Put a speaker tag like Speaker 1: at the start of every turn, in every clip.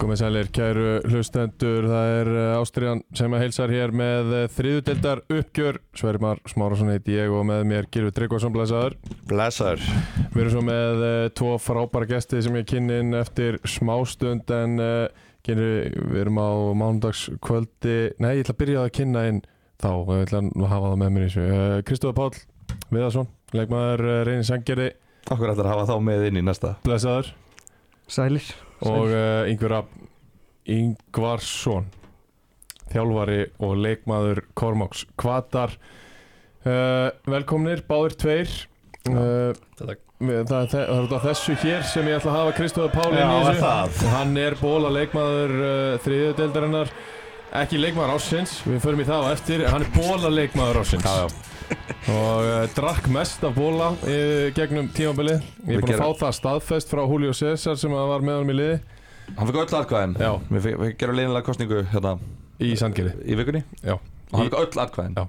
Speaker 1: Komið sælir, kæru hlustendur, það er eh, Ástriðan sem að heilsar hér með þriðudeldar uppgjör Svermar Smárasson heiti ég og með mér Gylfi Tryggvason blæsaður
Speaker 2: Blessar
Speaker 1: Við erum svo með uh, tvo frábæra gesti sem ég kynni inn eftir smástund en uh, kynni, við erum á mánudagskvöldi Nei, ég ætla að byrja að kynna inn þá, ég ætla að hafa það með mér í þessu uh, Kristofa Páll Viðarsson, leikmaður uh, reynir Sangerði,
Speaker 2: Okkur ætlar að hafa þá með inn í næsta
Speaker 1: blæsaður
Speaker 3: Sælir
Speaker 1: og uh, yngvar Rafn Yngvarsson þjálfari og leikmaður Kormáks Kvatar uh, velkomnir, báðir tveir uh,
Speaker 2: takk.
Speaker 1: við- það, er þe- það er út af þessu hér sem ég ætla að hafa Kristofur Páli inn í þessu
Speaker 2: það
Speaker 1: og hann er bóla leikmaður uh, þriðjöðdeldarinnar ekki leikmaður ásins, við förum í það á eftir hann er bóla leikmaður ásins já, já. og uh, drakk mest af bóla uh, gegnum tímabili ég
Speaker 2: Við
Speaker 1: er búin að
Speaker 2: gerum-
Speaker 1: fá það staðfest frá Julio César sem að var með honum í liði
Speaker 2: Hann fikk öll atkvæðin
Speaker 1: Já.
Speaker 2: Við, fikk, við gerum leinilega kostningu hérna
Speaker 1: Í Sandgerði
Speaker 2: Í vikunni
Speaker 1: Já.
Speaker 2: Og hann fikk öll atkvæðin
Speaker 1: Já.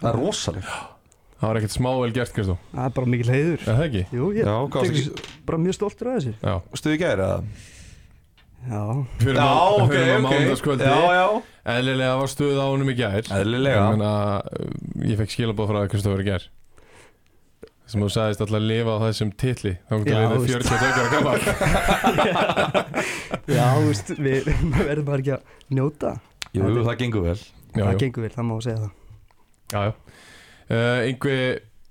Speaker 2: Það er rosaleg
Speaker 1: Það var ekkert smável gert, Kristó
Speaker 3: Það er bara mikil heiður
Speaker 1: Er það ekki?
Speaker 3: Jú, ég
Speaker 2: Já, hvað
Speaker 3: er
Speaker 2: varstu
Speaker 3: bara mjög stoltur af þessu
Speaker 1: Já
Speaker 2: Stuði gæri að
Speaker 3: Já,
Speaker 1: Fyrir má- fyrir má mánudagskvöldi
Speaker 2: Já, já
Speaker 1: Eðlilega var stuð á honum í gær
Speaker 2: Eðlilega.
Speaker 1: Ég meina, uh, Ég fekk skilabóð frá Kristófur í gær Sem þú sagðist alltaf að lifa á þessum titli Þá kom til
Speaker 3: Já,
Speaker 1: að leiða
Speaker 3: veist.
Speaker 1: 40 tökur að koma
Speaker 3: já, þú veist, við maður verðum bara ekki að njóta
Speaker 2: Jú, jú, það gengur vel
Speaker 1: Já,
Speaker 3: Það
Speaker 1: já,
Speaker 3: gengur vel, það má segja það
Speaker 1: já, já. Uh, Yngvi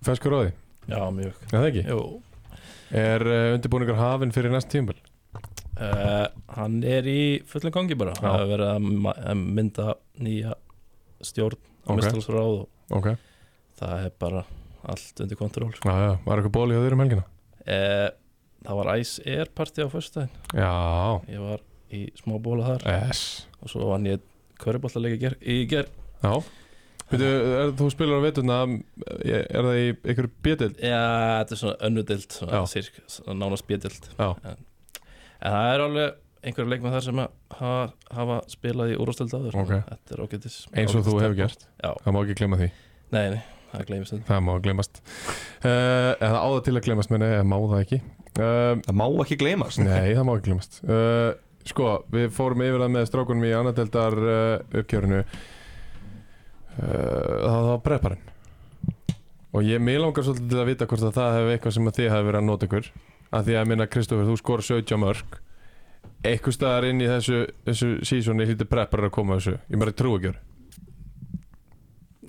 Speaker 1: feskur á því
Speaker 4: Já, mjög.
Speaker 1: Er það ekki?
Speaker 4: Jú,
Speaker 1: Er uh, undirbúningur hafinn fyrir næst tímbil?
Speaker 4: uh, hann er í fullum gangi bara.
Speaker 1: Já.
Speaker 4: Það hefur verið að ma- að mynda nýja stjórn
Speaker 1: Ok.
Speaker 4: og okay. mistalsráð og
Speaker 1: Ok Já,
Speaker 4: það er bara allt undir kontról. Sko.
Speaker 1: já, var eitthvað bóli hjá þér um helgina?
Speaker 4: Uh, það var Ice Air party á föstudaginn.
Speaker 1: Já
Speaker 4: Ég var í smá bóla þar
Speaker 1: Yes
Speaker 4: og svo vann ég köruboltaleik í ger. Í ger.
Speaker 1: Já Veitu, er, þú spilar á veturna Er er það í einhverju bjötild?
Speaker 4: Já, þetta er svona önnudild,
Speaker 1: Já.
Speaker 4: svona sirk, svona nánast bjödild.
Speaker 1: Já.
Speaker 4: En, en það er alveg einhverja leikmenn þar sem að ha- hafa spilað í úrvastöld áður.
Speaker 1: Ok.
Speaker 4: Þetta er okkur
Speaker 1: eins og þú hefur gert
Speaker 4: Já.
Speaker 1: það má ekki glemma því,
Speaker 4: Nei, nei, það gleymist þetta
Speaker 1: það má glemast uh, eða á það til að glemast meni, eða má það ekki uh,
Speaker 2: Það má ekki gleymast
Speaker 1: nei, það má ekki glemast uh, sko, við fórum yfir það með strákunum í annadeldar uh, uppgjörinu uh, það var prepparinn og ég mig langar svolítið til að vita hvort að það hefur eitthvað sem að þið hefur verið að nota ykkur að því að minna Kristoffer, þú skor 17 mörg eitthvað staðar inn í þessu, þessu sísóni hlítið prepparar að koma að þessu ég bara trú ekki verið,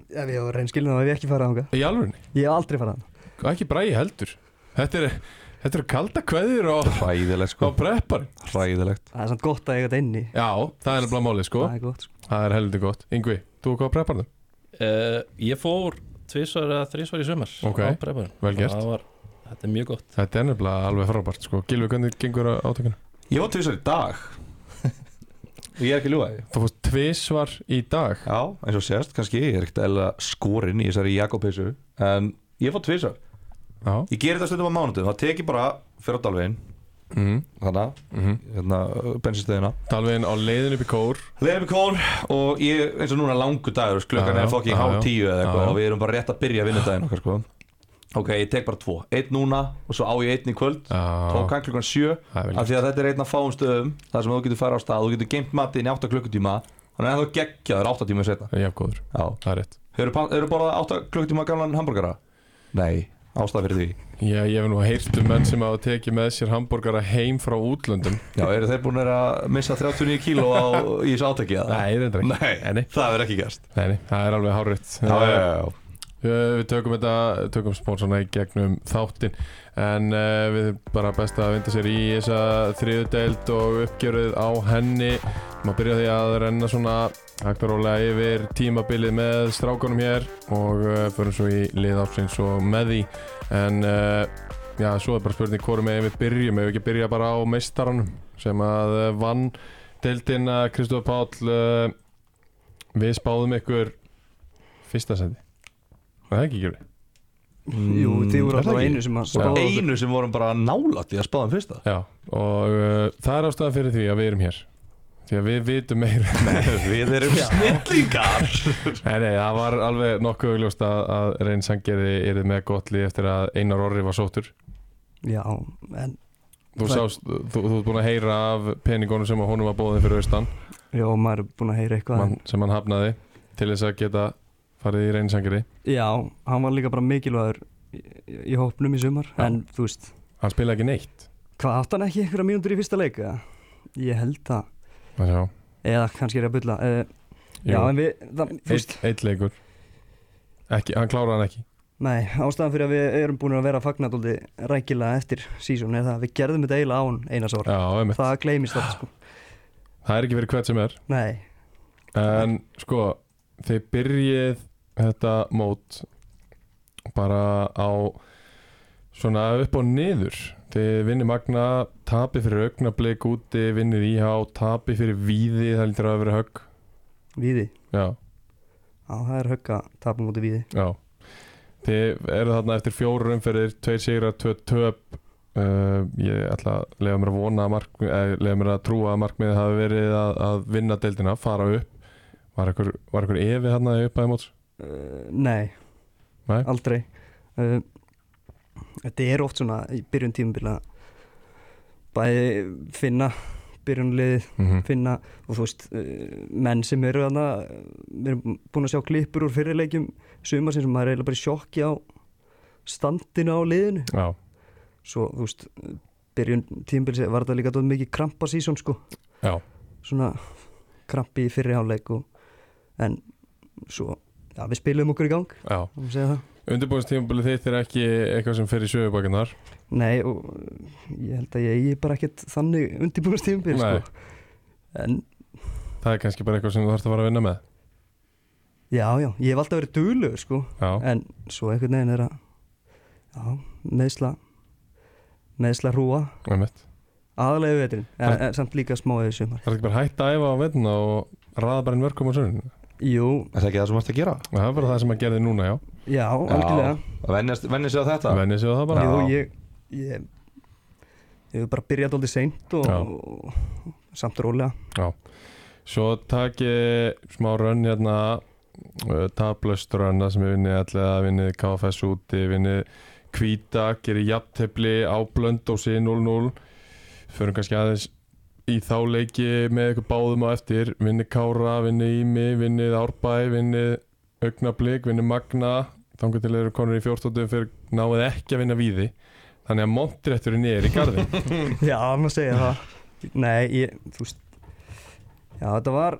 Speaker 3: Ef ég var reynskilin þá hef ég ekki farað ánga
Speaker 1: í alvörinni
Speaker 3: Ég hef aldrei farað ánga
Speaker 1: Og ekki bræði heldur Þetta er, þetta er kalda kveðir og,
Speaker 2: Hræðilegt sko
Speaker 1: og preppar
Speaker 2: Hræðilegt
Speaker 3: Það er samt gott að eiga þetta inni
Speaker 1: Já, það er nefnilega málið sko
Speaker 3: Það er gott, sko
Speaker 1: Það er heldur gott Yngvi, þú er hvað prepparðum?
Speaker 4: uh, Ég fór tvisvar eða þrísvar í sumar
Speaker 1: Ok,
Speaker 4: á prepparinn.
Speaker 1: vel
Speaker 4: Og
Speaker 1: gert.
Speaker 4: það var, Þetta er mjög gott
Speaker 1: Þetta er nefnilega alveg frábært sko Gilvi, hvernig gengur á átökinu?
Speaker 2: Ég var tvisar í dag Ég er ekki ljúaði
Speaker 1: Þú fórst tvisvar í dag
Speaker 2: Já, eins og sést, kannski Ég er ekkert eða skorinn í þessari Jakobissu En ég fór tvisar
Speaker 1: Já
Speaker 2: Ég gerir þetta stundum á mánudum Það tek ég bara fyrir á dalvegin
Speaker 1: mm
Speaker 2: Þannig
Speaker 1: -hmm.
Speaker 2: hérna, bensinstöðina
Speaker 1: Talvegin á leiðin upp í kór
Speaker 2: Leifum kól og ég, eins og núna langu dagur sko, klukkan
Speaker 1: Já,
Speaker 2: er fokking
Speaker 1: já,
Speaker 2: hálf
Speaker 1: já.
Speaker 2: tíu
Speaker 1: Já,
Speaker 2: eða
Speaker 1: já.
Speaker 2: eitthvað og við erum bara rétt að byrja að vinna daginn okkar sko Ok, ég tek bara tvo, einn núna og svo á ég einn í kvöld tók
Speaker 1: Já,
Speaker 2: hann klukkan sjö
Speaker 1: það er vel
Speaker 2: af því að þetta er einn af fáum stöðum þar sem þú getur fara á stað, þú getur geimt matinn í 8 klukkutíma þannig að þú geggjaður 8 tíma setna
Speaker 1: Já, góður,
Speaker 2: Já,
Speaker 1: það er rétt
Speaker 2: hefur þú borðað 8 klukkutíma gamlan hambúrgara? Nei, ástæð fyrir því
Speaker 1: Já, ég hef nú heyrt um menn sem hafa tekið með sér hambúrgara heim frá útlöndum
Speaker 2: Já, eru þeir búin að missa 39 kíló á, í þessu átaki? eða?
Speaker 1: Nei, reyndar ekki Nei,
Speaker 2: Nei,
Speaker 1: nei.
Speaker 2: það verður ekki gerst
Speaker 1: Nei, nei, það er alveg hárétt
Speaker 2: Já, já, já, já.
Speaker 1: Uh, Við tökum þetta, tökum spónsana í gegnum þáttin en uh, við erum bara best að vinda sér í þessa þriðudeild og uppgjöruð á henni maður byrja á því að renna svona hægt og rólega yfir tímabilið með strákunum hér og uh, förum svo í lið áfsins og með því en uh, já, svo er bara spurning hvorum eða við byrjum, ef við ekki byrja bara á meistaranum sem að uh, vann deildina Kristof Páll uh, við spáðum eh, ykkur fyrsta seti Það er ekki ekki
Speaker 3: Jú,
Speaker 2: Mm,
Speaker 3: þið
Speaker 1: Mm,
Speaker 3: voru
Speaker 1: er það
Speaker 3: alltaf
Speaker 1: ekki?
Speaker 3: einu sem að
Speaker 1: Já.
Speaker 3: spáðu okkur.
Speaker 2: Einu sem vorum bara nálat í að spáðum fyrsta
Speaker 1: Já, og uh, það er ástæðan fyrir því að við erum hér Því að við vitum meira
Speaker 2: Við erum snillingar
Speaker 1: Nei, nei, það var alveg nokkuð augljóst að, að Reyn Sangerði yrði með gott lið eftir að Einar Orri var sóttur
Speaker 3: Já, en
Speaker 1: Þú
Speaker 3: Það-
Speaker 1: sást, þú, þú, þú ert búin að heyra af peningunum sem að honum var bóðin fyrir austan
Speaker 3: já, maður er búin að heyra eitthvað
Speaker 1: man, sem hann hafnaði til þess að geta farið í Reyn Sangerði
Speaker 3: Já, hann var líka bara mikilvægur í, í hópnum í sumar
Speaker 1: Já.
Speaker 3: En þú veist,
Speaker 1: Hann spilaði ekki neitt
Speaker 3: hvað átt hann ekki einhverja mínútur í fyrsta leik? eða? Ég held það
Speaker 1: Það sjá,
Speaker 3: Eða kannski er ég að bulla uh,
Speaker 1: jú,
Speaker 3: Já, en við, það, þú veist,
Speaker 1: eitt, eitt leikur ekki, Hann kláraði hann ekki
Speaker 3: nei, ástæðan fyrir að við erum búin að vera fagnadóldi rækilega eftir sísón er það að við gerðum þetta eiginlega án einas ára
Speaker 1: Já, einmitt,
Speaker 3: Það gleymist allt, sko
Speaker 1: það er ekki verið hvert sem er
Speaker 3: Nei,
Speaker 1: En sko, þið byrjið þetta mót bara á svona upp og niður. Þið vinnir Magna, tapir fyrir augnablik úti, vinnir íhá, tapir fyrir víði, það lítur að vera högg.
Speaker 3: Víði
Speaker 1: Já,
Speaker 3: Já, það er högg að tapa múti Víði
Speaker 1: já. Þið eru þarna eftir fjóru umferðir, tveir sigrar, tvö töp. Uh, ég ætla að lega mér að vona að mark, eh, lega mér að trúa að markmiðið hafi verið að, að vinna deildina, fara upp. Var einhver, var einhver efi þarna í upphæði móts?
Speaker 3: uh, Nei,
Speaker 1: Nei.
Speaker 3: aldrei uh, Þetta er oft svona í byrjun tímabila bæði finna byrjunlið,
Speaker 1: Mm
Speaker 3: finna og þú veist, uh, menn sem eru þarna uh, við erum búin að sjá klippur úr fyrirleikjum sumar sem maður er eiginlega bara í sjokki á standinu á liðinu
Speaker 1: Já,
Speaker 3: svo þú veist, uh, byrjun tímabils var þetta líka dálítið mikið krampa sísón sko
Speaker 1: já,
Speaker 3: svona krampi í fyrri hálfleik og, en svo já, við spilum okkur í gang
Speaker 1: já.
Speaker 3: um að segja það.
Speaker 1: Undirbúinstímabilið þitt er ekki eitthvað sem fer í sögubakinnar
Speaker 3: Nei og uh, ég held að ég eigi bara ekkert þannig undirbúinast tímpil
Speaker 1: Nei.
Speaker 3: sko. en
Speaker 1: Það er kannski bara eitthvað sem þú þarfst að fara að vinna með
Speaker 3: já já, ég hef alltaf verið duglegur sko
Speaker 1: Já,
Speaker 3: en svo einhvern veginn er að já, meðsla meðsla rúa
Speaker 1: með mitt
Speaker 3: aðalega veturinn, en,
Speaker 1: Það-
Speaker 3: en samt líka smá eða sumar.
Speaker 1: Það er ekki bara hægt að æfa á vettuna og raða bara inn mörgum á sunnun
Speaker 3: Jú,
Speaker 2: Er það ekki það sem mást að gera?
Speaker 1: Það er bara það sem að gerði núna, já
Speaker 3: já, algjörlega
Speaker 2: Að Venjast, venjast sig á þetta
Speaker 1: Venni sig á það bara
Speaker 3: Jú,
Speaker 2: Já.
Speaker 3: ég ég ég hef bara byrjað aldrei seint og,
Speaker 1: Já.
Speaker 3: og samt rólega
Speaker 1: Svo taki smá rönn hérna uh, tablöst rönna sem við vinnið allega vinnið KFS úti, vinnið Kvíta, gerir jafntefli á Blöndósi 0-0 förum kannski aðeins í þá leiki með ykkur báðum á eftir vinnið Kára, vinnið Ími, vinnið Árbæ vinnið Augnablík, vinnið Magna þangar til eru konur í 14. fyrir náið ekki að vinna víði þannig að montrétturinn er í garðin
Speaker 3: Já, maður segja það Nei, ég, þú veist Já, þetta var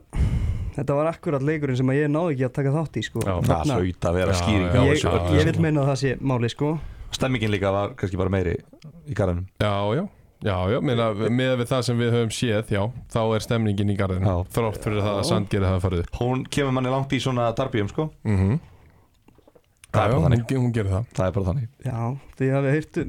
Speaker 3: þetta var akkurat leikurinn sem að ég náði ekki að taka þátt í sko.
Speaker 1: Já.
Speaker 2: Það
Speaker 3: Þarna-
Speaker 2: hlaut að vera
Speaker 1: Já,
Speaker 2: skýring
Speaker 1: já,
Speaker 2: á
Speaker 3: ég,
Speaker 2: þessu
Speaker 1: já,
Speaker 2: öllu
Speaker 3: ég
Speaker 1: já.
Speaker 3: vil
Speaker 2: saman.
Speaker 3: meina að það sé máli sko.
Speaker 2: Stemmingin líka var kannski bara meiri í garðinum
Speaker 1: Já, já, já, já, meina, með við það sem við höfum séð, já, þá er stemningin í garðinu,
Speaker 2: Já.
Speaker 1: þrátt fyrir það að
Speaker 3: Já.
Speaker 1: Sandgerði hafa farið upp.
Speaker 2: Hún kemur manni langt í svona darbíum sko
Speaker 1: Mm -hmm.
Speaker 2: Það er
Speaker 1: já,
Speaker 2: bara
Speaker 1: hún,
Speaker 2: þannig.
Speaker 1: hún gerir það.
Speaker 2: Það er bara þannig
Speaker 3: Já, því hafið hýrt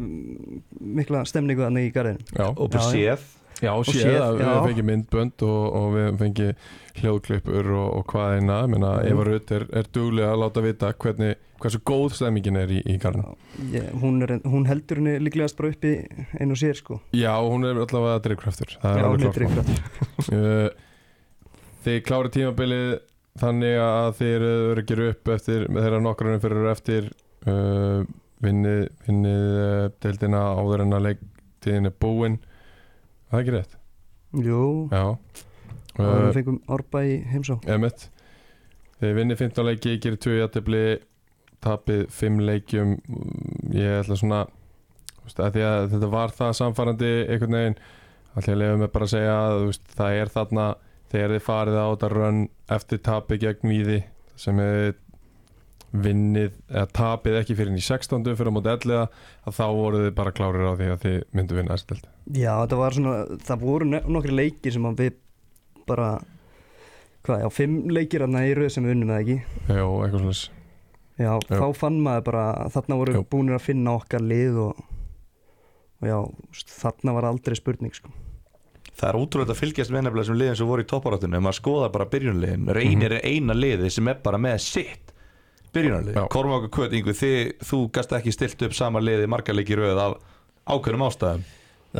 Speaker 3: mikla stemningu þannig í garðinu
Speaker 1: Já,
Speaker 2: Og bara
Speaker 3: Já, já.
Speaker 2: séð
Speaker 1: já og séð,
Speaker 3: séð,
Speaker 1: að við
Speaker 3: já.
Speaker 1: höfum fengið myndbönd og, og við höfum fengið hljóðklippur og, og hvað eina, meina,
Speaker 3: Mhm.
Speaker 1: Eva Rutt er, er duglega að láta vita hvernig, hversu góð stemningin er í, í garðinu.
Speaker 3: ég, hún, er, hún heldur henni líklegast bara uppi einu sér sko.
Speaker 1: Já, hún er allavega drifkraftur, það er
Speaker 3: Já,
Speaker 1: alveg
Speaker 3: hún er
Speaker 1: klart. mál.
Speaker 3: drifkraftur.
Speaker 1: Uh, Þið klárið tímabilið þannig að þið eru öryggir upp eftir þeirra nokkrunum fyrir eru eftir uh, vinnið vinnið uh, deildina áður en að leiktiðin er búinn Er Það er ekki rétt
Speaker 3: Jú,
Speaker 1: Já
Speaker 3: og við
Speaker 1: uh,
Speaker 3: fengum Orba í heimsó
Speaker 1: Emmett Þið vinnið 15 leiki, gerir 2 jættibli tapið 5 leikjum Mm, ég ætla svona þú veist, að því að þetta var það samfærandi einhvern veginn ætla ég að lefa mig bara að segja að þú veist, það er þarna þegar þið farið á þetta rönn eftir tapið gegn víði sem hefði vinnið eða tapið ekki fyrir í 16. fyrir á móti 11. að þá voruð þið bara klárir á því að þið myndu vinna þessi delt
Speaker 3: Já, þetta var svona, það voru ne- nokkri leikir sem að við bara hvað, já, fimm leikir þarna í röð sem við unnum eða ekki
Speaker 1: Jó, eitthvað svona
Speaker 3: Já,
Speaker 1: Já.
Speaker 3: þá fann maður bara að þarna voru
Speaker 1: Jú.
Speaker 3: búinir að finna okkar lið og, og já, þú veist, þarna var aldrei spurning sko.
Speaker 2: Það er útrúlega að fylgjast með nefnilega sem liðin sem voru í topparáttunum maður skoðar bara byrjunliðin, reynir er eina liði sem er bara með sitt
Speaker 1: Já.
Speaker 2: byrjunarlið Kormák og Kvöt, Ingu, þið, þú gast ekki stilt upp sama liði margarleiki röð af ákveðnum ástæðum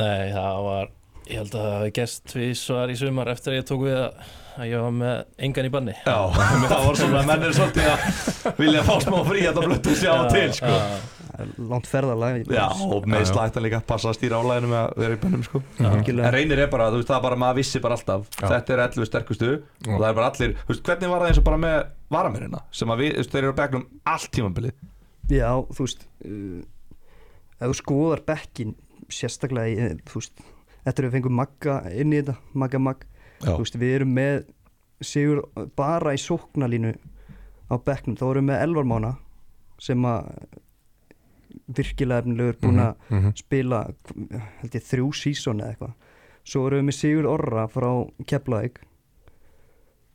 Speaker 4: Nei, það var, ég held að það hafi gerst tvísvar í sumar eftir að ég tók við að, að ég var með engan í banni
Speaker 2: Já, það var svona að menn er svolítið að vilja fá smá frí hérna að það blöttu sjá
Speaker 4: Já,
Speaker 2: til sko.
Speaker 4: já,
Speaker 3: Það er langt ferðalag
Speaker 2: Já, og með slættan líka passa að stýra álæðinu með að vera í bönnum sko. En
Speaker 3: algjörlega
Speaker 2: reynir er bara, þú veist, það er bara maður vissi bara alltaf
Speaker 1: Já.
Speaker 2: Þetta er 11 sterkustu og það er bara allir, þú veist, hvernig var það eins og bara með varamennina sem að við, þú veist, þeir eru á bekknum allt tímabilið
Speaker 3: Já, þú veist uh, ef þú skoðar bekkin sérstaklega, í, eh, þú veist eftir að við fengum Magga inn í þetta Magga Magg,
Speaker 2: Já.
Speaker 3: þú veist, við erum með sigur bara í sóknalínu á bekknum, þá erum við með elvarmána sem að virkilega efnilegur
Speaker 1: Mhm.
Speaker 3: búin að spila held ég þrjú sísón eða eitthvað svo erum við með Sigur Orra frá Keflavík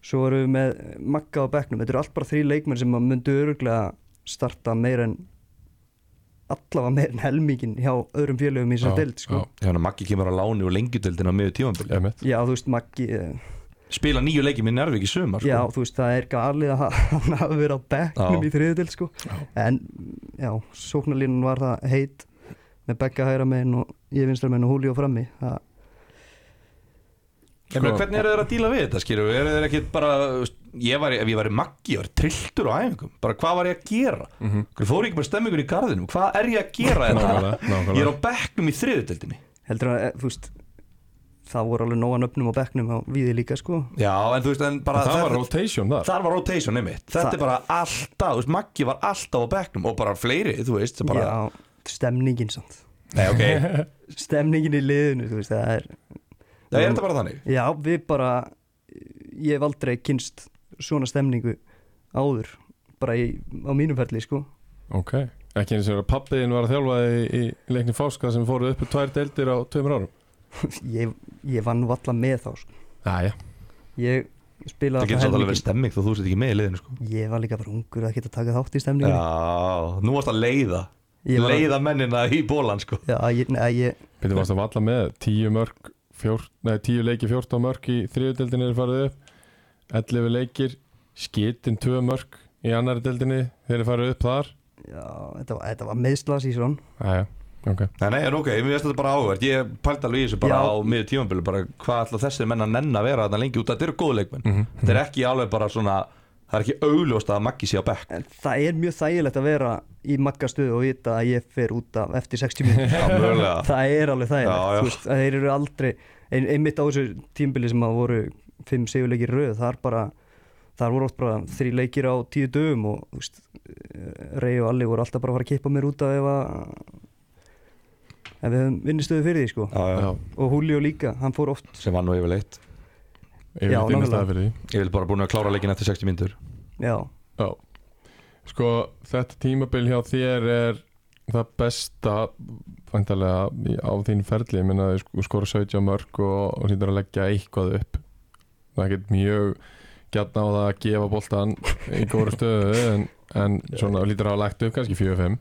Speaker 3: svo erum við með Magga á bekknum þetta eru allt bara þrjí leikmenn sem að myndu öruglega starta meir en allavega meir en helmingin hjá öðrum félögum í þessar deild sko.
Speaker 2: Já, þannig að Maggi kemur á láni og lengjudeldin á miður tímabilið
Speaker 1: emitt
Speaker 3: já. þú veist Maggi eh,
Speaker 2: Spila nýju leiki með Njárvík í sumar sko.
Speaker 3: já, þú veist það er galið að ha- hann hafi verið á bekknum
Speaker 2: Já.
Speaker 3: í þriðu deild sko. en já, sóknarlínun var það heit með Begga hægra megin og ég vinstra megin og Húli og frammi það
Speaker 2: Ég meina, hvernig eru þeir að díla við þetta, skilur við? Eru þeir ekki bara, ég var, ef ég var maggi, ég var trilltur á æfingum, bara hvað var ég að gera? Mm -hmm. Fór ég ekki bara stemmingur í garðinum, hvað er ég að gera þetta?
Speaker 1: Nákvæmlega, nákvæmlega.
Speaker 2: ég er á bekknum í þriðutöldinni.
Speaker 3: heldur að, eh, þú veist það voru alveg nógan öfnum á bekknum á viði líka sko
Speaker 2: Já, en þú veist, en bara,
Speaker 1: Það var rotation þar
Speaker 2: þar var rotation, einmitt. Þetta
Speaker 3: Það-
Speaker 2: er bara alltaf, þú veist, maggi var alltaf á bekknum og bara fleiri, þú veist, sem bara,
Speaker 3: já, stemningin samt
Speaker 2: nei, ok,
Speaker 3: stemningin í liðinu, þú veist, það er
Speaker 2: það er þetta bara þannig.
Speaker 3: já, við bara ég hef aldrei kynst svona stemningu áður, bara í, á mínum ferli sko,
Speaker 1: Ok, ekki eins og að pappiðin var að þjálfa í, í leikni Fáska sem fóruð upp tvær deildir á tveimur árum
Speaker 3: ég, ég vann valla með þá sko,
Speaker 1: Æja,
Speaker 3: ég
Speaker 2: Það
Speaker 3: spilaði
Speaker 2: getur svolítið
Speaker 3: alltaf
Speaker 2: alveg verið stemming þó þú sett ekki með í liðinu, sko.
Speaker 3: helminginn. ég var líka bara ungur að geta taka þátt í stemningunni
Speaker 2: Já, nú varst að leiða,
Speaker 3: Ég var-
Speaker 2: leiða mennina í bólan, sko.
Speaker 3: já, ég, nei, ég,
Speaker 1: byrðu varst að valla með tíu mörg, fjór, nei, tíu leiki 14 mörg í þriðu deildinni er farið upp 11 leikir, skitin tvö mörg í annari deildinni þeir eru farið upp þar
Speaker 3: já, þetta var, þetta var meðslas í svona
Speaker 1: Æja, ok
Speaker 2: Nei, nei, en ok, mér finnst þetta bara áhverð Ég pældi alveg í þessu bara
Speaker 3: Já.
Speaker 2: á miður tímambili bara hvað ætla þessir menn að nenn að vera þarna lengi út af þetta eru góð leikmenn
Speaker 3: Mhm,
Speaker 2: Þetta er ekki alveg bara svona það er ekki augljóst að Maggi sé á bekk
Speaker 3: En það er mjög þægilegt að vera í maggastöðu og vita að ég fer út af eftir 60 mínútur.
Speaker 2: Já, mögulega.
Speaker 3: það er alveg þægilegt.
Speaker 2: Já, já.
Speaker 3: Þú Veist, að þeir eru aldrei, ein, einmitt á þessu tímbili sem að voru 5 segjuleikir í röð, þar bara, þar voru oft bara þrý leikir á tíu dögum og þú veist, Rey og Alli voru alltaf bara að fara að kippa mér út af ef að ef við höfum vinnistöðu fyrir því sko.
Speaker 2: já, já.
Speaker 1: Já,
Speaker 3: Og Julio líka, hann fór oft,
Speaker 2: sem var nú yfirleitt
Speaker 1: ég
Speaker 3: Já,
Speaker 1: vil dýna
Speaker 3: nákvæmlega.
Speaker 1: staði fyrir því
Speaker 2: Ég vil bara búin að klára leikin eftir 60 myndur
Speaker 3: já,
Speaker 1: Já, sko þetta tímabil hjá þér er það besta vantarlega á þín ferli ég menna þú skora 17 mörg og, og sýndur að leggja eitthvað upp það er ekkert mjög gætna á það að gefa boltan í góru stöðu en, en svona lítur að hafa lagt upp kannski 4-5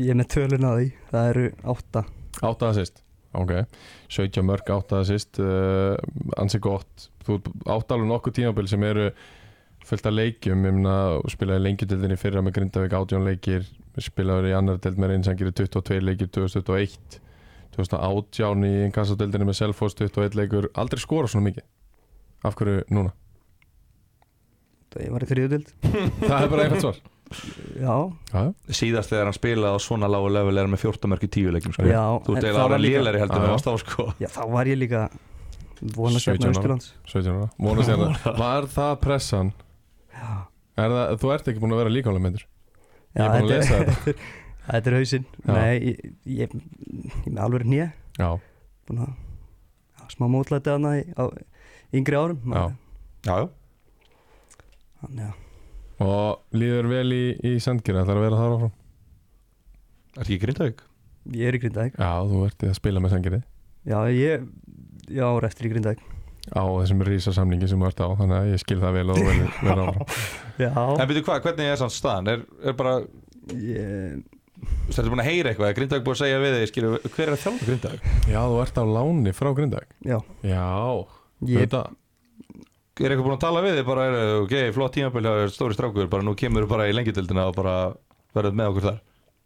Speaker 3: ég er með tölun að því, það eru átta.
Speaker 1: 8 assist ok, 17 mörg 8 assist uh, ansi gott, þú átt alveg nokkuð tímabil sem eru fullt af leikjum ég meina, þú spilaði lengjudeldinni í fyrra með Grindavík 18 leikir, spilaði í annar deld með reynsangir 22 leikir 2021 2018 í inkassadeldinni með Selfoss 21 leikur aldrei skora svona mikið af hverju núna?
Speaker 3: Ég var í þriðudild,
Speaker 1: Það er bara einhvert svar
Speaker 3: já,
Speaker 1: Já,
Speaker 2: Síðast þegar hann spilaði á svona lágu level er hann með 14 mörg í 10 leikum sko.
Speaker 3: já.
Speaker 2: Þú
Speaker 3: en
Speaker 2: ert
Speaker 3: það
Speaker 2: eiginlega
Speaker 3: var
Speaker 2: ára
Speaker 3: líka-
Speaker 2: lélæri heldur
Speaker 1: Já,
Speaker 2: en
Speaker 1: já.
Speaker 2: varst á sko
Speaker 3: Já, þá var ég líka vona
Speaker 1: 17
Speaker 3: sérna
Speaker 1: ára.
Speaker 3: Östurlands
Speaker 1: 17 ára, vonast hérna Var það pressan? Er það, þú ert ekki búin að vera líkálega myndur Ég er búin að lesa þetta
Speaker 3: Þetta er hausinn
Speaker 1: Já.
Speaker 3: Nei, ég, ég, ég er með alveg hnið
Speaker 1: Já,
Speaker 3: Búin að já, smá mótlæti hana í- á yngri árum
Speaker 1: Já.
Speaker 2: Já, já
Speaker 3: Þannig að
Speaker 1: Og líður vel í, í sendgjur, ætlar að vera þar áfram?
Speaker 2: Er ekki grindaug?
Speaker 3: ég er í Grindavík
Speaker 1: Já, þú ert í að spila með sendgjurði
Speaker 3: Já, ég Já, eftir í Grindavík
Speaker 1: á þessum rísasamningi sem þú ert á, þannig að ég skil það vel og þú verður verður áfram.
Speaker 3: Já
Speaker 2: En veitu hvað, hvernig er samt staðan? Er, er bara,
Speaker 3: ég,
Speaker 2: þetta búin að heyra eitthvað? Er Grindaug búin að segja við þig, skilur, hver er að þjálfa Grindaug?
Speaker 1: Já, þú ert á láni frá Grindag.
Speaker 3: Já
Speaker 1: Já,
Speaker 3: Ég,
Speaker 1: þetta,
Speaker 2: er eitthvað búin að tala við þig bara, er, ok, flott tímabil hjá þér, stóri strákur, bara nú kemur bara í lengjadildina og bara verður með okkur þar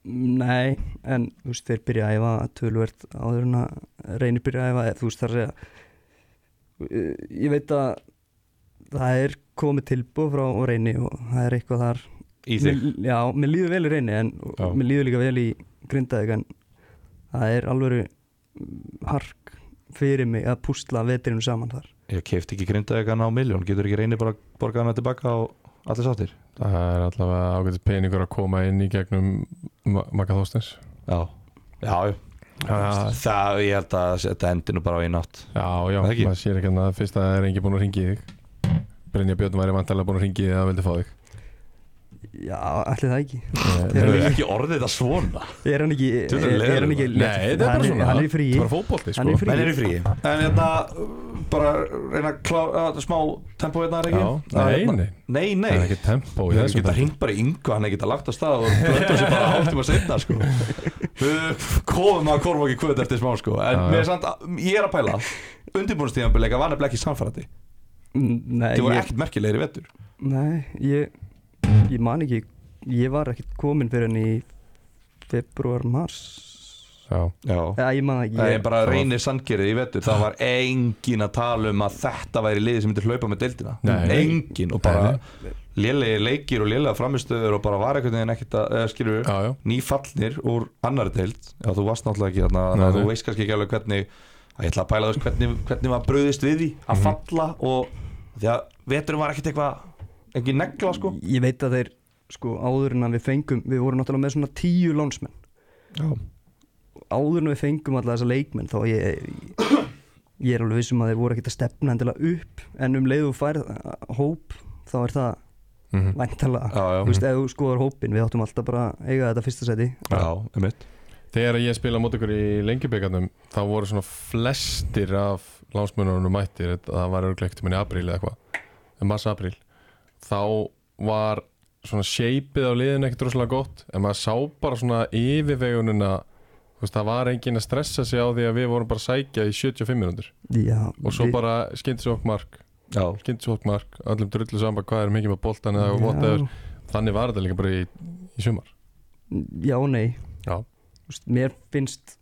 Speaker 3: Nei, en þú veist, þeir byrja að æfa tölvert áður en að reynir byrja að æfa eða þú veist, þar að segja Eh, ég veit að það er komið tilbúð frá reyni og það er eitthvað þar
Speaker 2: í þig.
Speaker 3: Mér- Já, mér líður vel í reyni en og
Speaker 2: Já.
Speaker 3: mér líður líka vel í grindaðik en það er alveg hark fyrir mig að púsla veturinn saman þar
Speaker 2: Ég kefti ekki grindaði hann á miljón, getur ekki reynir bara borgað hana tilbaka og allir sáttir.
Speaker 1: Það er allavega ágætis peningur að koma inn í gegnum Ma- Magga Þorsteins
Speaker 2: Já, já, já.
Speaker 1: Já,
Speaker 2: það, ég held að þetta endur nú bara á einn átt.
Speaker 1: já, já
Speaker 2: Það ekki?
Speaker 1: maður sér ekki að fyrst að það er engin búin að ringi þig Brynja Björn væri vantarlega búin að ringi þig að vildi fá þig
Speaker 3: Já, allir það ekki
Speaker 1: Eh,
Speaker 3: Þeir
Speaker 2: Það
Speaker 3: eru
Speaker 2: er ekki orðið þetta svona.
Speaker 3: Er hann ekki,
Speaker 2: Þú ert
Speaker 3: er,
Speaker 2: leiðilegur.
Speaker 3: er hann ekki
Speaker 1: Nei, þetta er bara
Speaker 3: hann
Speaker 1: svona
Speaker 3: Hann er í fríi
Speaker 1: Það er bara fótbolti,
Speaker 3: Hann er í
Speaker 1: sko
Speaker 3: fríi.
Speaker 2: Menn eru í fríi. En hérna, bara reyna að klára, að smá tempó hérna er
Speaker 1: Já,
Speaker 2: ekki? Það
Speaker 1: nei,
Speaker 2: er hérna-
Speaker 1: nei
Speaker 2: Nei, nei.
Speaker 1: Það er ekki tempo í
Speaker 2: Ég
Speaker 1: þessum
Speaker 2: geta
Speaker 1: þetta
Speaker 2: hringt bara í yngva, hann geta lagt að stað og blönda sér bara hálftum að setna sko. Við komum að korfa ekki kvöt eftir smá sko. en
Speaker 1: Já, já.
Speaker 2: mér er samt, ég er að pæla undirbúinstíðanbyrleika var nefnilega ekki samfærandi
Speaker 3: Nei,
Speaker 2: þið voru
Speaker 3: ég,
Speaker 2: ekkert merkilegir í vettur
Speaker 3: nei ég, ég man ekki Ég var ekkert komin fyrir hann í februar, mars
Speaker 1: Já,
Speaker 2: Já
Speaker 3: Eða, ég man
Speaker 2: Það
Speaker 3: það ekki
Speaker 2: er
Speaker 3: ég,
Speaker 2: bara reynir sandgerið í vettur Það var engin að tala um að þetta væri liðið sem myndi hlaupa með deildina
Speaker 1: Nei.
Speaker 2: Engin og bara lélegir leikir og lélega framistöður og bara var einhvern veginn ekkert að eh, skilur
Speaker 1: já, já
Speaker 2: nýfallnir úr annar deild já, þú varst náttúrulega ekki þarna
Speaker 1: Nei,
Speaker 2: þannig að
Speaker 1: nei.
Speaker 2: þú veist kannski ekki alveg hvernig að ég ætla að pæla þess hvernig, hvernig var bröðist við því að falla og því að veturum var ekkert eitthvað ekki negla sko
Speaker 3: ég veit að þeir sko áður en að við fengum Við vorum náttúrulega með svona tíu lónsmenn
Speaker 2: já,
Speaker 3: Áður en við fengum alla þessa leikmenn Þá ég, ég, ég er alveg vissum að þeir voru ekkert að stefna endilega upp En um leið og færð eh, hóp Þá er það
Speaker 1: Mhm.
Speaker 3: væntalega
Speaker 2: já, já,
Speaker 3: Þú veist, ef þú skoðar hópin, við áttum alltaf bara að eiga þetta fyrsta seti
Speaker 2: já, um mitt
Speaker 1: Þegar ég spila mót ykkur í lengjubyggarnum þá voru svona flestir af lánsmunarunum mættir þetta- það var örglegt minn í apríl eða eitthvað mars apríl þá var svona shapeið á liðinu ekkert rosalega gott en maður sá bara svona yfirvegunina þú veist, það var engin að stressa sig á því að við vorum bara að sækja í 75 minútur
Speaker 3: Já,
Speaker 1: og svo
Speaker 3: við-
Speaker 1: bara skyndisók mark
Speaker 2: já,
Speaker 1: skyndisók mark, öllum drullu saman hvað er mikið með boltan
Speaker 2: uh,
Speaker 1: eða
Speaker 3: Já.
Speaker 1: whatever þannig var þetta líka bara í, í sumar
Speaker 3: Já, og nei
Speaker 1: Já.
Speaker 3: Þú veist, Mér finnst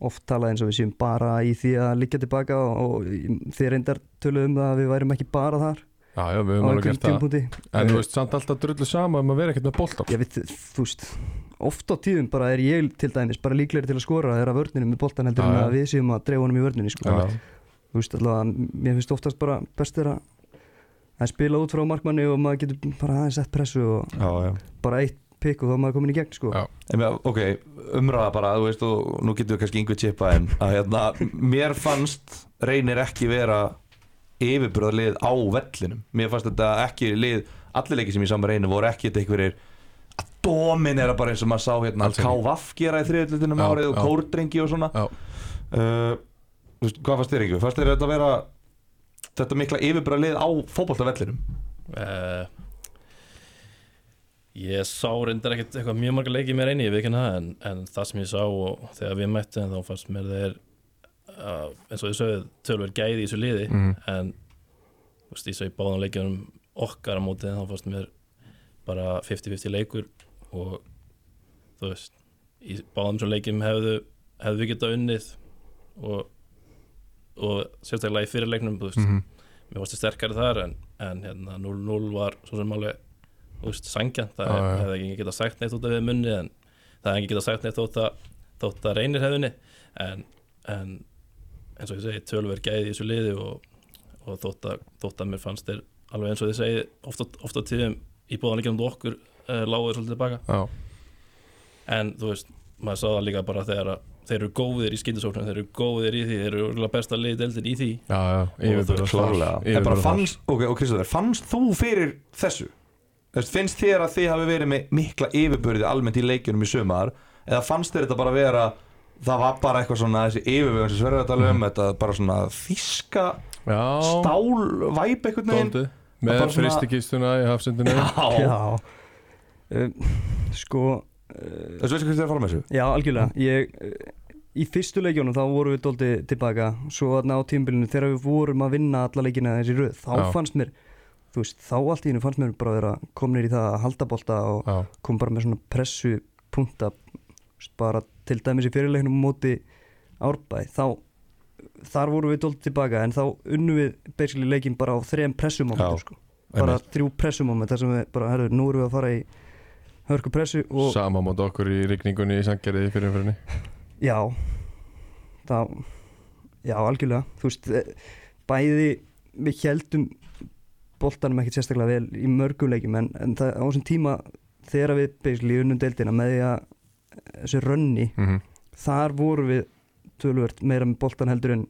Speaker 3: oft talað eins og við séum bara í því að liggja tilbaka og, og þið reyndar töluðum það að við værum ekki bara þar
Speaker 1: Já, já, við höfum
Speaker 3: á
Speaker 1: alveg
Speaker 3: einhverjum
Speaker 1: gert það
Speaker 3: tímpúti
Speaker 1: En þú veist samt alltaf drullu sama um að vera ekkert með boltan
Speaker 3: Ég veit, þú veist, oft á tíðum bara er ég til dæmis bara líklegri til að skora þegar að vörninu með boltan heldur en
Speaker 1: Já, já.
Speaker 3: að við séum að dreifa honum í vörninu sko.
Speaker 1: Já.
Speaker 3: þú veist allavega, mér finnst oftast bara bestir að, að spila út frá markmanni og maður getur bara aðeins sett pressu og
Speaker 2: já, já
Speaker 3: bara eitt pikk og þá er maður komin í gegn sko.
Speaker 1: Já.
Speaker 2: En mér- ok, umræða bara, þú veist og nú getur við kannski yngvið tippa en að hérna, mér fannst reynir ekki vera yfirbröðlið á vellinum mér fannst þetta ekki lið, allir leikir sem ég saman reynir voru ekki þetta einhverjir að dominera bara eins og maður sá hérna
Speaker 1: Alls ekki.
Speaker 2: KVF gera í þriðutlutinum
Speaker 1: Já,
Speaker 2: árið og
Speaker 1: já.
Speaker 2: kórdrengi og svona
Speaker 1: Já.
Speaker 2: uh, þú veist, hvað fannst þér yngvið? Fannst þér þetta vera þetta mikla yfirbröðlið á fótboltavellinum?
Speaker 4: Eh, Ég sá reyndar ekkert eitthvað mjög marga leikið mér einni, ég veit ekki það en, en það sem ég sá og þegar við mættum þá fannst mér þeir uh, eins og ég sögðu tölver gæði í þessu liði
Speaker 1: Mhm.
Speaker 4: en þú veist, ég svo í báðan leikjum okkar á mótið þá fannst mér bara 50-50 leikur og þú veist í báðum svo leikjum hefðu hefðu við getað unnið og, og sérstaklega í fyrirleiknum þú veist,
Speaker 1: Mhm.
Speaker 4: mér varstu sterkari þar en, en hérna 0-0 var svo sem alveg þú veist, sangjant, það
Speaker 1: Já, já.
Speaker 4: hefði ekki getað sagt neitt út af við munni en það hefði ekki getað sagt neitt þótt að, þótt að reynir hefðunni en, en eins og ég segi, tölver gæði í þessu liði og, og þótt, að, þótt að mér fannst þér alveg eins og þið segi ofta, ofta tíðum í bóðanleikjum og okkur uh, láguði svolítið tilbaka
Speaker 1: Já,
Speaker 4: en þú veist, maður sá það líka bara þegar að þeir eru góðir í skyndisóknum, þeir eru góðir í því þeir eru örugglega besta liðið deildin í því
Speaker 1: já, já, yfirburðar þar,
Speaker 2: Klárlega En bara
Speaker 1: yfirburðar þar.
Speaker 2: fannst, ok, og Kristoffer, fannst þú fyrir þessu? Þú veist, Finnst þér að þið hafi verið með mikla yfirbörði almennt í leikjunum í sumar eða fannst þér þetta bara vera það var bara eitthvað svona þessi yfirvögun sem sverður að tala um þetta bara svona þíska
Speaker 1: Já,
Speaker 2: stálvæp einhvern veginn
Speaker 1: stóndið
Speaker 2: Það
Speaker 1: Með
Speaker 2: bara svona-
Speaker 1: fristikistuna í hafsendinu
Speaker 2: Já,
Speaker 3: Já sko, um, Sko uh,
Speaker 2: þessu veistu hvað þér að fara með þessu?
Speaker 3: Já, algjörlega Ég, uh, í fyrstu leikjónum þá vorum við dólti tilbaka svo þarna á tímbilinu þegar við vorum að vinna alla leikina þessi röð þá
Speaker 1: Já.
Speaker 3: fannst mér þú veist, þá allt í hennu fannst mér bara vera komnir í það að halda bolta og
Speaker 1: já,
Speaker 3: kom bara með svona pressu punta bara til dæmis í fyrirleiknum á móti árbæ þá þar vorum við dólti tilbaka en þá unnum við basically leikin bara á þrejum pressumómentum
Speaker 2: Já,
Speaker 3: sko. bara þrjú pressumóment þar sem við bara, herru, nú erum við að fara í hörku pressu og
Speaker 1: sama mót okkur í rigningunni í sangjariði fyrir umfyrinni
Speaker 3: Já það, Já, algjörlega Þú veist, eh, bæði við heldum boltanum ekkert sérstaklega vel í mörgum leikjum en, en það, á þessum tíma þegar við basically unnum deildina með því að þessu rönni,
Speaker 1: mm
Speaker 2: Mhm,
Speaker 1: -hmm.
Speaker 3: þar vorum við tölvöld meira með boltan heldur en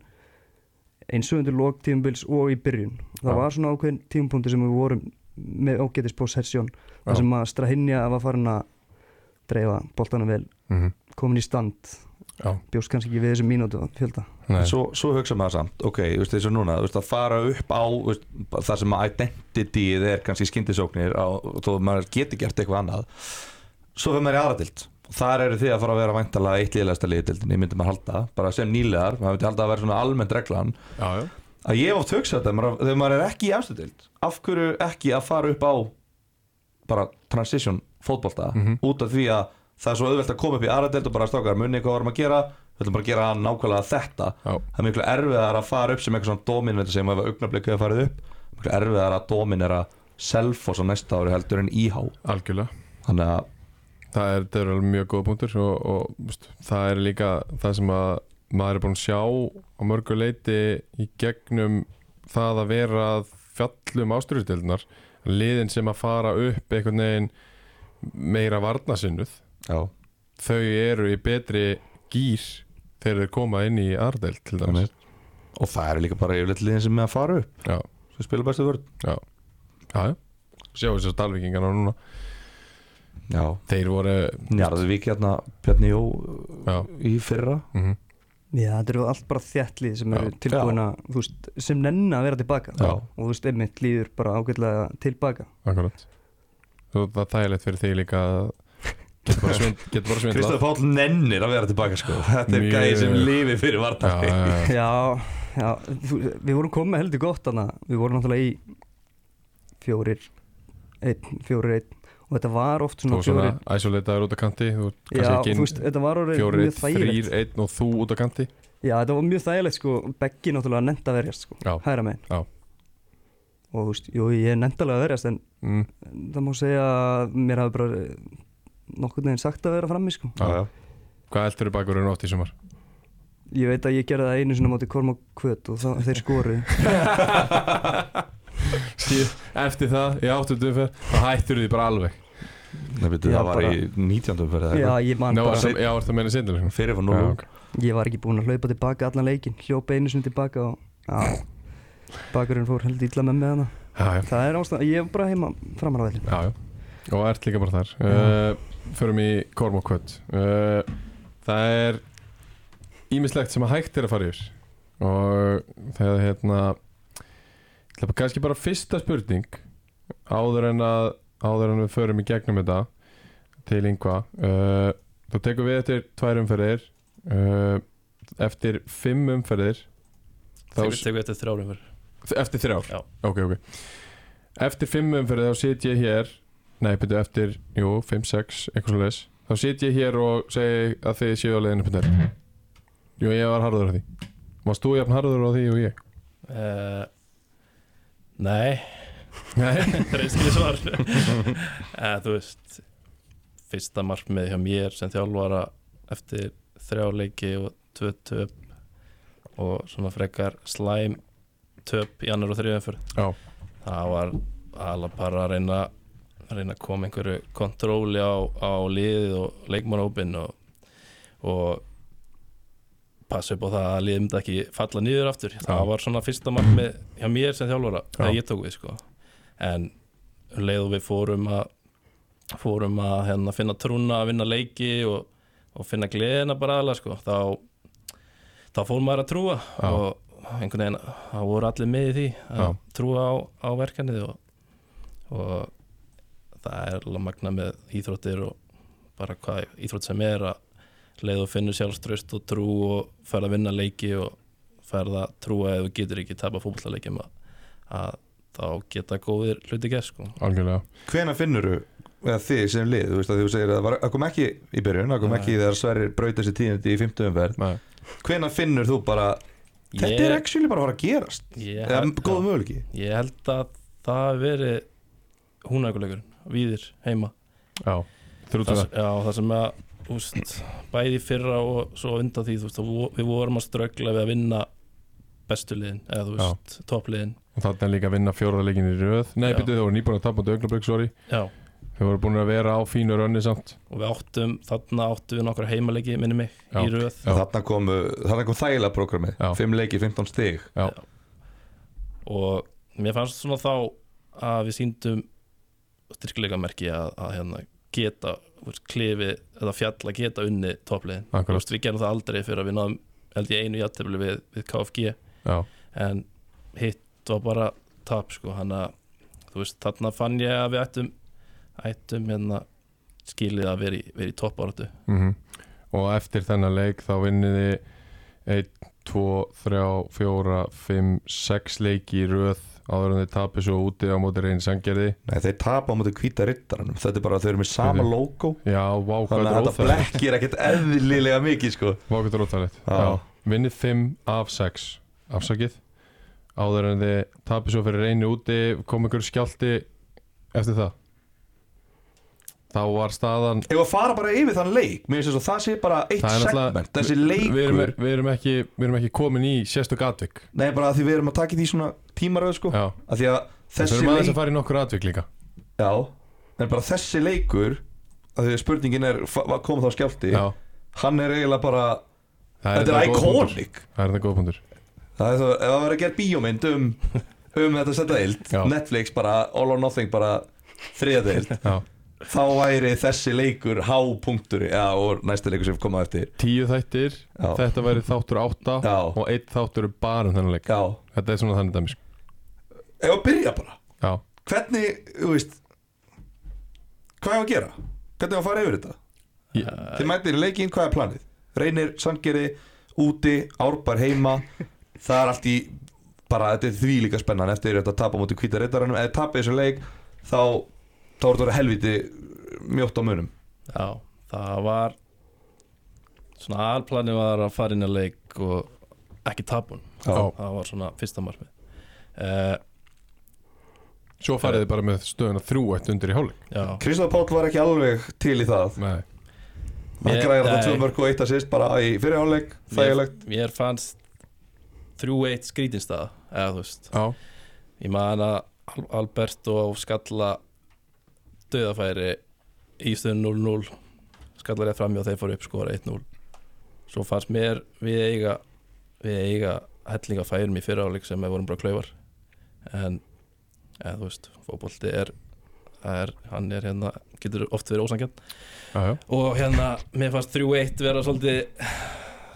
Speaker 3: eins og undir lók tímubils og í byrjun. Það
Speaker 1: Já.
Speaker 3: var svona ákveðin tímupunkti sem við vorum með ógetis possession, þar
Speaker 1: Já.
Speaker 3: sem að strahinja var farin að dreifa boltanum vel,
Speaker 2: mhm.
Speaker 3: komin í stand
Speaker 1: já,
Speaker 3: bjóst kannski ekki við þessum mínútu fjölda
Speaker 1: nei,
Speaker 2: svo, svo hugsa maður samt, ok, þú veist þessu núna þú veist að fara upp á þú veist, það sem að identityð er kannski skyndisóknir á, þó að maður geti gert eitthvað annað svo fyrir maður í aðra dild þar eru þið að fara að vera væntalega eitt liðlegasta liðdildin, ég myndi maður halda, bara sem nýlegar maður myndi halda að vera svona almennt reglan
Speaker 1: já, já,
Speaker 2: að ég hef oft hugsað þetta, maður- þegar maður er ekki í efstu dild, af hverju ekki að fara upp á bara transition fótbolta, út af því að það er svo auðvelt að koma upp í aðra dild og bara stókar munni hvað varum að gera, við ætlum bara að gera nákvæmlega þetta
Speaker 1: já.
Speaker 2: það er miklu erfiðar að fara upp sem eitthvað svona dominant sem ef augnablik hefur farið upp miklu erfiðar að dominera Selfoss á næsta ári heldur en íhá
Speaker 1: algjörlega
Speaker 2: þannig að
Speaker 1: Það er, það er alveg mjög góða punktur og, og veist, það er líka það sem að maður er búin að sjá á mörgu leiti í gegnum það að vera að fjallum ástyrðutildunar liðin sem að fara upp einhvern veginn meira varnasinnuð
Speaker 2: já,
Speaker 1: þau eru í betri gýr þegar þau koma inn í Ardelt til dæmis
Speaker 2: og það eru líka bara yfirleitt liðin sem er að fara upp
Speaker 1: Já,
Speaker 2: sem spila bestu vörð
Speaker 1: já, já Sjáum þess að dalvíkingana núna
Speaker 2: já,
Speaker 1: Þeir voru
Speaker 2: Njarðvík hérna Bjarni Jó
Speaker 1: Já.
Speaker 2: í fyrra
Speaker 1: mm
Speaker 3: Já, þetta eru allt bara þjallið sem eru
Speaker 1: Já.
Speaker 3: tilbúin að þú veist, sem nenna að vera tilbaka
Speaker 2: Já.
Speaker 3: og þú veist, einmitt líður bara ágætlega tilbaka
Speaker 1: Akkurat Þú, það er þægilegt fyrir þig líka að Getur bara svind- getur bara svindla
Speaker 2: Kristof Páll nennir að vera tilbaka sko þetta er
Speaker 1: Mjög.
Speaker 2: gæði sem lifi fyrir
Speaker 1: Já,
Speaker 2: vartari
Speaker 1: já, já.
Speaker 3: Já, já, þú, við vorum komið heldur gott þannig að við vorum náttúrulega í fjórir einn, fjórir einn og þetta var oft
Speaker 1: Þú
Speaker 3: svona
Speaker 1: er svona
Speaker 3: fjórir
Speaker 1: isolataður út á kanti Þú ert
Speaker 3: Já,
Speaker 1: kannski
Speaker 3: þú veist,
Speaker 1: ekki
Speaker 3: þetta var orðið
Speaker 1: fjóri,
Speaker 3: mjög
Speaker 1: þrýr,
Speaker 3: þægilegt
Speaker 1: einn og þú út á kanti
Speaker 3: Já, þetta var mjög þægilegt sko, beggi náttúrulega nenda að verjast sko,
Speaker 1: Já.
Speaker 3: hæra megin
Speaker 1: Já.
Speaker 3: Og þú veist, jú, ég er nendalega að verjast en
Speaker 1: mm,
Speaker 3: það má segja að mér hafi bara nokkurn veginn sagt að vera frammi sko.
Speaker 1: já. Hvað eldur er bakurinn átt í sumar?
Speaker 3: ég veit að ég gerði það einu sinna mátti korma kvöt og það, þeir skoru
Speaker 1: Síð, eftir það, í áttundu umferð þá hættur því bara alveg
Speaker 2: Nei, byrju,
Speaker 3: Já,
Speaker 2: það var
Speaker 3: bara-
Speaker 2: í 19. fyrir
Speaker 3: já
Speaker 2: það
Speaker 3: ég man
Speaker 1: Ná,
Speaker 3: bara,
Speaker 1: sem, Já, er það meina sindur
Speaker 2: fyrir var 0
Speaker 1: Já, ok.
Speaker 3: ég var ekki búinn að hlaupa tilbaka allan leikin hljópa einu sinna tilbaka og já, bakurinn fór held ítla með með hana
Speaker 1: Já, já,
Speaker 3: það er ástæðan, ég er bara heima framar á vellin
Speaker 1: já, já Og ert líka bara þar uh, Förum í Korm og Kvöt uh, Það er Ímislegt sem að hægt er að fara yfir Og þegar hérna ég ætla bara- Kannski bara fyrsta spurning Áður en að Áður en við förum í gegnum þetta Til yngva uh, Þú tekur við eftir tvær umferðir uh, Eftir fimm umferðir þá
Speaker 4: Þegar við tegum eftir þrjárum fyrir
Speaker 1: Eftir þrjár?
Speaker 4: Já.
Speaker 1: Ok, ok Eftir fimm umferði þá sit ég hér Nei, betur eftir, jú, fimm, sex, eitthvað svo leis Þá sit ég hér og segi að þið séu á leiðinu betur Jú, ég var harður á því Varst þú jafn harður á því og ég?
Speaker 4: uh, Nei,
Speaker 1: Nei
Speaker 4: reynskili svar uh, Þú veist Fyrsta markmið hjá mér sem þjálfara eftir þrjá leiki og tvö töp og svona frekar slæm töp í annar og þriðan fyrir
Speaker 1: Já,
Speaker 4: það var alveg bara að reyna að reyna að koma einhverju kontróli á, á liðið og leikmannhópin og, og passa upp á það að liðið myndi ekki falla niður aftur það var svona fyrsta markmið hjá mér sem þjálfara
Speaker 1: Já.
Speaker 4: þegar ég tók við sko en um leið og við fórum að fórum að hérna, finna trúna að vinna leiki og, og finna gleðina bara aðla sko þá, þá fór maður að trúa
Speaker 1: Já.
Speaker 4: og einhvern veginn það voru allir með í því að
Speaker 1: Já.
Speaker 4: trúa á, á verkanið og, og það er alveg magna með íþróttir og bara hvað íþrótt sem er að, leið og finnur sjálfströst og trú og færð að vinna leiki og færð að trúa ef þú getur ekki tapa fótballaleikjum að, að þá geta góðir hluti gert sko.
Speaker 1: algjörlega
Speaker 2: Hvena finnur eða þið sem lið, þú veist að þú segir að það var- það kom ekki í byrjun, það kom
Speaker 4: Nei.
Speaker 2: ekki þegar Sverrir braut þessi tíðindi í 50 umferð
Speaker 1: Nei.
Speaker 2: Hvena finnur þú bara, þetta er actually bara að fara að gerast
Speaker 4: ég,
Speaker 2: eða
Speaker 4: held-
Speaker 2: góð möguleiki
Speaker 4: ég held að það hafi verið húnækuleikurinn víðir heima
Speaker 1: Já, þrjútt
Speaker 4: það,
Speaker 1: að
Speaker 4: já, það sem að úst, bæði í fyrra og svo undan því þú veist, þá vo- við vorum að ströggla við að vinna bestu liðin eða þú
Speaker 1: Já.
Speaker 4: veist, toppliðin
Speaker 1: og þannig er líka að vinna fjóraðleikin í röð Nei,
Speaker 4: Já.
Speaker 1: byrju, þau voru nýbúin að tapa á Dögnabögg, sorry
Speaker 4: já,
Speaker 1: Þau voru búin að vera á fínu rönni samt
Speaker 4: og við áttum þarna áttum við nokkra heimaleiki, minni mig,
Speaker 1: Já.
Speaker 4: í röð
Speaker 1: Já.
Speaker 2: Þarna kom, uh, þarna kom þægilega programmið
Speaker 1: Já.
Speaker 2: 5 leiki, 15 stig
Speaker 1: Já,
Speaker 4: og mér fannst svona þá að við síndum styrkleikamerki að, að hérna, geta þú veist, klifi eða fjalla geta unni toppliðin Þú
Speaker 1: akkurat,
Speaker 4: veist, við gerum það aldrei fyrir að við náðum held ég einu játtöfli við, við KFG
Speaker 1: já,
Speaker 4: en hitt var bara tap sko, hann að þú veist, þarna fann ég að við ættum ættum hérna skilið að vera í, vera í toppáratu
Speaker 1: mhm Og eftir þennan leik þá vinniði 1, 2, 3, 4, 5, 6 leiki í röð áður en þið tapir svo úti á móti reyni sangerði
Speaker 2: Nei, þeir tapa á móti hvíta rittarannum Þetta er bara að þau eru með sama
Speaker 1: Fyrir.
Speaker 2: logo
Speaker 1: Já, vá, Mhm. hvað
Speaker 2: Þannig
Speaker 1: þetta
Speaker 2: að
Speaker 1: er
Speaker 2: þetta
Speaker 1: óþægilegt
Speaker 2: blekkir ekkert eðlilega mikið sko.
Speaker 1: Vá, hvað þetta er óþægilegt
Speaker 2: Já.
Speaker 1: Já, vinnið 5 af 6 afsakið áður en þið tapir svo fyrir reyni úti kom ykkur skjálti eftir það þá var staðan
Speaker 2: Ef að fara bara yfir þann leik Mér finnst þess að það sé bara eitt
Speaker 1: Það er náttúrulega-
Speaker 2: segment Þessi
Speaker 1: við erum,
Speaker 2: leikur
Speaker 1: við erum ekki við erum ekki komin í sérstök atvik
Speaker 2: Nei, bara að því við erum að taka í því svona tímaröð sko.
Speaker 1: já
Speaker 2: Af því að
Speaker 1: við
Speaker 2: þessi
Speaker 1: erum aðeins
Speaker 2: leik
Speaker 1: að fara í nokkur atvik líka
Speaker 2: Já, en bara þessi leikur að Því að spurningin er, fa- hvað kom þá skjálti
Speaker 1: já
Speaker 2: Hann er eiginlega bara,
Speaker 1: það
Speaker 2: þetta er
Speaker 1: þetta góð punktur.
Speaker 2: iconic
Speaker 1: það er þetta góð punktur
Speaker 2: Það er það, ef það verður að gera bíómynd um, um þetta setja eild
Speaker 1: Já.
Speaker 2: Netflix bara, All or Nothing bara þriða eild
Speaker 1: já
Speaker 2: Þá væri þessi leikur hápunktur Já, og næsta leikur sem koma eftir
Speaker 1: tíu þættir
Speaker 2: Já.
Speaker 1: þetta væri þáttur átta
Speaker 2: Já.
Speaker 1: og einn þáttur er bara um þennan leik
Speaker 2: Já,
Speaker 1: þetta er svona þannig dæmis
Speaker 2: ef að byrja bara
Speaker 1: já
Speaker 2: Hvernig, þú veist Hvað er að gera? Hvernig á að fara yfir þetta?
Speaker 1: Ég-
Speaker 4: Uh,
Speaker 2: Þið mættir í leikinn, hvað er planið? Reynir, Sandgerði, úti, Árbær heima Það er allt í bara, þetta er því líka spennan eftir þetta tapa múti hvíta reytaranum eða tapa þessu leik þá þá er þetta helviti mjótt á munum
Speaker 4: Já, það var svona alplani var að fara inn að leik og ekki tapun
Speaker 1: Já.
Speaker 4: það var svona fyrsta marmið uh,
Speaker 1: svo farið þið bara með stöðuna þrjú eitt undir í hálfleik
Speaker 4: Já,
Speaker 2: Kristof Páll var ekki alveg til í það
Speaker 1: nei
Speaker 2: hann
Speaker 4: Ég-
Speaker 2: græðir þetta
Speaker 4: nei.
Speaker 2: tvö mörg og eitt að sýst bara í fyrirháleik, þægilegt
Speaker 4: mér, mér fannst 3-1 skrítinstaða eða þú veist
Speaker 1: já
Speaker 4: Ég man að Al- Alberto á skalla döðafæri í stöðun 0-0 skallar ég framjá þeir fóru upp skora 1-0 svo fannst mér við eiga við eiga hellinga færum í fyrra áleik sem við vorum bara klaufar en eða, þú veist, fótbolti er, það er hann er hérna, getur oft verið ósangjarn
Speaker 1: já já
Speaker 4: og hérna, mér fannst 3-1 vera svolítið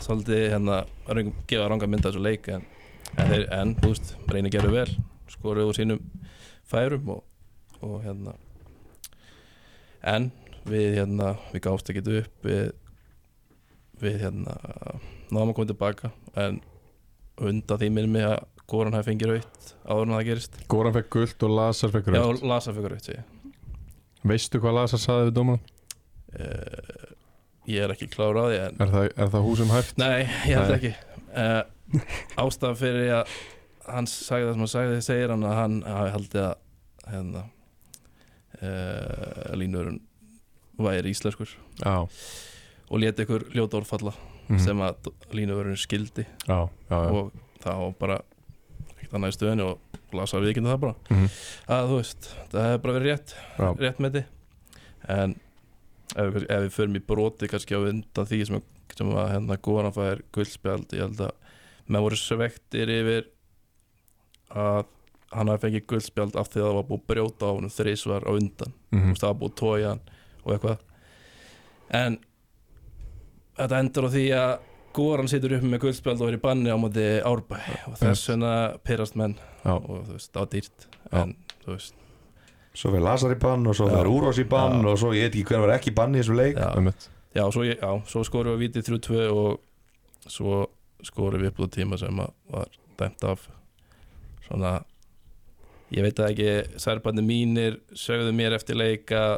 Speaker 4: svolítið hérna, röng, gefa ranga mynda þessu leik en, en, þeir, en þú veist, reynir gerðu vel skoruðu úr sínum færum og, og hérna en við hérna, við gáfst ekki upp við, við hérna náðum að koma tilbaka en undan því minnum ég að Goran hafi fengið raut áður en það gerist
Speaker 1: Goran fekk gullt og Lazar fekk
Speaker 4: Já,
Speaker 1: rautt
Speaker 4: og Lasa fekk raut segi ég.
Speaker 1: veistu hvað Lazar saði við dómanum?
Speaker 4: Eh, ég er ekki klára á því en
Speaker 1: Er það, er það um húsum hægt?
Speaker 4: Nei, ég held
Speaker 1: Nei.
Speaker 4: ekki uh, Ástaf fyrir að hann sagði það sem hann sagði segir hann að hann hafi haldið að hérna uh, línurinn væri íslenskur
Speaker 1: Já,
Speaker 4: og leti ykkur ljóta orðfalla
Speaker 1: mm.
Speaker 4: sem að línurinn skildi
Speaker 1: já, já, já.
Speaker 4: og það var bara ekkert annað í stöðunni og lasa við ekki um það bara
Speaker 1: Mhm.
Speaker 4: að þú veist, það hefði bara verið rétt
Speaker 1: já.
Speaker 4: rétt með því en ef, við- ef við förum í broti kannski á undan því sem, sem að hérna góðan fær guldspjald ég held að menn voru svektir yfir að hann hafi fengið guldspjald af því að það var búið að brjóta á hann þrísvar á undan
Speaker 1: Mm
Speaker 4: mm. það var búið að tója hann og eitthvað en þetta endur á því að Goran situr upp með guldspjald og er í banni á móti árbæ og þess vegna pyrast menn
Speaker 1: Já.
Speaker 4: og þú veist, það var dýrt
Speaker 1: Já.
Speaker 4: en þú veist,
Speaker 2: svo fyrir Lazar í bann og svo
Speaker 4: Já.
Speaker 2: fyrir Úrós í bann
Speaker 4: Já.
Speaker 2: og svo ég veit ekki hvernig var ekki bann í þessu leik
Speaker 4: já,
Speaker 1: Einmitt.
Speaker 4: já, svo, ég- já, svo skorum við viti 3-2 og svo skorum við upp á tíma sem að var dæmt af svona ég veit það ekki, serbarnir mínir sögðu mér eftir leika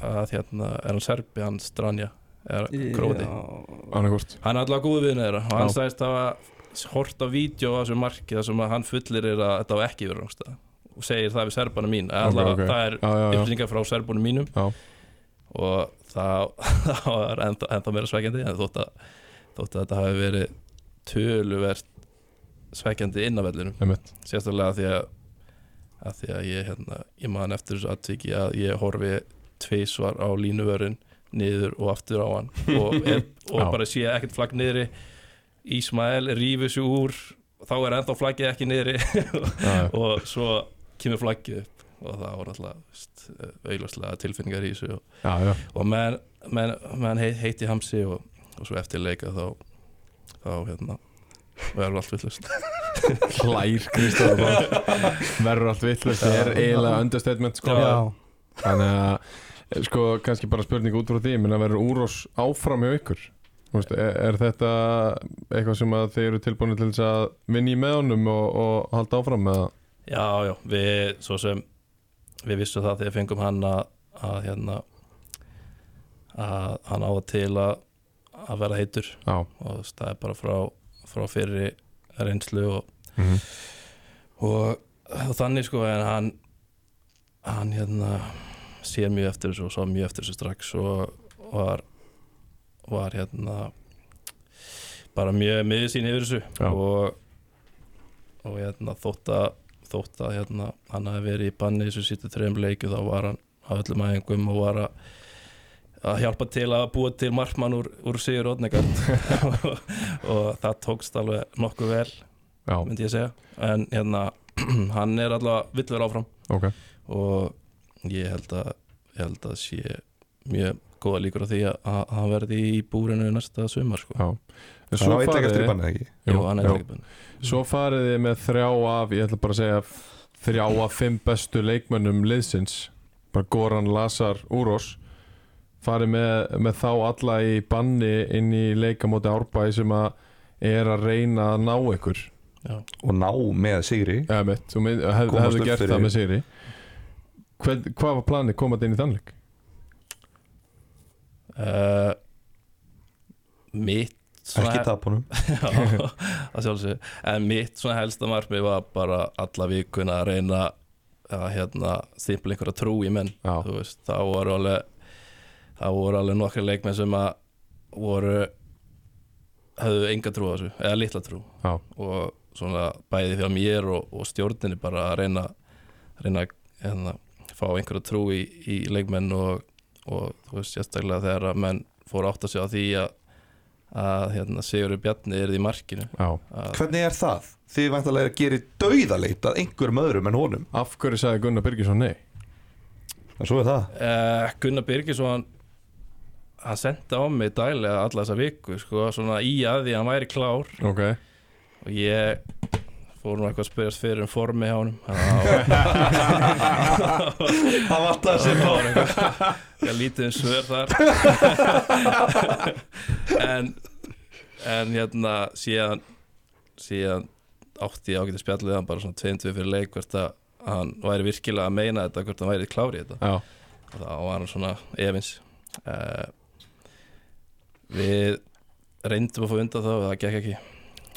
Speaker 4: að hérna, er hann serbi hann Stranja, er króti
Speaker 3: Já,
Speaker 1: annarkort
Speaker 4: hann er alltaf góð viðnæður og hann
Speaker 1: Já.
Speaker 4: sagðist hafa hort á vídeo á þessu marki þar sem að hann fullir er að þetta var ekki verið rángstæða og segir það við serbana mín Alla,
Speaker 1: ok.
Speaker 4: það er
Speaker 1: Já, já, já,
Speaker 4: upplýsingar frá serbunum mínum
Speaker 1: Já.
Speaker 4: og það, það var ennþá, ennþá meira svekkjandi en þótt að, þótt að þetta hafi verið töluvert svekkjandi inn á vellinum
Speaker 1: Einmitt.
Speaker 4: sérstaklega því að, að því að ég, hérna, ég man eftir þessu atviki að ég horfi tvisvar á línuvörun niður og aftur á hann og, er,
Speaker 1: Já.
Speaker 4: og bara sé ekkert flagg niðri Ísmael rífur sér úr þá er ennþá flaggið ekki niðri
Speaker 1: já, já.
Speaker 4: og svo kemur flaggið upp og það voru alltaf auðvarslega tilfinningar í þessu og,
Speaker 1: já, já.
Speaker 4: og menn, menn, menn heit, heiti hamsi og, og svo eftir leika þá þá hérna verður allt villust
Speaker 1: Hlær Kristóf Verður allt vittlust Það er eiginlega understatement sko
Speaker 3: já.
Speaker 1: Þannig að sko kannski bara spurning út frá því menn að verður úrós áfram hjá ykkur Þú Veist, er, er þetta eitthvað sem að þið eru tilbúinu til þess að vinni með honum og, og halda áfram með það?
Speaker 4: já, já, við svo sem við vissum það þegar fengum hann að, að hérna að hann á það til að að vera heitur
Speaker 1: Já,
Speaker 4: og þú veist, það er bara frá, frá fyrri reynslu og
Speaker 1: mm
Speaker 4: og, og þannig sko en hann hann hérna sér mjög eftir þessu og sá mjög eftir þessu strax og var var hérna bara mjög miður sín yfir
Speaker 1: Já.
Speaker 4: þessu og, og hérna þótt að þótt að hérna hann hafi verið í banni þessu sýttu þreim leiku þá var hann á öllum aðingum og var að að hjálpa til að búa til markmann úr, úr Sigur Odnegard og, og það tókst alveg nokkuð vel
Speaker 1: já,
Speaker 4: myndi ég segja en hérna, hann er allavega villur áfram
Speaker 1: ok
Speaker 4: og ég held að ég held að sé mjög góða líkur á því að, að hann verði í búrinu næsta sumar sko
Speaker 1: já. En
Speaker 2: Það var eitt ekkert fyrir bannið ekki
Speaker 1: Jú,
Speaker 4: Jú, hann er
Speaker 1: jú.
Speaker 4: ekki búinn.
Speaker 1: Svo farið þið með þrjá af, ég ætla bara að segja f- þrjá af fimm bestu leikmönnum liðsins bara Goran Lazar Úros farið með, með þá alla í banni inn í leikamóti árbæði sem að er að reyna að ná ykkur
Speaker 4: Já.
Speaker 2: Og ná með Sigri
Speaker 1: eða mitt, þú mynd- hef,
Speaker 2: Komast
Speaker 1: hefðu
Speaker 2: upp
Speaker 1: gert
Speaker 2: fyrir-
Speaker 1: það með Sigri Hvern, Hvað var planið komað inn í þannleik?
Speaker 4: Uh, mitt svona-
Speaker 2: Ekki tapunum
Speaker 4: Já, að sjálfsög en mitt svona helsta markmið var bara alla vikuna að reyna að hérna stimpla einhverja trú í menn
Speaker 1: Já,
Speaker 4: þú veist, það voru alveg það voru alveg nokkri leikmenn sem að voru höfðu enga trú á þessu, eða litla trú
Speaker 1: já,
Speaker 4: og svona bæði fyrir mér og, og stjórninni bara að reyna reyna að hérna, fá einhverja trú í, í leikmenn og, og þú veist, sérstaklega þegar að menn fóru átt að segja á því að að hérna, Sigurður Bjarni er í markinu
Speaker 1: já
Speaker 4: að,
Speaker 2: Hvernig er það? Þið væntalega gerir dauðaleit að einhverjum öðrum en honum
Speaker 1: Af hverju sagði Gunnar Byrgisson nei?
Speaker 2: En svo er það
Speaker 4: uh, Gunnar Birgisson hann sendi á mig dælega alla þessa viku sko, svona í að því að hann væri klár
Speaker 1: Ok,
Speaker 4: og ég fór nú eitthvað að spyrjast fyrir um formi hjá honum það
Speaker 2: Það var það sem
Speaker 4: var eitthvað eitthvað lítið um svör þar en en hérna síðan síðan átti ég ágætið spjallið hann bara svona tveintu fyrir leik hvert að hann væri virkilega að meina þetta hvort hann væri klár í þetta
Speaker 1: já,
Speaker 4: og þá var hann svona efins uh, við reyndum að fá undan þá og það gekk ekki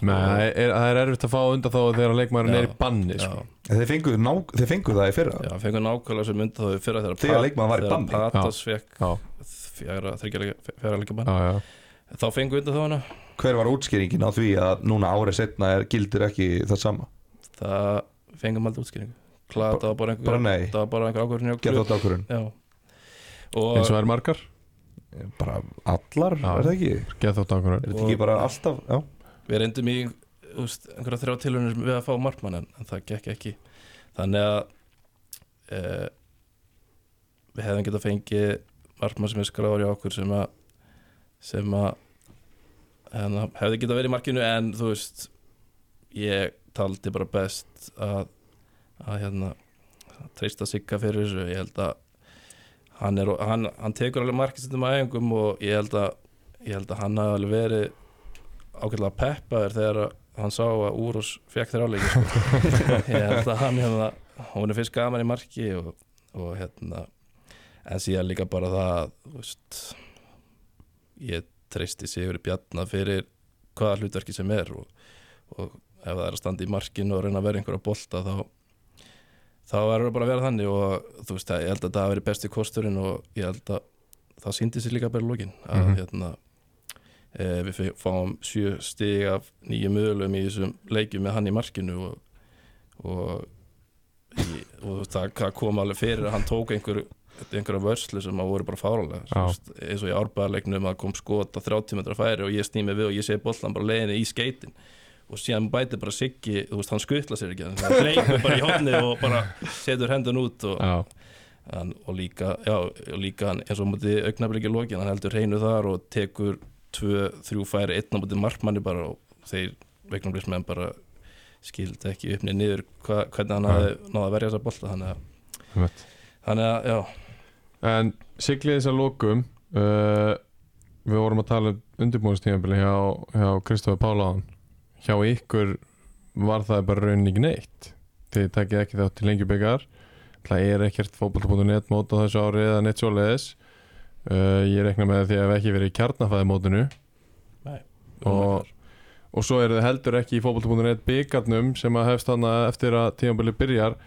Speaker 1: Nei, það er, það er erfitt að fá undan þá þegar leikmærin
Speaker 4: Já,
Speaker 1: er í banni sko.
Speaker 4: Já.
Speaker 2: Þeir fengu, ná, þeir fengu það í fyrra
Speaker 4: Já, fengur nákvæmlega sem mynda þá fyrra þegar
Speaker 2: Þegar leikmaður var í banni.
Speaker 4: Þegar Patas fekk
Speaker 1: Já,
Speaker 4: fjara, fjara leikja bann
Speaker 1: já, já
Speaker 4: Þá fengur undan þá hérna. hana
Speaker 2: Hver var útskýringin á því að núna árið setna er, gildir ekki það sama?
Speaker 4: Það fengum aldrei útskýringu Klað, það var bara einhver
Speaker 2: Bara nei,
Speaker 4: Það var bara einhver ákvörðin hjá
Speaker 2: gerð þátt ákvörun
Speaker 4: Já Og
Speaker 1: Eins og er margar,
Speaker 2: Bara allar,
Speaker 1: Já.
Speaker 2: er það ekki?
Speaker 1: geð þótt ákvörður
Speaker 2: Er þetta ekki bara alltaf, já
Speaker 4: við reyndum í úst, einhverja þrjá tilhörnir við að fá markmann en, en það gekk ekki þannig að e, við hefðum getað fengið markmann sem er skráður í okkur sem að sem að en, að hefði getað verið í markinu en þú veist ég taldi bara best að, að hérna að treysta sigga fyrir þessu ég held að hann, er, hann, hann tekur alveg markistundum æfingum og ég held að, ég held að hann hafi alveg verið ákveðlega peppaður þegar að hann sá að Úrós fekk þér áleiki sko. ég held að hann hérna, hún er fyrst gaman í marki og, og hérna en síðan líka bara það að, þú veist, ég treysti Sigur Bjarnar fyrir hvaða hlutverki sem er og, og ef það er að standa í markinu og reyna að vera einhverja bolta þá þá verður það bara að vera þannig og þú veist, ég held að það hafi verið besti kosturinn og ég held að það síndi sér líka bara í lokin að
Speaker 1: Mhm.
Speaker 4: hérna e, við fe- fáum sjö stig af nýju mögulegum í þessum leikjum með hann í markinu og, og, í, og það, það kom alveg fyrir að hann tók einhver, einhverja vörslu sem að voru bara fáralega
Speaker 1: Já.
Speaker 4: eins og í árbæðarleiknum að kom skot að 30 metra færi og ég snými við og ég segi bollan bara leiðinni í skeitin og síðan bæti bara Siggi, þú veist, hann skutla sér ekki þannig að hann hleypur bara í hodnið og bara setur hendun út og,
Speaker 1: Já,
Speaker 4: hann, og líka, já, og líka hann, eins og múti augnablikki lokin, hann heldur hreinu þar og tekur tvö, þrjú færi einn á múti markmanni bara og þeir augnablikksmenn bara skild ekki uppni niður hva, hvernig hann
Speaker 1: Nei.
Speaker 4: hafði náða að verja þessa bolta þannig að,
Speaker 1: einmitt.
Speaker 4: þannig að já,
Speaker 1: En siglið þess að lokum uh, Við vorum að tala um undirbúinstíðanbili hjá, hjá Kristofi Pálaðan Hjá ykkur var það bara raunin ekki neitt Þið takkið ekki þátt til lengjubikar Það er ekkert fótbolta.net mót á þessu ári eða neitt svoleiðis uh, Ég rekna með því að við ekki verið í kjarnafæði mótinu
Speaker 4: við vorum
Speaker 1: Og-
Speaker 4: ekki þar.
Speaker 1: og svo eru þið heldur ekki í fótbolta.net byggarnum sem að hefst þarna eftir að tímanbili byrjar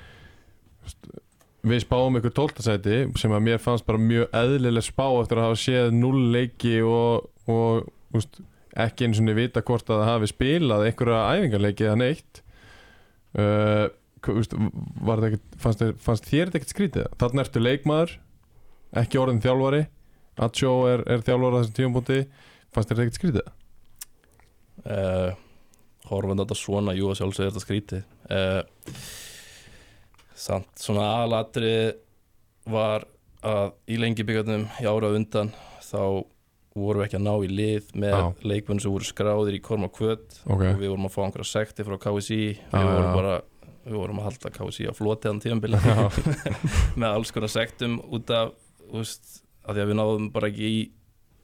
Speaker 1: við spáum ykkur 12. sæti sem að mér fannst bara mjög eðlileg spá eftir að hafa séð null leiki og, og úst, ekki eins og niður vita hvort að það hafi spilað einhverja æfingarleiki eða neitt uh, úst, var þetta ekkert fannst, þér- fannst þér þetta ekkert skrítið þarna ertu leikmaður ekki orðin þjálfari Atsjó er, er þjálfari á þessum tímanbúti fannst þér þetta ekkert skrítið
Speaker 4: uh, horfandi á þetta svona, jú að sjálfsögðu er þetta skrítið uh, samt svona aðalatri var að í lengi byggjarnum í ára á undan þá vorum við ekki að ná í lið með
Speaker 1: Já.
Speaker 4: leikmenn sem voru skráðir í korma kvöt
Speaker 1: okay.
Speaker 4: og við vorum að fá einhverja sekti frá KSI
Speaker 1: Já,
Speaker 4: við vorum
Speaker 1: já.
Speaker 4: bara við vorum að halda KSI á floti hann tíðanbili
Speaker 1: Já.
Speaker 4: með alls konar sektum út af, úst, af því að við náðum bara ekki í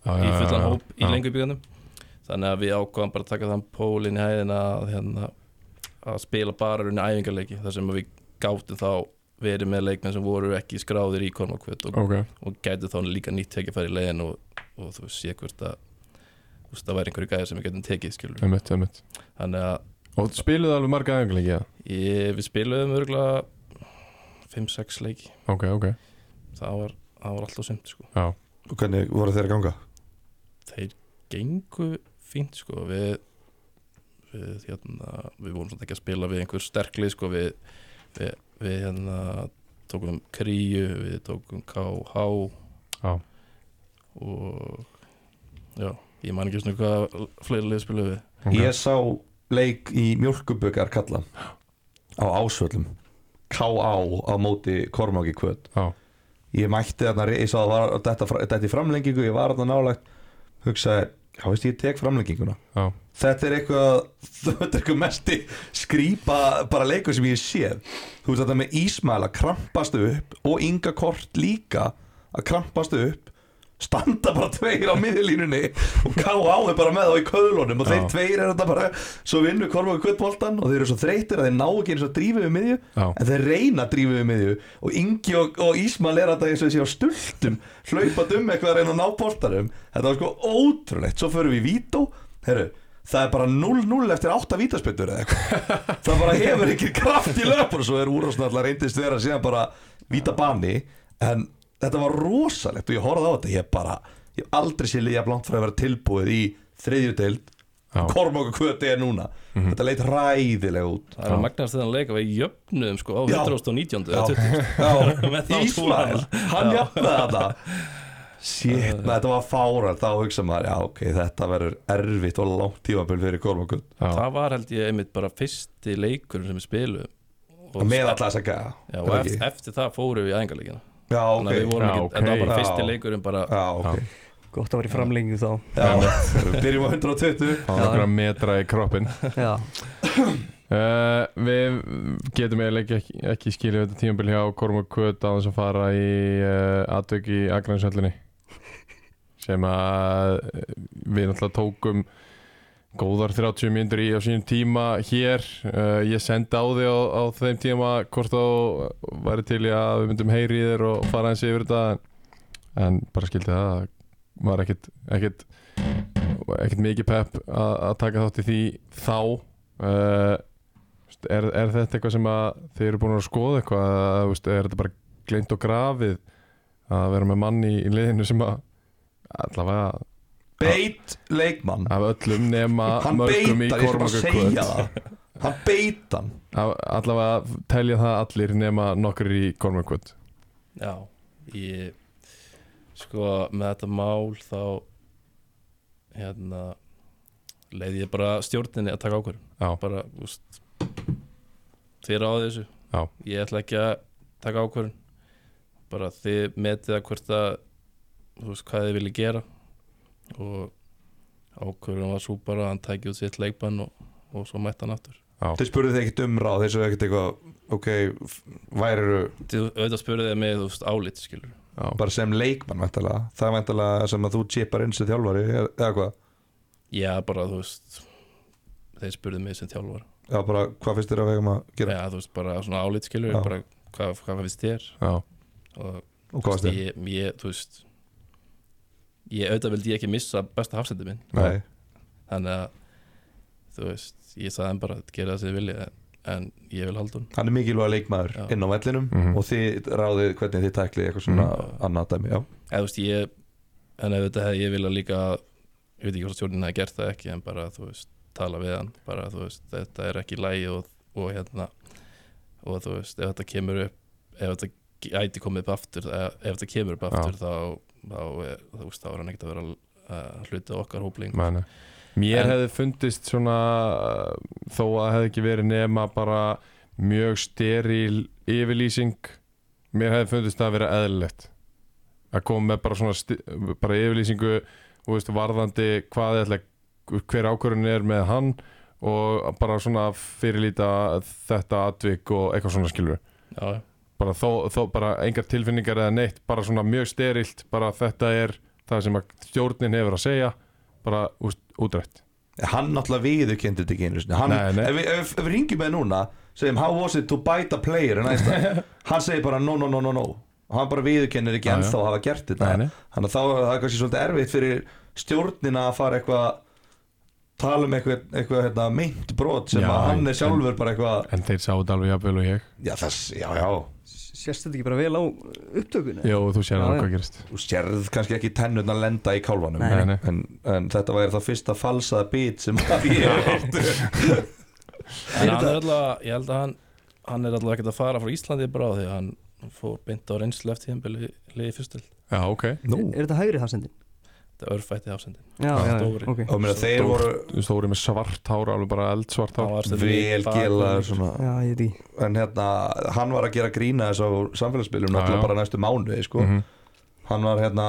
Speaker 1: já,
Speaker 4: í fullan hóp í
Speaker 1: já.
Speaker 4: lengur þannig að við ákvaðum bara að taka þann pólinn í hæðina að, hérna, að spila bara runni æfingarleiki þar sem við gáttum þá verið með leikmenn sem voru ekki skráðir í Kormakvöld og,
Speaker 1: Ok,
Speaker 4: og gætu þá líka nýtt tekifæri í legin og, og þú sé hvort að þú veist, það væri einhverju gæðir sem við getum tekið skilur
Speaker 1: einmitt, einmitt
Speaker 4: þannig að
Speaker 1: Og spiluðu alveg marga aðeins
Speaker 4: ég, við spiluðum örgulega 5-6 leiki
Speaker 1: Ok, ok
Speaker 4: það var, það var alltaf sumt sko.
Speaker 2: Og hvernig voru þeir að ganga?
Speaker 4: þeir gengu fínt sko við við, hérna, við vorum svona ekki að spila við einhver sterkli sko við, við, við hérna tókum Kríu, við tókum KH
Speaker 1: Já.
Speaker 4: og já, ég man ekki svona hvað fleiri lið spilum við
Speaker 1: Ok.
Speaker 2: Ég sá leik í mjölkubökar kalla á ásvöllum K.A. á móti Kormáki kvöt
Speaker 1: Já.
Speaker 2: Ég mætti þarna, ég sá það var þetta, þetta í framlengingu, ég var þarna nálægt hugsaði, já veist ég tek framlenginguna
Speaker 1: Já.
Speaker 2: Þetta er eitthvað þetta er eitthvað mesti skrýpa bara leikur sem ég sé Þú veist þetta með Ísmael að krampast upp og Inga Kort líka að krampast upp standa bara tveir á miðlínunni og K.A. er bara með þá í köðlunum og þeir
Speaker 1: Já.
Speaker 2: tveir er þetta bara svo vinnur Kormáki kvöldboltan og þeir eru svo þreytir að þeir ná ekki eins og drífið við miðju
Speaker 1: Já,
Speaker 2: En þeir reyna að drífa við miðju Og Ingi og, og Ísmael er þetta eins og þessi á stultum Hlaupat um eitthvað að reyna að ná boltarum Þetta var sko ótrúlegt Svo förum við í vító Herru, það er bara 0-0 eftir 8 vítaspettur eða eitthvað Það bara hefur ekki kraft í löp Og svo er Úrásna alltaf reyndist vera síðan bara Víta bani En þetta var rosalegt og ég horfði á þetta Ég bara, ég hef aldrei sé liðja blant frá að vera tilbúið í þriðjudeild
Speaker 1: já, Mhm.
Speaker 2: Kormokku kvöti er núna Þetta leit ræðilega út
Speaker 4: það er
Speaker 1: Já.
Speaker 4: að magnast þeðan leik að við jöfnum sko á
Speaker 2: Já.
Speaker 4: 119.
Speaker 2: Já.
Speaker 4: eða 20. Með þá
Speaker 2: Já,
Speaker 4: tvo
Speaker 2: Ísrael, hann
Speaker 4: Já.
Speaker 2: jafnaði þetta hérna. Shit, na, þetta var fárar Þá hugsa maður, já ok, þetta verður erfitt og langt tímabil fyrir Kormakund
Speaker 1: já,
Speaker 4: það var held ég einmitt bara fyrsti leikur sem við spilum og,
Speaker 2: Með alla þessa gæja
Speaker 4: já,
Speaker 2: er
Speaker 4: og
Speaker 2: það
Speaker 4: eftir,
Speaker 2: ekki?
Speaker 4: eftir það fórum við í æðingarleikina
Speaker 2: Já,
Speaker 4: þannig að við
Speaker 2: ok
Speaker 4: vorum
Speaker 1: Já,
Speaker 4: ekki,
Speaker 1: ok.
Speaker 4: þetta var bara
Speaker 2: Já.
Speaker 4: fyrsti leikurinn bara
Speaker 2: Já, ok
Speaker 3: gott að vera í framlengingu þá
Speaker 2: Já, við byrjum á 120
Speaker 1: það var nokkra metra í kroppin
Speaker 3: já,
Speaker 1: Eh, Uh, við getum eiginlega ekki, ekki skilja þetta tímabil hjá Kormur Kvöt á þess að fara í uh, atvök í Akransöllinni sem að eh, við náttúrulega tókum góðar 30 myndur í á sínum tíma hér uh, ég sendi á því á, á þeim tíma hvort þá væri til í að við myndum heyri í þér og fara eins yfir þetta en, en bara skildi það að var ekkit, ekkit, ekkit mikið pepp að að taka þátt í því þá uh, Veist, er, er þetta eitthvað sem að þið eru búin að skoða eitthvað eða veist, er þetta bara gleynd og grafið að vera með mann í, í liðinu sem að allavega
Speaker 2: Beit leikmann
Speaker 1: af öllum nema
Speaker 2: Hann
Speaker 1: mörgum í
Speaker 2: beitar, ég skal bara
Speaker 1: Kormákur
Speaker 2: segja
Speaker 1: kvöld
Speaker 2: það Hann beit hann
Speaker 1: Af- allavega telja það allir nema nokkur í Kormákur kvöld
Speaker 4: Já, ég sko með þetta mál þá hérna leiði ég bara stjórninni að taka ákvörðun
Speaker 1: Já.
Speaker 4: bara, úst þið ráði þessu
Speaker 1: Já.
Speaker 4: ég ætla ekki að taka ákvörðun bara þið metið að hvort að þú veist hvað þið vilji gera og ákvörðun var svo bara að hann tæki út sitt leikbann og, og svo mætti hann aftur
Speaker 2: Þeir spurðu þig ekkert um ráð Þeir svo ekkert eitthvað Ok, f- værirðu
Speaker 4: þið auðvitað spurði þið mig þú veist álit skilur
Speaker 1: já,
Speaker 2: bara sem leikmann væntalega Það er væntalega sem að þú tjipar inn sem þjálfari eða eða hvað
Speaker 4: Já, bara þú veist þeir spurðu mig sem þjálfara
Speaker 2: Já, bara hvað finnst þér að vegum að gera
Speaker 4: Já, þú veist, bara svona álít skilur
Speaker 2: Já.
Speaker 4: bara hvað, hvað finnst þér
Speaker 1: já,
Speaker 4: og
Speaker 2: Og hvað finnst þér?
Speaker 4: ég, ég, þú veist ég auðvitað vildi ég ekki missa besta hafsendi minn
Speaker 2: Nei,
Speaker 4: þannig að, þú veist ég sagði hann bara að gera það sem þið viljið en, en ég vil halda hún
Speaker 2: hann er mikilvæg leikmaður
Speaker 4: Já.
Speaker 2: inn á vellinum
Speaker 1: Mhm.
Speaker 2: og þið ráðið hvernig þið tæklið eitthvað svona
Speaker 4: Mhm.
Speaker 2: annað dæmi Já,
Speaker 4: eða þú veist, ég en auðvitað hefði ég viljað líka ég veit ekki hvort stjórnin hefði gert það ekki en bara, þú veist, tala við hann bara, þú veist, þetta er ekki lægi og, og hérna og þú veist, ef þetta kemur upp ef þetta gæti komið upp aftur ef, ef þetta kemur upp aftur þá, þá, er, þú veist, þá er hann ekkert að vera að hluta okkar hópling
Speaker 1: mæna mér
Speaker 4: En-
Speaker 1: hefði fundist svona uh, þó að hefði ekki verið nema bara mjög steril yfirlýsing mér hefði fundist það að vera eðlilegt að koma með bara svona sti- bara yfirlýsingu þú veist, varðandi hvað ætla, hver ákvörðun er með hann og bara svona fyrirlíta þetta atvik og eitthvað svona skilur
Speaker 4: já, já,
Speaker 1: bara, þó, þó, bara engar tilfinningar eða neitt bara svona mjög sterilt bara þetta er það sem að stjórnin hefur að segja bara úst, útrætt
Speaker 2: hann náttúrulega viðurkenndi þetta ekki einu sinni hann,
Speaker 1: Nei, nei.
Speaker 2: Ef, við- ef, ef við ringjum með núna segjum how was it to bite a player en aðeins það, hann segir bara no no no no no og hann bara viðurkennir ekki
Speaker 1: Já, já.
Speaker 2: ennþá að hafa gert þetta
Speaker 1: Nei, nei.
Speaker 2: þannig að þá er það kannski svolítið erfitt fyrir stjórnina að fara eitthvað tala um eitthvað, eitthvað hérna, meint brot sem
Speaker 1: Já,
Speaker 2: að hann
Speaker 1: en-
Speaker 2: er sjálfur bara eitthvað
Speaker 1: en þeir sáu þetta alveg jafnvel og ég
Speaker 2: já þess, já já
Speaker 3: sérst þetta ekki bara vel á upptökunni
Speaker 1: Jó, þú sér
Speaker 3: Já,
Speaker 1: alveg
Speaker 3: já.
Speaker 1: hvað gerist
Speaker 2: þú sérð kannski ekki tennun að lenda í kálvanum
Speaker 3: Nei,
Speaker 1: nei. Nei, nei.
Speaker 2: En, en þetta væri það fyrsta falsaða bít sem að ég hef átt
Speaker 4: en hann er alltaf ég held að hann, hann er alltaf ekkert að fara frá Íslandi bara því að hann fór beint á reynslu eftir tíðanbili liðið fyrstil,
Speaker 1: Já, ok
Speaker 2: nú
Speaker 3: er þetta hægri hafsendin?
Speaker 4: þetta er örfætti hafsendi
Speaker 3: já, já, já,
Speaker 4: Stóri.
Speaker 3: ok
Speaker 2: og meina þeir
Speaker 1: Stórt.
Speaker 2: voru
Speaker 1: Þú stóri með svart hár, alveg bara eldsvart hár
Speaker 2: vel gelaður svona.
Speaker 3: já, ég veit ekki
Speaker 2: en hérna, hann var að gera grína þess á samfélagsbylum
Speaker 1: Já,
Speaker 2: náttúrulega
Speaker 1: já.
Speaker 2: bara næstu mánuði sko.
Speaker 1: Mhm.
Speaker 2: hann var hérna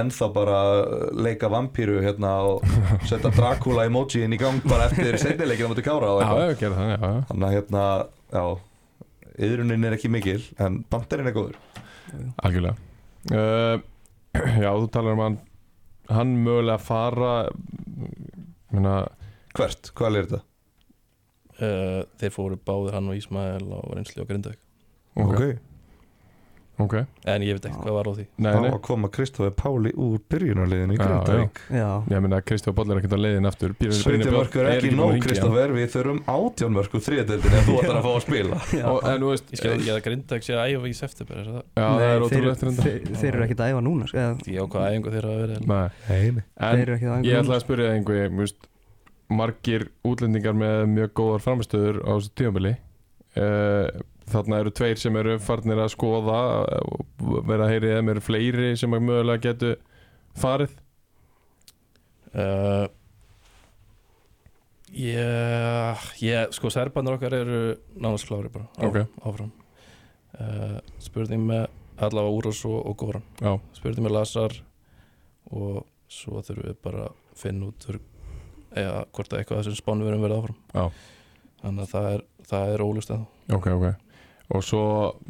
Speaker 2: ennþá bara að leika vampíru hérna og setja Dracula emoji inn í gang bara eftir setnileikin á móti kára og
Speaker 1: Já,
Speaker 2: eitthvað.
Speaker 1: ég gerði það, já, já
Speaker 2: þannig að hérna, já yðrunin er ekki mikil, en bandarinn er góður
Speaker 1: Algjörlega uh, Já, þú talar um hann Hann mögulega fara Minna,
Speaker 2: hvert, hvað er þetta?
Speaker 4: uh, þeir fóru báðir hann og Ísmael á reynslu og grindauk
Speaker 1: ok, ok,
Speaker 4: en ég veit ekki hvað var á því
Speaker 1: Nei,
Speaker 2: þá
Speaker 1: nei,
Speaker 2: að koma Kristofi Páli úr byrjunarliðinu í
Speaker 1: Já,
Speaker 2: Grindavík
Speaker 3: já,
Speaker 1: ég meina að Kristján Boll er ekkert á leiðin aftur Býr-
Speaker 2: 17
Speaker 1: Brynjar
Speaker 2: mörkur er
Speaker 1: Björn
Speaker 2: ekki
Speaker 1: búinn að
Speaker 2: nóg
Speaker 1: hringja.
Speaker 2: Kristofer við þurfum 18 mörkur þriðdeldin ef þú ætlar að fá að spila
Speaker 3: já.
Speaker 1: Og, En þú veist,
Speaker 4: ég skil ekki að grindauk sé að æfa í september er það?
Speaker 1: já, það er
Speaker 3: Nei, þeir,
Speaker 1: ótrúlegt reynda
Speaker 3: þeir, þeir eru ekkert að æfa núna sko, eða,
Speaker 4: ég á hvað æfingu þeirra að vera en
Speaker 1: Nei,
Speaker 2: Nei,
Speaker 3: þeir
Speaker 1: en
Speaker 3: eru ekkert að æfa
Speaker 1: ég
Speaker 3: núna,
Speaker 1: ætla að spyrja það einhver mjúst, margir útlendingar með mjög góðar framstöður á þessu tímabili uh, þarna eru tveir sem eru farnir að skoða eh, og vera að heyri þeim eru fleiri sem að mögulega getu farið
Speaker 4: uh, ég, ég sko serbanur okkar eru nánast klári bara á,
Speaker 1: Ok.
Speaker 4: áfram uh, spurning með allavega Úros og, og Goran
Speaker 1: Já,
Speaker 4: spurning með Lazar og svo þurfum við bara að finna út úr eða hvort að eitthvað af þessum spánum verðum verið áfram
Speaker 1: Já.
Speaker 4: þannig að það er, það er ólust að
Speaker 1: Ok, ok Og svo,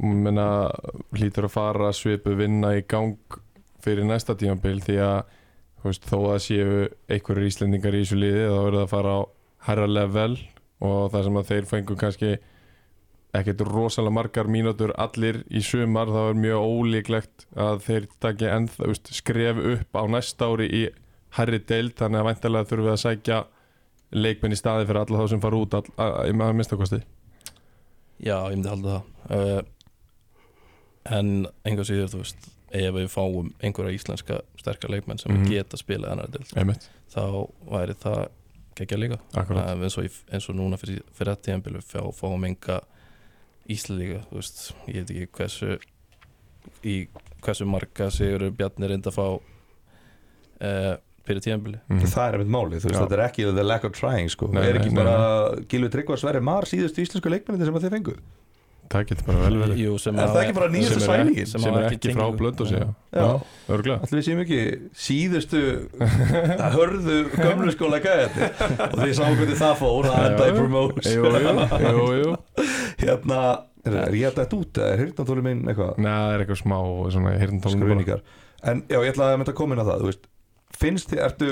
Speaker 1: menna, hlýtur að fara svipu vinna í gang fyrir næsta tímabil því að þú veist, þó að séu einhverjir Íslendingar í þessu liði þá verður það að fara á herra level og það sem að þeir fengu kannski ekkert rosalega margar mínútur allir í sumar þá er mjög ólíklegt að þeir taki ennþá, þú veist, skref upp á næsta ári í herri deild þannig að væntalega þurfum við að sækja leikmenn í staði fyrir alla þá sem fara út all, að, að, að minnstakosti
Speaker 4: Já, ég myndi halda það uh, En einhver síður, þú veist ef við fáum einhverja íslenska sterkar leikmenn sem
Speaker 1: Mhm.
Speaker 4: geta spilað annar del
Speaker 1: Einmitt,
Speaker 4: þá væri það geggja líka
Speaker 1: akkurat
Speaker 4: um, eins, og, í- eins og núna fyrir, fyrir þetta tíðanbílu fá, fáum enga Íslandíka þú veist, ég veit ekki hversu í hversu marga sigur Bjarni reyndi að fá uh, fyrir tíðanbílu
Speaker 1: Mhm.
Speaker 2: Það er einmitt máli, þú veist,
Speaker 1: Já.
Speaker 2: þetta er ekki the lack of trying sko.
Speaker 1: Nei,
Speaker 2: er ekki
Speaker 1: nei,
Speaker 2: bara Gilvi Tryggva Sverri Mar síðustu íslensku leikmennir sem að þeir fengu
Speaker 1: Það getur bara vel verið
Speaker 4: Jú, sem
Speaker 2: Er það
Speaker 4: hafa-
Speaker 2: ekki bara nýjasta
Speaker 4: sem er-
Speaker 2: sælingin?
Speaker 1: sem,
Speaker 4: hafa
Speaker 1: er ekki frá
Speaker 4: tengingu.
Speaker 1: blönd og segja
Speaker 2: Já.
Speaker 1: Já, örgulega
Speaker 2: Allir við séum ekki síðustu að hörðu gömlu skóla gæði og því sáum hvernig það fór það endaði promotes
Speaker 1: Jú, jú, jú, jú
Speaker 2: Hérna, er, er ég að dætt út eða er hirtnatólum minn eitthvað
Speaker 1: Nei, það er eitthvað smá svona hirntólum
Speaker 2: skröningar En já, ég ætlaði að mynda að koma inn á það þú veist, Finnst þið, ertu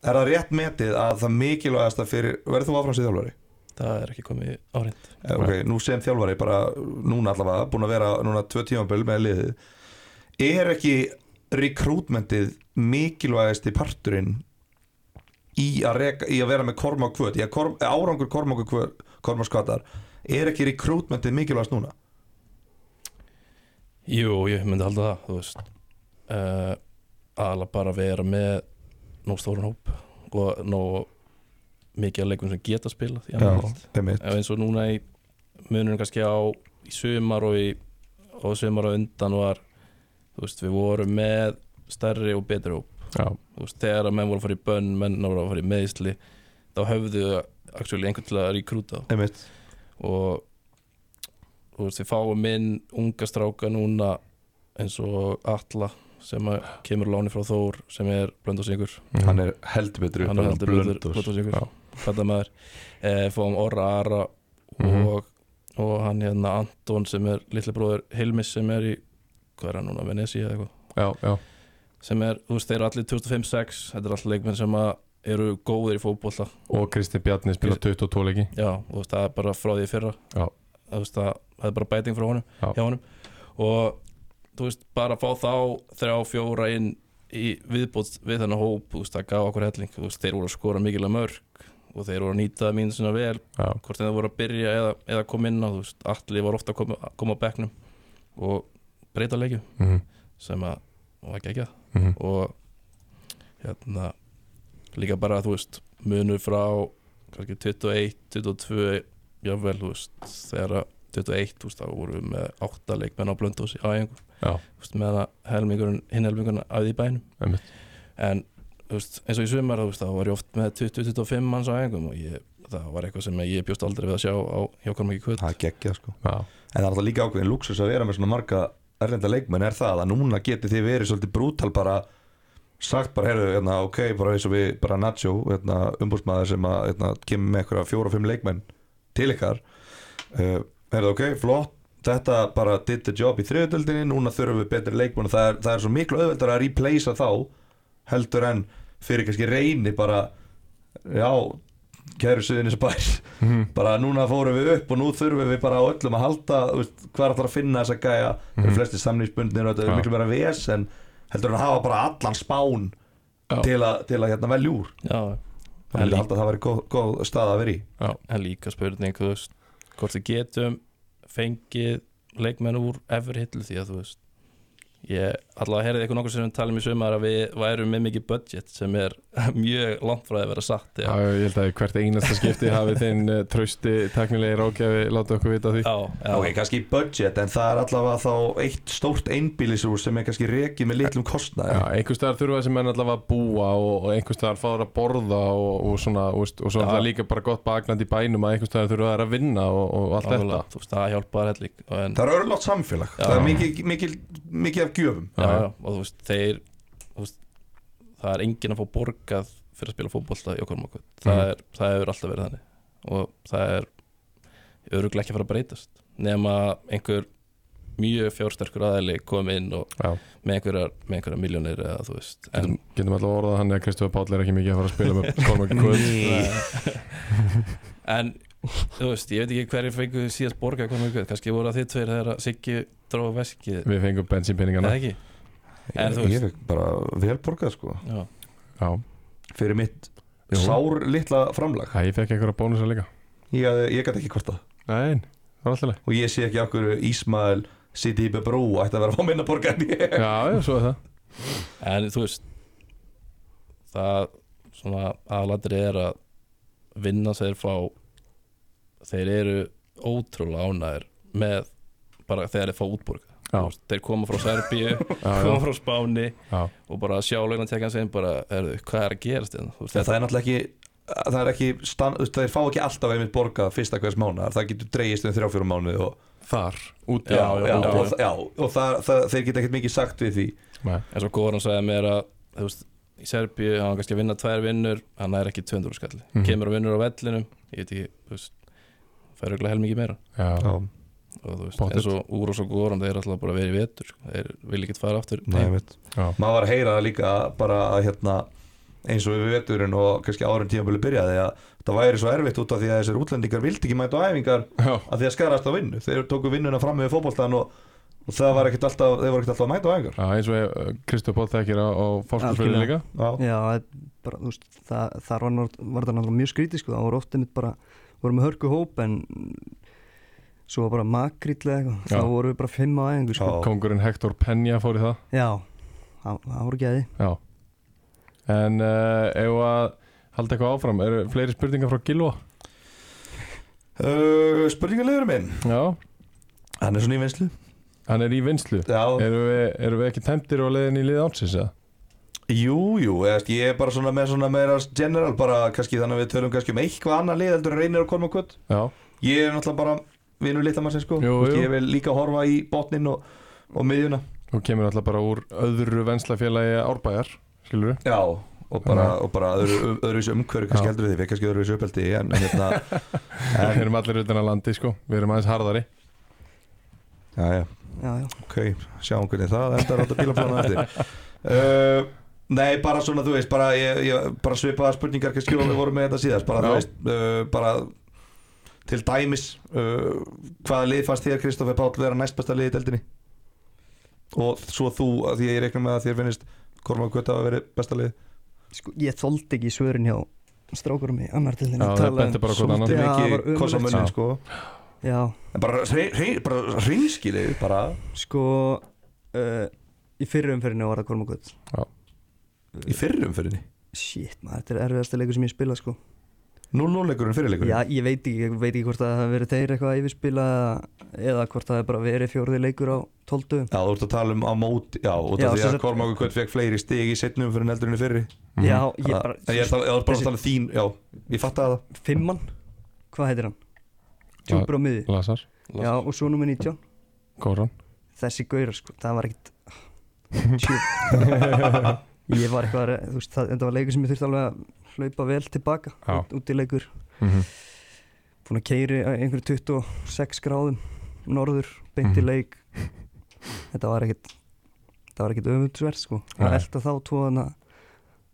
Speaker 2: Er það rétt metið að það mikilvægasta fyrir Verður þú áfram sem þjálfari?
Speaker 4: það er ekki komið árind
Speaker 2: Eh, Ok, nú sem þjálfari, bara núna allavega Búin að vera núna tvö tímaböl með liðið Er ekki rekrútmentið mikilvægasti parturinn í að, reka, í að vera með korma og kvöt í að korm, árangur korma og kvöt korma skvatar, er ekki rekrútmentið mikilvægast núna?
Speaker 4: Jú, ég myndi halda það þú veist uh, alveg bara vera með nóg stóran hóp og nóg mikið að leikum sem geta spila því að
Speaker 2: einmitt
Speaker 4: Ef eins og núna í munurinn kannski á í sumar og í og sumar á undan var þú veist, við vorum með stærri og betri hóp
Speaker 1: Já,
Speaker 4: Þú veist, þegar að menn voru að fara í bönn, menn voru að fara í meðisli þá höfðu actually einhvern til að rekrúta
Speaker 2: einmitt,
Speaker 4: og þú veist, við fáum inn unga stráka núna eins og Atla sem að kemur á láni frá Þór sem er blöndasingur
Speaker 1: Mhm.
Speaker 2: hann er heldur betur upp
Speaker 4: hann er
Speaker 2: en
Speaker 4: heldur blöndur
Speaker 2: Blönduós.
Speaker 4: blöndasingur
Speaker 1: Já.
Speaker 4: þetta maður e, fáum Orra Ara og,
Speaker 1: Mhm.
Speaker 4: og hann hérna Anton sem er litli bróður Hilmis sem er í hvað er hann núna, Venezia eða eitthvað
Speaker 1: já, já
Speaker 4: sem er, þú veist, þeir eru allir 2005-6 þetta er allir leikmenn sem að eru góðir í fótbolta
Speaker 1: Og Kristi Bjarni spila 22 leiki
Speaker 4: Já, þú veist, það er bara frá því í fyrra
Speaker 1: Já.
Speaker 4: Þú veist, það, það er bara bæting frá honum
Speaker 1: Já.
Speaker 4: hjá honum og þú veist, bara fá þá þrjá, fjóra inn í viðbót við þennan hóp, þú veist, það gaf okkur helling þú veist, þeir voru að skora mikilega mörg og þeir voru að nýta mínu sinna vel
Speaker 1: Já,
Speaker 4: hvort þeir voru að byrja eða, eða koma inn á þú veist, allir voru ofta að koma, koma á bekknum og breyta leikjum
Speaker 1: mhm,
Speaker 4: sem að var ekki ekki
Speaker 1: mhm
Speaker 4: og hérna líka bara þú veist munur frá kannski 21, 22 jafnvel þú veist þegar að 21 þú veist þá vorum við með 8 leikmenn á blöndósi á einhver
Speaker 1: Já.
Speaker 4: þú veist meðan að helmingurinn hinn helmingurinn að því bænum
Speaker 1: Einmitt.
Speaker 4: en þú veist eins og í sumar þú veist þá var ég oft með 20-25 manns á einhver og ég, það var eitthvað sem ég bjóst aldrei við að sjá á hjókar mikið kvöld
Speaker 2: það er geggjað sko
Speaker 1: Já,
Speaker 2: En það er alltaf líka ákveðin luxus að vera með svona marga erlenda leikmenn er það að núna geti þið verið svolítið brútal bara sagt bara, heyrðu, hérna, ok, bara eins og við bara Nacho, hérna, umbúrsmaður sem að hérna, kemur með einhverja fjóra og fimm leikmenn til ykkar uh, heyrðu, ok, flott, þetta bara did the job í þriðutöldinni, núna þurfum við betri leikmenn og það er, það er svo miklu auðveldar að replacea þá heldur en fyrir kannski reyni bara já, kæru suðinni sem bæs
Speaker 1: Mhm.
Speaker 2: bara núna fórum við upp og nú þurfum við bara á öllum að halda þú veist, hvað er það að finna þessa gæja það eru flesti samlýsbundnir og
Speaker 1: Já.
Speaker 2: þetta er miklu meira ves en heldur hann að hafa bara allan spán
Speaker 1: Já.
Speaker 2: til að, til að hérna, velja úr
Speaker 4: Já,
Speaker 2: það
Speaker 4: En
Speaker 2: er
Speaker 4: líka-
Speaker 2: alltaf að það væri góð, góð stað að vera í
Speaker 1: já,
Speaker 4: en líka spurning þú veist, hvort við getum fengið leikmenn úr efri hillu því að þú veist ég allavega heyrði eitthvað nokkur sem talum í sumar að við værum með mikið budget sem er mjög langt frá því að vera satt
Speaker 1: já,
Speaker 4: já,
Speaker 1: ég held að hvert einasta skipti hafi þinn eh, trausti teknilegi rákjafi láta okkur vita af því
Speaker 4: já, já,
Speaker 2: ok, kannski budget en það er allavega þá eitt stórt einbýlisúr sem er kannski rekið með litlum kostnaði
Speaker 1: Já, einhvers staðar þurfa þessi menn allavega að búa og, og einhvers staðar fáður að borða og, og svona, og, veist, og svo er
Speaker 4: Já.
Speaker 1: það líka bara gott bagnandi í bænum að einhvers staðar þurfa þær að vinna og, og allt
Speaker 4: alveg,
Speaker 1: þetta
Speaker 4: þú veist, það hjálpar helling og en,
Speaker 2: það er örlátt samfélag
Speaker 4: Já.
Speaker 2: það er mikið, mikið, mikið af gjöfum
Speaker 4: já, já, og þú veist, þeir þú veist, það er enginn að fá borgað fyrir að spila fótbolta í okkur mokkur það,
Speaker 1: Mhm.
Speaker 4: er, það hefur alltaf verið þannig og það er öruglega ekki að fara að breytast nema einhver mjög fjársterkur aðeili kom inn og
Speaker 1: Já.
Speaker 4: með einhverjar, með einhverjar miljónir eða þú veist en,
Speaker 1: Getum, getum alltaf orðað hann eða Kristofur Páll er ekki mikið að fara að spila með Cormac Kvöld
Speaker 4: en þú veist, ég veit ekki hverju fengu síðast borga hvað mjög kannski voru að þið tveir þegar að Siggi dróða veskið,
Speaker 1: Við fengum
Speaker 4: eða
Speaker 1: bensínpinningana
Speaker 4: ekki En
Speaker 2: ég,
Speaker 4: þú
Speaker 2: ég fekk bara velborgað sko
Speaker 4: Já.
Speaker 1: Já,
Speaker 2: fyrir mitt
Speaker 1: Jú.
Speaker 2: sár litla framlag
Speaker 1: Æ, ég fekk einhverja bónusa líka
Speaker 2: ég, ég gæti ekki kvartað
Speaker 1: Nei, það var alltaf leið
Speaker 2: og ég sé ekki okkur Ísmael City Bebrú ætti að vera að fá minna borga en ég
Speaker 1: Já, já, svo er það
Speaker 4: en þú veist það svona aðladri er að vinna sér fá þeir eru ótrúlega ánæður með bara þegar þeir fá útborga
Speaker 1: Já.
Speaker 4: Þú veist, þeir koma frá Serbíu,
Speaker 1: Já,
Speaker 4: koma frá Spáni
Speaker 1: já, já,
Speaker 4: og bara sjálflegna tekja hans einn bara herðu, hvað er að gerast þetta? Þú veist,
Speaker 2: það
Speaker 4: þetta
Speaker 2: er náttúrulega ekki það er ekki, stand, þú veist, þeir fá ekki alltaf einmitt borga fyrsta hvers mánuðar, það getur dreigist um þrjá fjórum mánuð og,
Speaker 1: þar Út
Speaker 4: Já, já, já.
Speaker 2: og, já, og það, það, þeir geta ekkert mikið sagt við því
Speaker 1: Nei,
Speaker 4: En svo Goran sagði mér að þú veist, í Serbíu hann var kannski að vinna tvær vinnur hann er ekki 200 skalli,
Speaker 1: Mhm.
Speaker 4: kemur og vinnur á vellinum ég veit ekki, þú veist fær auðvitað helmingi meira
Speaker 1: já,
Speaker 4: og þú veist,
Speaker 1: Pottet.
Speaker 4: eins og Úrós og Goran þeir er alltaf bara verið í vetur, sko. þeir vil ekki fara aftur
Speaker 2: Nei, ég veit.
Speaker 1: já
Speaker 2: maður var að heyra það líka bara að hérna eins og við veturinn og kannski árum tímabölu byrjaði að það væri svo erfitt út af því að þessir útlendingar vildi ekki mæta á æfingar
Speaker 1: Já,
Speaker 2: að því að skarast á vinnu, þeir tóku vinnuna fram með fótboltan og, og það var ekkert alltaf þeir voru ekkert alltaf að mæta á æfingar
Speaker 1: já eins og eh, Kristofur Páll þekkir á, á fórskapsfélagi líka
Speaker 3: Algjörlega.
Speaker 2: já,
Speaker 3: Já, það er bara, þú veist, það, þar var, nátt- var það náttúrulega mjög skrítið sko, það voru oft einmitt bara, voru með hörku hóp en svo var bara makrill eða eitthvað,
Speaker 1: Já.
Speaker 3: þá voru við bara fimm á æfingu sko.
Speaker 2: Já.
Speaker 1: Kongurinn Hector Penja fór í það
Speaker 3: Já, það, það voru gæði.
Speaker 1: Já En uh, ef að halda eitthvað áfram Eru fleiri spurningar frá Gilva?
Speaker 2: Uh, spurningarlegur minn
Speaker 1: Já,
Speaker 2: Hann er svona í Eh. vinslu
Speaker 1: hann er í vinslu
Speaker 2: Já,
Speaker 1: Eru við, eru við ekki tæmtir á leiðin í lið ánsins eða?
Speaker 2: jú, jú, eðast, ég er bara svona með svona meira general bara kannski þannig að við tölum kannski um eitthvað annað lið heldur en reynir að koma kvöld
Speaker 1: Já,
Speaker 2: Ég er náttúrulega bara vinur litla mann sem sko
Speaker 1: Jú,
Speaker 2: Þú veist,
Speaker 1: jú.
Speaker 2: Ég vil líka horfa í botnin og, og miðjuna
Speaker 1: þú kemur alltaf bara úr öðru venslafélagi árbæjar Skilur við?
Speaker 2: Já, og bara, og bara öðru, öðruvísi umhverju kannski
Speaker 1: Já.
Speaker 2: heldur en því, við kannski öðruvísi uppeldi en, en hérna
Speaker 1: Við
Speaker 2: en,
Speaker 1: erum allir utan að landi sko Við erum aðeins harðari
Speaker 2: Já, já,
Speaker 3: Já, já.
Speaker 2: ok, sjáum hvernig það endar átt að bílaplána eftir uh, Nei, bara svona, þú veist, bara, ég, ég, bara svipaða spurningar kannski og við vorum með þetta síðast bara,
Speaker 1: Já.
Speaker 2: þú veist, uh, bara til dæmis uh, hvaða lið fannst þér, Kristoffer Páll, vera næstbesta lið í deldinni? Og svo þú, að því að ég reikna með að þér finnist Kormáð Götta að vera besta lið
Speaker 3: Sko, ég þoldi ekki svörin hjá strákurum í annar til þinn
Speaker 1: Já, það benti bara hvort annan
Speaker 2: Svolítið
Speaker 3: Já, það var
Speaker 2: mikið
Speaker 3: ömurlegt.
Speaker 2: kosa munnin,
Speaker 1: Já.
Speaker 2: sko
Speaker 3: Já,
Speaker 2: En bara, hrein- hrein- bara hreinskilið bara
Speaker 3: sko, uh, í fyrri umferðinu var það Kormagut.
Speaker 2: í fyrrum fyrirni
Speaker 3: Shit, maður, þetta er erfiðasta leikur sem ég spila sko.
Speaker 2: 0-0 leikurinn fyrirleikurinn
Speaker 3: Já, ég veit ekki, ég veit ekki hvort að það hafi verið þeir eitthvað að yfirspila eða hvort það er bara verið fjórði leikur á tóldu.
Speaker 2: Já, þú ert að tala um á móti Já, út
Speaker 3: Já,
Speaker 2: af því
Speaker 3: sem
Speaker 2: að
Speaker 3: sagt-
Speaker 2: Kormáku Kvöld fekk fleiri stig í setnum fyrir eldurinn fyrri
Speaker 3: Já, ég
Speaker 2: Já,
Speaker 3: bara,
Speaker 2: En ég er bara, ég er bara
Speaker 3: Þessi-
Speaker 2: að tala um þín Já, ég fatt að það
Speaker 3: fimmann, hvað heitir hann? Tjúpur á miði.
Speaker 1: Lasar,
Speaker 3: Já, og svo nummer 19.
Speaker 1: Góran
Speaker 3: Þessi gaurar, sko, það var ekkit, tjúp. ég var eitthvað, að- þú veist, það, þetta var leikur sem ég þurfti alveg að hlaupa vel tilbaka,
Speaker 1: Já.
Speaker 3: út, út í leikur.
Speaker 1: mm
Speaker 3: Búin að keiri einhverju 26 gráðum, norður, beint í
Speaker 1: Mhm.
Speaker 3: leik. Þetta var ekkit, það var ekkit öfundsverð, sko.
Speaker 1: Nei.
Speaker 3: Að elta þá tóðana,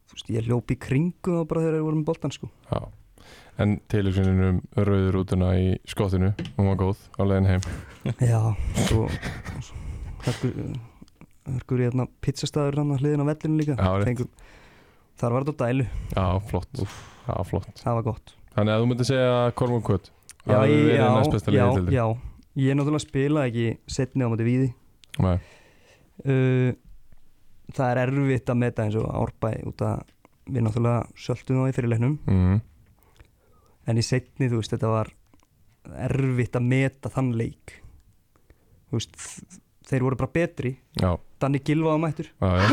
Speaker 3: þú veist, ég hljóp í kringu þá bara þegar þeir voru með boltan, sko.
Speaker 1: Já En tilhugsuninum rauður útuna í skottinu Hún var góð á leiðin heim
Speaker 3: Já, svo hörkur, hörkur í hérna pizzastæður hann hliðin á vellinu líka
Speaker 1: Já, rétt.
Speaker 3: Fengum- Þar var þetta á dælu,
Speaker 1: Já, flott Já, flott
Speaker 3: það var gott
Speaker 1: Þannig að þú myndir segja Kormon Kvöt
Speaker 3: Já,
Speaker 1: ég,
Speaker 3: ég,
Speaker 1: næst
Speaker 3: já, já, já Ég náttúrulega spila ekki setni á móti víði
Speaker 1: Nei,
Speaker 3: uh, Það er erfitt að meta eins og árbæ út að við náttúrulega söltum þá í fyrirleiknum
Speaker 1: mm,
Speaker 3: en í setni, þú veist, þetta var erfitt að meta þann leik Þú veist, þeir voru bara betri
Speaker 1: já,
Speaker 3: Danni Gilva á mættur
Speaker 1: já, já.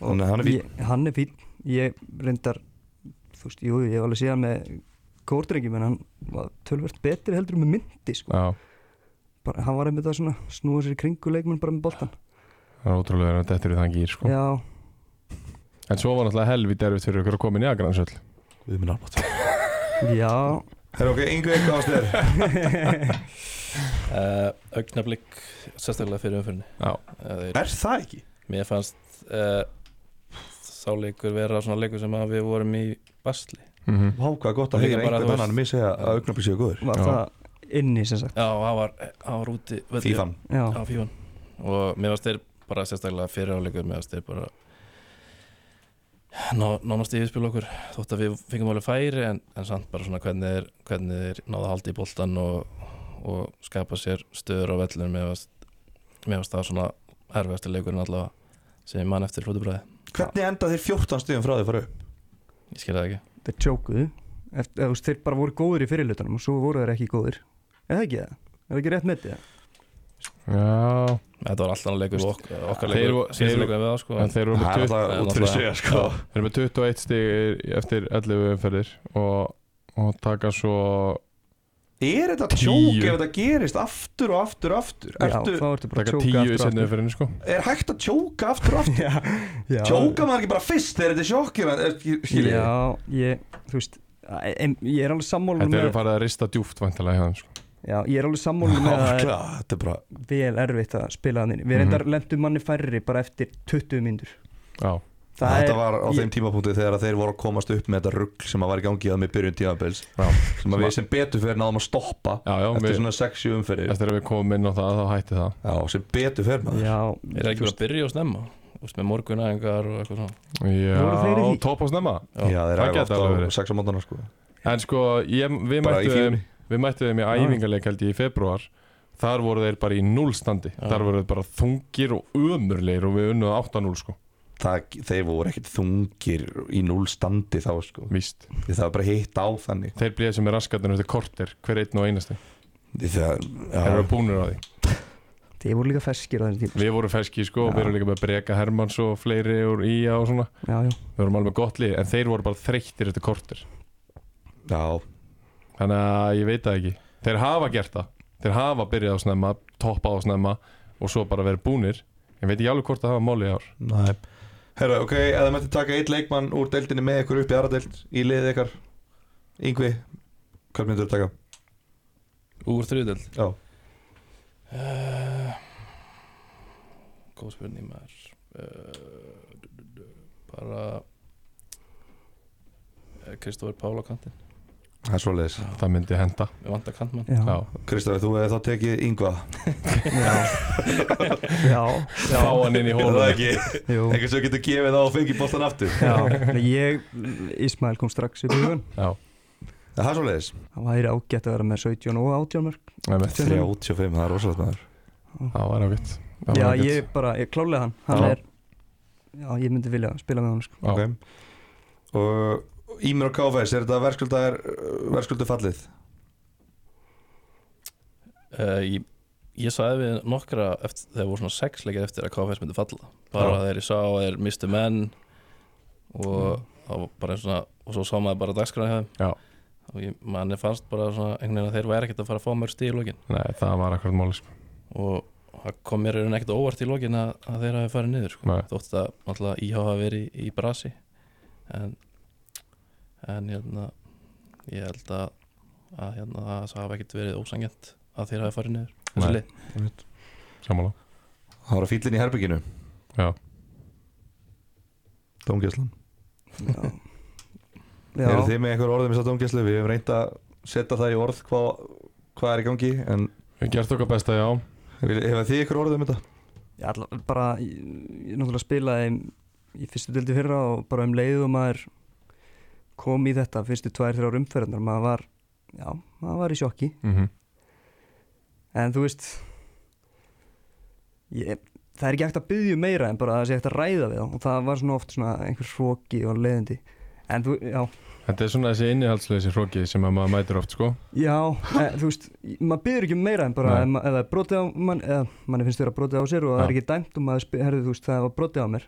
Speaker 2: Hann er- hann er fínn.
Speaker 3: Ég, hann er fín Ég reyndar Þú veist, jú, ég hef alveg séð hann með kórdrengjum en hann var tölvert betri heldur en með myndi sko.
Speaker 1: já.
Speaker 3: bara, Hann var einmitt að svona snúa sér í kringu leikmenn bara með boltan
Speaker 1: Það er ótrúlega að þetta er þann gýr sko.
Speaker 3: Já,
Speaker 1: En svo var náttúrulega helvítið erfitt fyrir ykkur að koma inn í agransöll
Speaker 2: Við minn almátt
Speaker 3: já
Speaker 2: Það er ok, yngu eitthvað ástöður
Speaker 4: uh, Augnablík sérstaklega fyrir umfyrinni
Speaker 1: Já.
Speaker 4: uh,
Speaker 2: Er það ekki?
Speaker 4: Mér fannst uh, sáleikur vera svona leikur sem að við vorum í basli
Speaker 1: Mhm.
Speaker 2: Vá, hvað gott
Speaker 4: Og
Speaker 2: að
Speaker 4: líka
Speaker 2: heyra
Speaker 4: bara,
Speaker 2: einhvern
Speaker 4: þú veist-
Speaker 2: annan mér segja að augnablík séu góður
Speaker 3: var
Speaker 1: Já.
Speaker 3: það inni sem sagt
Speaker 4: Já, hann var, hann var úti völlur.
Speaker 2: Fífan
Speaker 3: já,
Speaker 4: Já, fífan Og mér fannst þeir bara sérstaklega fyrir áleikur Mér fannst þeir bara Ná, nánast yfirspil okkur þótt að við fengum alveg færi en, en samt bara svona hvernig þeir, hvernig þeir náða haldi í boltan og, og skapa sér stöður á vellunum mér fannst, mér fannst það svona erfiðasti leikurinn allavega sem ég man eftir hlutubræði
Speaker 2: Hvernig enda þeir 14 stuðum frá því fara upp?
Speaker 4: ég skil það ekki
Speaker 3: þeir tjókuðu Eftir, eða, þú veist, þeir bara voru góðir í fyrirlutunum og svo voru þeir ekki góðir eða ekki það, er það ekki rétt metið það
Speaker 1: Já,
Speaker 4: Þetta var alltaf annar leikur og ok-
Speaker 1: Þeir
Speaker 4: okkar leikur,
Speaker 1: voru-
Speaker 4: síðan
Speaker 1: þeir-
Speaker 4: leikur en við það sko
Speaker 1: en þeir eru
Speaker 2: Það
Speaker 1: með 20
Speaker 2: er alltaf
Speaker 4: Nei,
Speaker 2: út fyrir
Speaker 4: náttúrulega.
Speaker 2: sig sko
Speaker 1: Þeir eru með 21 stig eftir 11 umferðir og, og taka svo
Speaker 2: Er þetta
Speaker 1: Tíu.
Speaker 2: tjók ef þetta gerist aftur og aftur og aftur? Ertu,
Speaker 3: já, þá ertu bara að
Speaker 1: taka 10
Speaker 3: tjóka
Speaker 1: í
Speaker 3: aftur og
Speaker 1: sinni
Speaker 3: aftur.
Speaker 1: umferðinu sko
Speaker 2: er hægt að tjóka aftur og aftur?
Speaker 3: já, já.
Speaker 2: Tjóka maður ekki bara fyrst þegar þetta er sjokkir er, Skiljið þið?
Speaker 3: Já, ég, þú veist em, ég er alveg sammála
Speaker 1: Þetta
Speaker 3: með
Speaker 1: eru farið að rista djúft vantilega hjá þeim sko
Speaker 3: já, ég er alveg
Speaker 2: Já,
Speaker 3: sammála með að það er
Speaker 2: klar, þetta er bara
Speaker 3: vel erfitt að spila þannig við
Speaker 1: Mhm.
Speaker 3: reyndar lendum manni færri bara eftir 20 mínútur
Speaker 1: Já,
Speaker 3: Það
Speaker 2: Þetta
Speaker 3: er-
Speaker 2: var á
Speaker 3: ég-
Speaker 2: þeim tímapunkti þegar að þeir voru að komast upp með þetta rugg sem að var í gangi að með byrjun tímabils
Speaker 1: Já.
Speaker 2: sem að við sem betur fyrir náðum að stoppa
Speaker 1: já, já
Speaker 2: eftir
Speaker 1: við,
Speaker 2: svona 6-7 umferðir
Speaker 1: eftir að við komum inn á það þá hætti það
Speaker 2: Já, sem betur fyrir maður
Speaker 3: já,
Speaker 4: Þeir eru ekki bara að byrja og snemma Úst, með morgunæðingar og eitthvað svona
Speaker 3: Voru þeir
Speaker 1: Já,
Speaker 3: ekki?
Speaker 1: topp á snemma
Speaker 2: Já, þeir
Speaker 1: það
Speaker 2: eru
Speaker 1: gæti
Speaker 2: ofta
Speaker 1: alveg
Speaker 2: á
Speaker 1: verið.
Speaker 2: 6 á mótana sko
Speaker 1: En sko, ég, við
Speaker 2: Bara í
Speaker 1: mættum þeim
Speaker 2: fjúni
Speaker 1: Við mættum þeim í
Speaker 3: Já.
Speaker 1: æfingarleik held ég í februar Þar voru þeir bara í núlstandi
Speaker 4: Já.
Speaker 1: Þar voru þeir bara þungir og ömurleir og við unnuðu 8-0 sko
Speaker 2: Það, þeir voru ekkert þungir í núl standi þá sko
Speaker 1: Víst
Speaker 2: Því Það var bara hitt á þannig
Speaker 1: Þeir blíða sem er raskatunum eftir korter hver einn og einasti
Speaker 2: Því Það,
Speaker 1: Þeir
Speaker 2: já,
Speaker 1: eru búnir á því
Speaker 3: þeir voru líka ferskir á þessum tíma
Speaker 1: Við voru ferski sko og
Speaker 3: Já.
Speaker 1: við erum líka með Breka Hermanns og fleiri úr IA og svona
Speaker 3: já, já,
Speaker 1: Við vorum alveg með gott lið en þeir voru bara þreyttir eftir korter
Speaker 2: já,
Speaker 1: Þannig að ég veit það ekki Þeir hafa gert það Þeir hafa byrjað á snemma, toppað á snemma og svo bara verið búnir Ég veit ekki alveg hvort það hafa máli í ár
Speaker 2: næ Herra, ok, eða mætti taka eitt leikmann úr deildinni með ykkur upp í aðra deild í liðið ykkar Yngvi, hvað myndur þú taka?
Speaker 4: Úr þriðdelt
Speaker 2: Já,
Speaker 4: uh, Góð spurning maður uh, Bara eh, Kristófer Pála kantinn
Speaker 2: það er svoleiðis
Speaker 1: Það myndi henda
Speaker 4: Við vantar kantmann
Speaker 3: já,
Speaker 1: Já.
Speaker 2: Kristofi, þú hefði þá tekið Yngva
Speaker 3: já, já,
Speaker 1: Fá hann inn í
Speaker 2: Er það
Speaker 1: hóluna
Speaker 2: ekki?
Speaker 3: jú.
Speaker 2: Eitthvað sem getur gefið á og fengið bóttan aftur
Speaker 3: já Nei, ég, Ismail kom strax upp í hugun
Speaker 1: Já,
Speaker 2: Það er svoleiðis
Speaker 3: það væri ágætt að vera með 17 og 18 mörg
Speaker 1: einmitt.
Speaker 2: 385, það er rosalegt maður
Speaker 1: það var ágætt Það var
Speaker 3: já,
Speaker 1: ágætt.
Speaker 3: ég bara, ég klálega hann hann
Speaker 2: Já.
Speaker 3: er, já, ég myndi vilja spila með hann sko.
Speaker 1: Já.
Speaker 2: okay. Og Ímir og KFS, er þetta verðskuldar verðskuldu fallið?
Speaker 4: uh, ég, ég sagði við nokkra eftir, þegar voru svona sex leikir eftir að KFS myndi falla bara
Speaker 2: Já.
Speaker 4: þegar ég sá að þeir mistu menn og það var bara svona og svo sá maður bara dagskráði hjá
Speaker 1: Já.
Speaker 4: þeim og ég, manni fannst bara svona einhvern veginn að þeir væri ekkert að fara að fá mörg stíl í lokin
Speaker 1: Nei, það var akkurat máli sko.
Speaker 4: og það kom mér í raun ekkert á óvart í lokin að, að þeir hafi farið niður sko.
Speaker 1: Nei.
Speaker 4: þótt að náttúrulega íhá hafi verið í, í brasi en en hérna ég held að, að hérna, það hafi ekkert verið ósangjönd að þeir hafi farið niður þessi
Speaker 1: Nei.
Speaker 4: lið.
Speaker 1: Sammála
Speaker 2: Það var að fýllin í herbygginu
Speaker 1: Já.
Speaker 2: Dómgæslan
Speaker 3: já, já,
Speaker 2: Eru þið með einhver orðum í þess að dómgæslu? Við hefum reynd að setja það í orð hvað, hvað er í gangi En
Speaker 1: Við hefum gert okkar besta, já
Speaker 2: vil- hefur þið einhver orðum þetta?
Speaker 3: já alla, bara, ég, ég náttúrulega spilaði í fyrstu dildi fyrra og bara um leið og maður kom í þetta fyrstu tvær, þrjár umferðarnar maður var, já, maður var í sjokki
Speaker 1: mm -hmm.
Speaker 3: en þú veist ég, það er ekki hægt að byggja meira en bara að það sé hægt að ræða við þá og það var svona oft svona einhver hróki og leiðindi en þú, já,
Speaker 1: Þetta er svona þessi innihaldsleysi hróki sem að maður mætir oft sko.
Speaker 3: já e, þú veist, maður byggir ekki um meira en bara
Speaker 1: Nei.
Speaker 3: ef ma- ef það er brotið á mann eða manni finnst vera brotið á sér og það er
Speaker 1: Já.
Speaker 3: ekki dæmt og maður spyr, herðu, þú veist, það var brotið á mér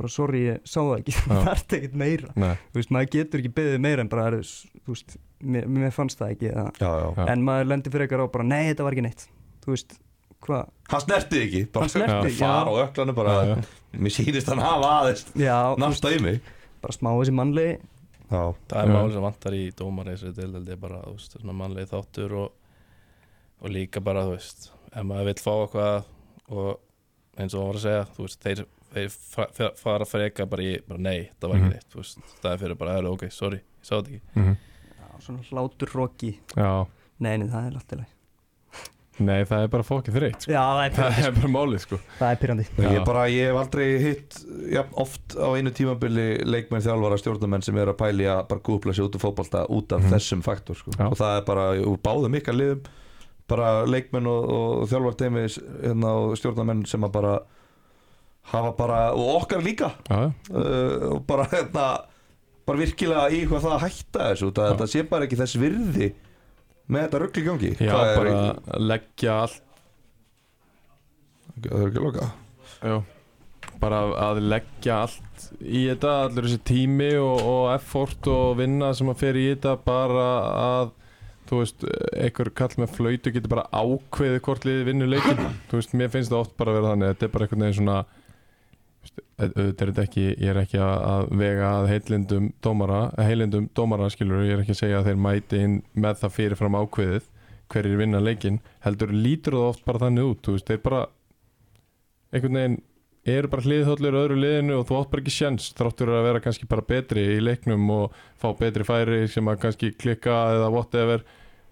Speaker 3: bara sorry, ég sá það ekki
Speaker 1: Já.
Speaker 3: það er ekkert meira,
Speaker 1: Nei,
Speaker 3: þú veist, maður getur ekki byggðið meira en bara, herðu, s- þú veist mér, mér fannst það ekki, eða,
Speaker 2: Já, já
Speaker 1: Já.
Speaker 3: en maður lendir fyrir eitthvað á bara, nei, þetta var ekki neitt þú veist, hvað,
Speaker 2: Hann snertið ekki bara-
Speaker 3: Hann snerti, já.
Speaker 2: Far á öklanum bara
Speaker 1: Já, já.
Speaker 2: Mér sýnist hann hafa aðeins
Speaker 3: já,
Speaker 2: Nafnst að í mig
Speaker 3: bara smá þessi mannlegi
Speaker 2: Já,
Speaker 4: það er
Speaker 1: Já.
Speaker 4: máli sem vantar í dómareisri til þetta er bara þú veist, svona mannlegi þáttur og, og líka bara þú veist ef maður vill fá eitthvað og eins og hann var að segja þú veist, þeir, þeir fra- fra- fara freka bara í bara nei, það var
Speaker 1: Mhm.
Speaker 4: ekki neitt þú veist, það er fyrir bara, "Heyrðu, ok, sorry, ég sá þetta ekki
Speaker 1: Mhm.
Speaker 3: Svona hlátur roki
Speaker 1: Já,
Speaker 3: Nei, nei, það er alltaf leið
Speaker 1: nei það er bara fokkið þreytt sko.
Speaker 3: Já, það er
Speaker 1: Það
Speaker 3: pyrrandi
Speaker 1: er bara málið sko
Speaker 3: Það er pyrrandi
Speaker 1: Já.
Speaker 2: Ég, bara, ég hef aldrei hitt ja, oft á einu tímabili leikmenn þjálfara stjórnumenn sem eru að pæli að bara kúpla sér út af fótbalta út af
Speaker 1: Mhm.
Speaker 2: þessum faktor sko.
Speaker 1: Já.
Speaker 2: og það er bara úr báðum ykkar liðum bara leikmenn og, og þjálfar teimi hérna, og stjórnumenn sem að bara hafa bara, og okkar líka
Speaker 1: Já, já.
Speaker 2: uh, og bara hérna bara virkilega í hvað það að hætta þessu út að
Speaker 1: Já.
Speaker 2: þetta sé bara ekki þess virði með þetta ruggli gangi
Speaker 1: já
Speaker 2: Hvað er-
Speaker 1: bara leggja allt
Speaker 2: Það er ekki að loka
Speaker 1: já. Bara að leggja allt í þetta Allur þessi tími og, og effort og vinna sem að fer í þetta Bara að Þú veist, einhver kall með flöytu getur bara ákveðið hvort liðið vinnur leikinn Þú veist, mér finnst það oft bara að vera þannig Þetta er bara einhvern veginn svona þú veist, auðvitað er þetta ekki, ég er ekki að- að vega að heilindum dómara heilindum dómara skilur, ég er ekki að segja að þeir mæti inn með það fyrirfram ákveðið hverjir vinna leikinn, heldur lítur það oft bara þannig út, þú veist, þeir bara einhvern veginn eru bara hliðhóllur öðru liðinu og þú átt bara ekki sjens þráttur að vera kannski bara betri í leiknum og fá betri færi sem að kannski klikka eða whatever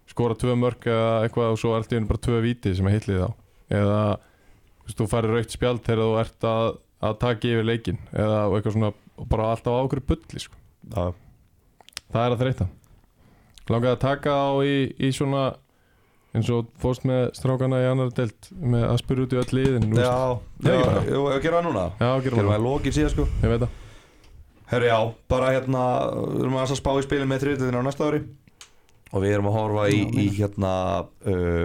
Speaker 1: skora tvö mörg eða eitthvað og svo allt í einu bara tvö víti sem að hitlið á eða þú veist, þú farir raukt spjald þegar þú ert að, að taka yfir leikin eða og eitthvað svona og bara alltaf ákveður bulli sko.
Speaker 2: Já.
Speaker 1: það er að þreyta langaði að taka á í, í svona eins og fórst með strákana í annar delt með að spyrja út í öll liðin þú veist.
Speaker 2: Já,
Speaker 1: Það er ekki
Speaker 2: já,
Speaker 1: bara.
Speaker 2: já, já, gera það núna
Speaker 1: já, gerum
Speaker 2: Gerum
Speaker 1: við
Speaker 2: við að lokin síðan sko
Speaker 1: það, ég veit það
Speaker 2: Herru já, bara hérna Við erum aðeins að spá í spilin með þriðutöðinu á næsta ári Og við erum að horfa í,
Speaker 3: Já,
Speaker 2: í hérna uh,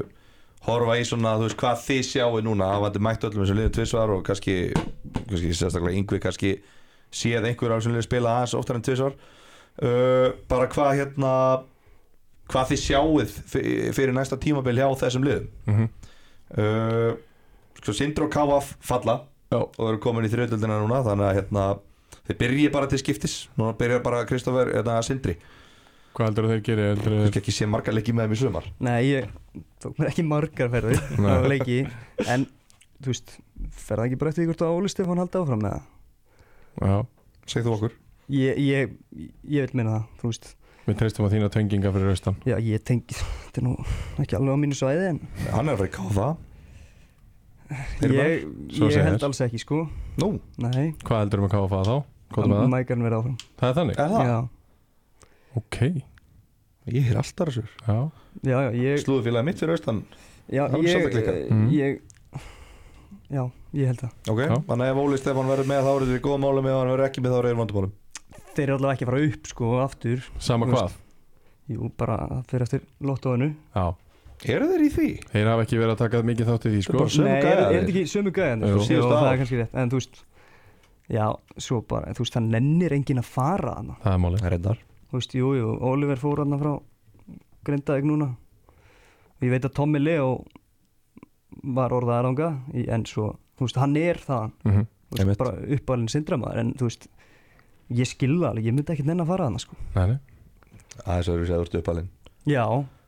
Speaker 2: Horfa í svona, þú veist, hvað þið sjáu núna Hafandi mætt öllum þessum liðum tvisvar Og kannski, kannski sérstaklega yngvi Kannski séð einhver á þessum liðum spila aðeins oftar en tvisvar uh, Bara hvað hérna Hvað þið sjáuð fyr- fyrir næsta tímabil hjá þessum liðum
Speaker 1: Mhm.
Speaker 2: uh, sko, Sindri og KF falla
Speaker 1: Já.
Speaker 2: og eru komin í þriðutöldina núna þannig að hérna, þeir byrja bara til skiptis núna byrja bara Kristoffer hérna, Sindri
Speaker 1: Hvað heldur þeir geri? Heldur
Speaker 2: Ég
Speaker 1: þeir...
Speaker 2: skal ekki sé marga leiki með þeim í sumar
Speaker 3: Nei, ég tók mér ekki margar ferðir
Speaker 1: Nei.
Speaker 3: á leiki En, þú veist, ferða ekki bara eftir því hvort að Óli Stefán haldi áfram með það
Speaker 1: Já,
Speaker 2: segð þú okkur
Speaker 3: Ég, ég, ég vil minna það, þú veist
Speaker 1: við treystum að þína tönginga fyrir raustan
Speaker 3: Já, ég tengi, þetta er nú ekki alveg á mínu svæði En
Speaker 2: hann er að fara í KF Þeir bara-
Speaker 3: ég,
Speaker 1: Svo
Speaker 3: ég
Speaker 1: segir.
Speaker 3: held alls ekki, sko
Speaker 2: nú,
Speaker 3: Nei,
Speaker 1: Hvað heldur um að káfa þá? Hvað með það?
Speaker 3: mækarn verið áfram
Speaker 1: Það er þannig?
Speaker 2: er það?
Speaker 3: Já,
Speaker 1: Ok,
Speaker 2: ég er alltaf þessu
Speaker 1: já
Speaker 3: já, já, ég,
Speaker 2: slúðufélagi mitt fyrir austan
Speaker 3: já,
Speaker 2: það er
Speaker 3: ég, eh,
Speaker 2: svolítið klikkað.
Speaker 1: Mhm.
Speaker 3: ég Já, ég held það
Speaker 2: ok,
Speaker 1: Já.
Speaker 2: þannig að ef Óli Stefán verður með þá eru þið í góðum málum ef hann verður ekki með þá eru þið í vandumálum
Speaker 3: Þeir eru allavega ekki að fara upp, sko, aftur
Speaker 1: Sama
Speaker 3: Þú
Speaker 1: hvað?
Speaker 3: Jú, bara það fyrir eftir lottóinu
Speaker 1: Já,
Speaker 2: eru þeir í því?
Speaker 1: þeir hafa ekki verið að taka mikið þátt í því sko
Speaker 2: Bara sömu
Speaker 3: Nei, er,
Speaker 2: gæjarnir.
Speaker 3: er þetta ekki sömu gæðan
Speaker 1: Jú.
Speaker 3: Jú,
Speaker 2: Síðustu
Speaker 3: það
Speaker 2: ár.
Speaker 3: er kannski rétt En þú veist Já, svo bara, þú veist, það nennir enginn að fara hana
Speaker 1: Það er málið
Speaker 2: reyndar
Speaker 3: Þú veist, jú, jú, Oliver fór hana frá Grindavík núna Ég veit að Tommy Leo var orðaðar ánga En svo, þú veist, hann er þaðan
Speaker 1: mm
Speaker 3: Þú veist,
Speaker 2: Einmitt.
Speaker 3: bara uppalinn sindramaður En þú veist, ég skilða alveg, ég myndi ekki nenn að fara hana sko.
Speaker 1: Nei, nei,
Speaker 2: aðeins verður við segður uppalinn
Speaker 3: Já,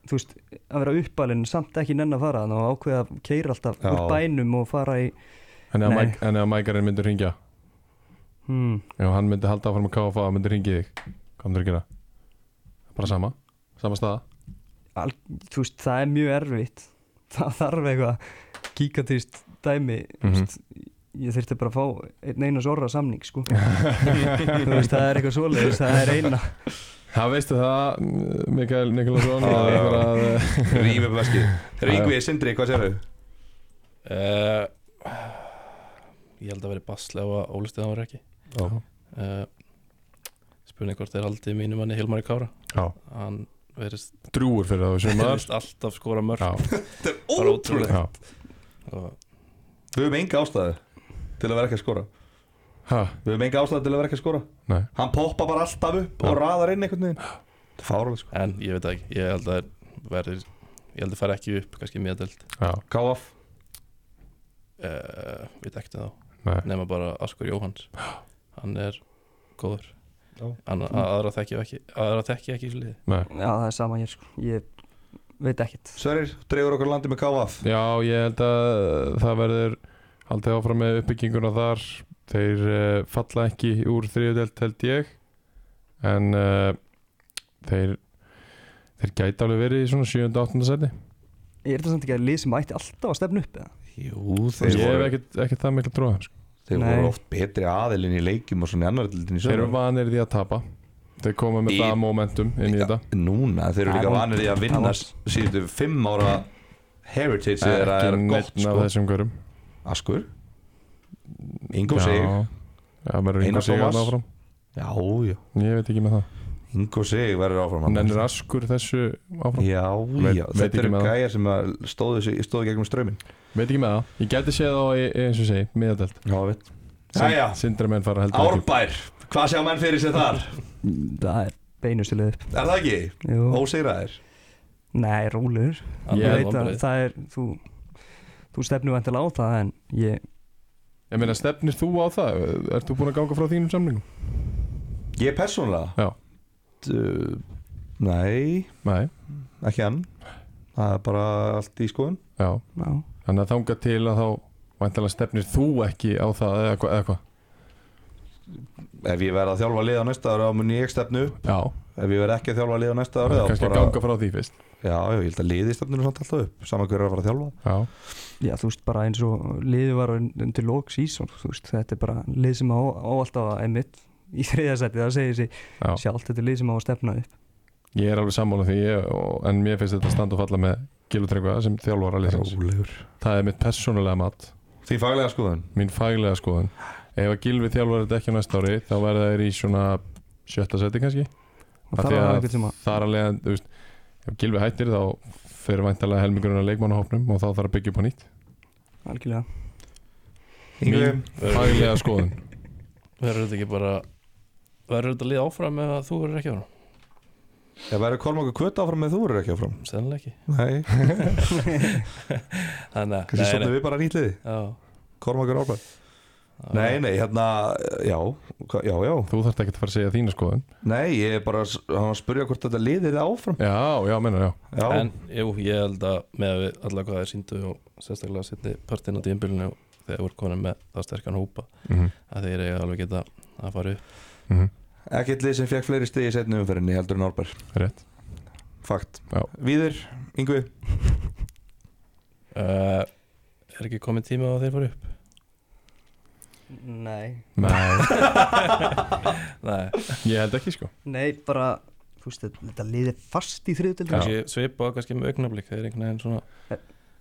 Speaker 3: þú veist, að vera uppalinn Samt ekki nenn að fara hana og ákveða að keira alltaf
Speaker 2: Já.
Speaker 3: úr bænum og fara í
Speaker 1: en ef,
Speaker 3: Nei.
Speaker 1: Mike, en ef Mækarinn myndur ringja
Speaker 3: hmm,
Speaker 1: Ef hann myndi halda áfram að káfa og myndur ringja þig Hvað myndur að gera? Bara sama, sama staða
Speaker 3: al, þú veist, það er mjög erfitt það þarf eitthvað kíkatist dæmi mm
Speaker 1: Mhm.
Speaker 3: veist, ég þurfti bara að fá einn einas orra samning sko þú veist, það er eitthvað svoleiðis, það er eina
Speaker 1: Það veistu það, M- Mikael Nikolásson eh,
Speaker 2: Já,
Speaker 1: að
Speaker 2: já.
Speaker 1: einhver að-
Speaker 2: rýmið beski
Speaker 1: Já, já.
Speaker 2: Ríkvið Sindri, hvað sér þau?
Speaker 4: uh, ég held að vera basli á að Óli Stefán var ekki uh, spurning hvort þeir haldið mínum manni Hilmari Kára
Speaker 1: Já.
Speaker 4: hann verðist
Speaker 1: Drúgur fyrir það og sumar
Speaker 4: verðist alltaf skora mörg
Speaker 1: Já,
Speaker 2: þetta er
Speaker 4: Bara
Speaker 1: já
Speaker 2: ótrúlega
Speaker 4: og
Speaker 2: Við höfum enga ástæðu til að vera ekki að skora
Speaker 1: Ha,
Speaker 2: Við höfum enga ástæðu til að vera ekki að skora
Speaker 1: Nei.
Speaker 2: Hann poppa bara alltaf upp
Speaker 1: Já.
Speaker 2: og raðar inn einhvern veginn Það er fárulega sko
Speaker 4: en ég veit það ekki, ég held að þeir verður ég held að fara ekki upp, kannski miðadelt
Speaker 1: já,
Speaker 2: KF
Speaker 4: uh, við dektum þá,
Speaker 1: nei
Speaker 4: nema bara Askur Jóhans hann er góður Anna,
Speaker 1: Mm.
Speaker 4: aðra þekki ég ekki aðra þekki ég ekki í þessu liði
Speaker 1: Nei.
Speaker 3: Já, það er sama hér sko. Ég veit ekkert
Speaker 2: Sverrir, dregur okkur landi með KF
Speaker 1: Já, ég held að það verður haldið áfram með uppbygginguna þar þeir uh, falla ekki úr þriðudelt held ég en uh, þeir þeir gæti alveg verið í svona 7. 8. seti
Speaker 3: Ég er þetta samt ekki að lið sem ætti alltaf að stefna upp eða?
Speaker 2: Jú, þeir
Speaker 1: ég hef
Speaker 2: voru,
Speaker 1: ekkert ekki það miklu trúa sko.
Speaker 2: þeir
Speaker 3: Nei.
Speaker 2: voru oft betri aðilinn í leikjum og svona í annar dildin í
Speaker 1: þeir eru
Speaker 2: sömur
Speaker 1: vanir því að tapa þeir koma með
Speaker 2: Í-
Speaker 1: það momentum inn í þetta
Speaker 2: Núna, þeir eru
Speaker 3: Það
Speaker 2: líka
Speaker 3: er
Speaker 2: vanir í að
Speaker 3: vont.
Speaker 2: vinna
Speaker 3: Það er
Speaker 2: síðustu fimm ára heritage þeirra er
Speaker 1: ekki
Speaker 2: gott
Speaker 1: neitt af
Speaker 2: sko.
Speaker 1: þessum hverjum
Speaker 2: Askur Ingo Sig
Speaker 1: Já, Já, verður
Speaker 2: Einar
Speaker 1: yngur sig
Speaker 2: Tómas.
Speaker 1: að áfram
Speaker 2: Já, já
Speaker 1: ég veit ekki með það
Speaker 2: Ingo Sig verður áfram hann.
Speaker 1: nennir askur þessu áfram
Speaker 2: Já,
Speaker 1: Veit-
Speaker 2: já,
Speaker 1: veit
Speaker 2: þetta
Speaker 1: ekki
Speaker 2: eru
Speaker 1: með það.
Speaker 2: gæjar sem að stóðu, sig- stóðu gegnum strömmin
Speaker 1: veit ekki með það ég gæti séð þá í- eins og segi miðadelt
Speaker 2: Já, veit Jæja,
Speaker 1: sindra menn fara heldur ekki
Speaker 2: Árbær, hvað sjá menn fyrir sér þar?
Speaker 3: Það er beinustu lið upp
Speaker 2: Er það ekki?
Speaker 3: Jú.
Speaker 2: Ósegraðir
Speaker 3: Nei, rólur
Speaker 1: Ég
Speaker 3: Ég
Speaker 1: er
Speaker 3: veit að það er Þú, þú stefnir vantilega á það en ég
Speaker 1: Ég meina, stefnir þú á það? Ert þú búin að ganga frá þínum samlingum?
Speaker 2: Ég persónulega
Speaker 1: Já.
Speaker 2: Uh, Nei,
Speaker 1: Nei,
Speaker 2: ekki hann Það er bara allt í skoðun
Speaker 1: já.
Speaker 3: Já,
Speaker 1: Þannig að þanga til að þá væntalega stefnir þú ekki á það eða hvað? Hva?
Speaker 2: Ef ég verð að þjálfa lið á næsta ára þá mun ég stefnu upp
Speaker 1: Já,
Speaker 2: Ef ég verð ekki að þjálfa lið á næsta ára þá
Speaker 1: kannski að ganga frá því fyrst.
Speaker 2: Já, já, ég held að liði stefnunum samt alltaf upp Saman hverju er að fara að þjálfa
Speaker 1: Já,
Speaker 3: já, þú veist bara eins og liðið var undir lók sísón veist, Þetta er bara lið sem á, á alltaf að emitt í þriðasæti, það segir sig
Speaker 1: já.
Speaker 3: sjálft þetta er lið sem á að stefna upp
Speaker 1: Ég er alveg sammála því, ég, og, en mér finnst þetta standa og falla með Gilutrengu sem þjálfara liðsins.
Speaker 2: Rólegur
Speaker 1: Það er mitt persónulega mat,
Speaker 2: Þín faglega skoðun
Speaker 1: mín faglega skoðun. Ef að Gilvi þjálfar þetta ekki á næsta ári, þá verða þeir í svona sjötta seti kannski.
Speaker 3: og
Speaker 1: Af
Speaker 3: það
Speaker 1: því
Speaker 3: var
Speaker 1: að
Speaker 3: einhvern sem að
Speaker 1: Þar að leiðan, þú veist, ef Gilvi hættir þá fer væntalega helmingurinn að leikmannahópnum og þá þarf að byggja upp á nýtt.
Speaker 3: algjörlega
Speaker 2: Ingvi
Speaker 4: Mín- verður
Speaker 1: Faglega skoðun.
Speaker 4: verður þetta ekki bara verður þetta lið áfram ef að þú verður ekki áfram
Speaker 2: Ef verður Kormákur kvöt áfram með þú verður ekki áfram
Speaker 4: sennilega ekki
Speaker 2: Nei,
Speaker 4: þannig
Speaker 2: kannski stofnum við bara nýtt liði
Speaker 4: já,
Speaker 2: Kormákur árbær
Speaker 4: já.
Speaker 2: Nei, nei, hérna, já, hva- já, já
Speaker 1: Þú þarft ekki að fara að segja þína skoðun
Speaker 2: Nei, ég er bara að s- hann var að spurja hvort þetta liðið er áfram
Speaker 1: Já, já, menna, já
Speaker 2: Já,
Speaker 4: En jú, ég held að með að við allar hvað þeir síndu og sérstaklega setni partinn á dýmbilinu þegar voru konum með það sterkan hópa
Speaker 1: mm -hmm.
Speaker 4: að þeir eiga alveg geta að fara upp
Speaker 2: ekkert lið sem fekk fleiri stegi í setni umferðinni heldur en árbær
Speaker 1: Rétt
Speaker 2: Fakt
Speaker 1: Já.
Speaker 2: Víðir, Ingvi
Speaker 4: uh, Er ekki komin tíma á að þeir fara upp?
Speaker 3: Nei,
Speaker 1: Nei,
Speaker 4: Nei,
Speaker 1: ég held ekki sko
Speaker 3: nei, bara þú veist, þetta- þetta liðið er fast í þriðutöldum
Speaker 4: kannski svipa kannski með augnablík þeir einhvern veginn svona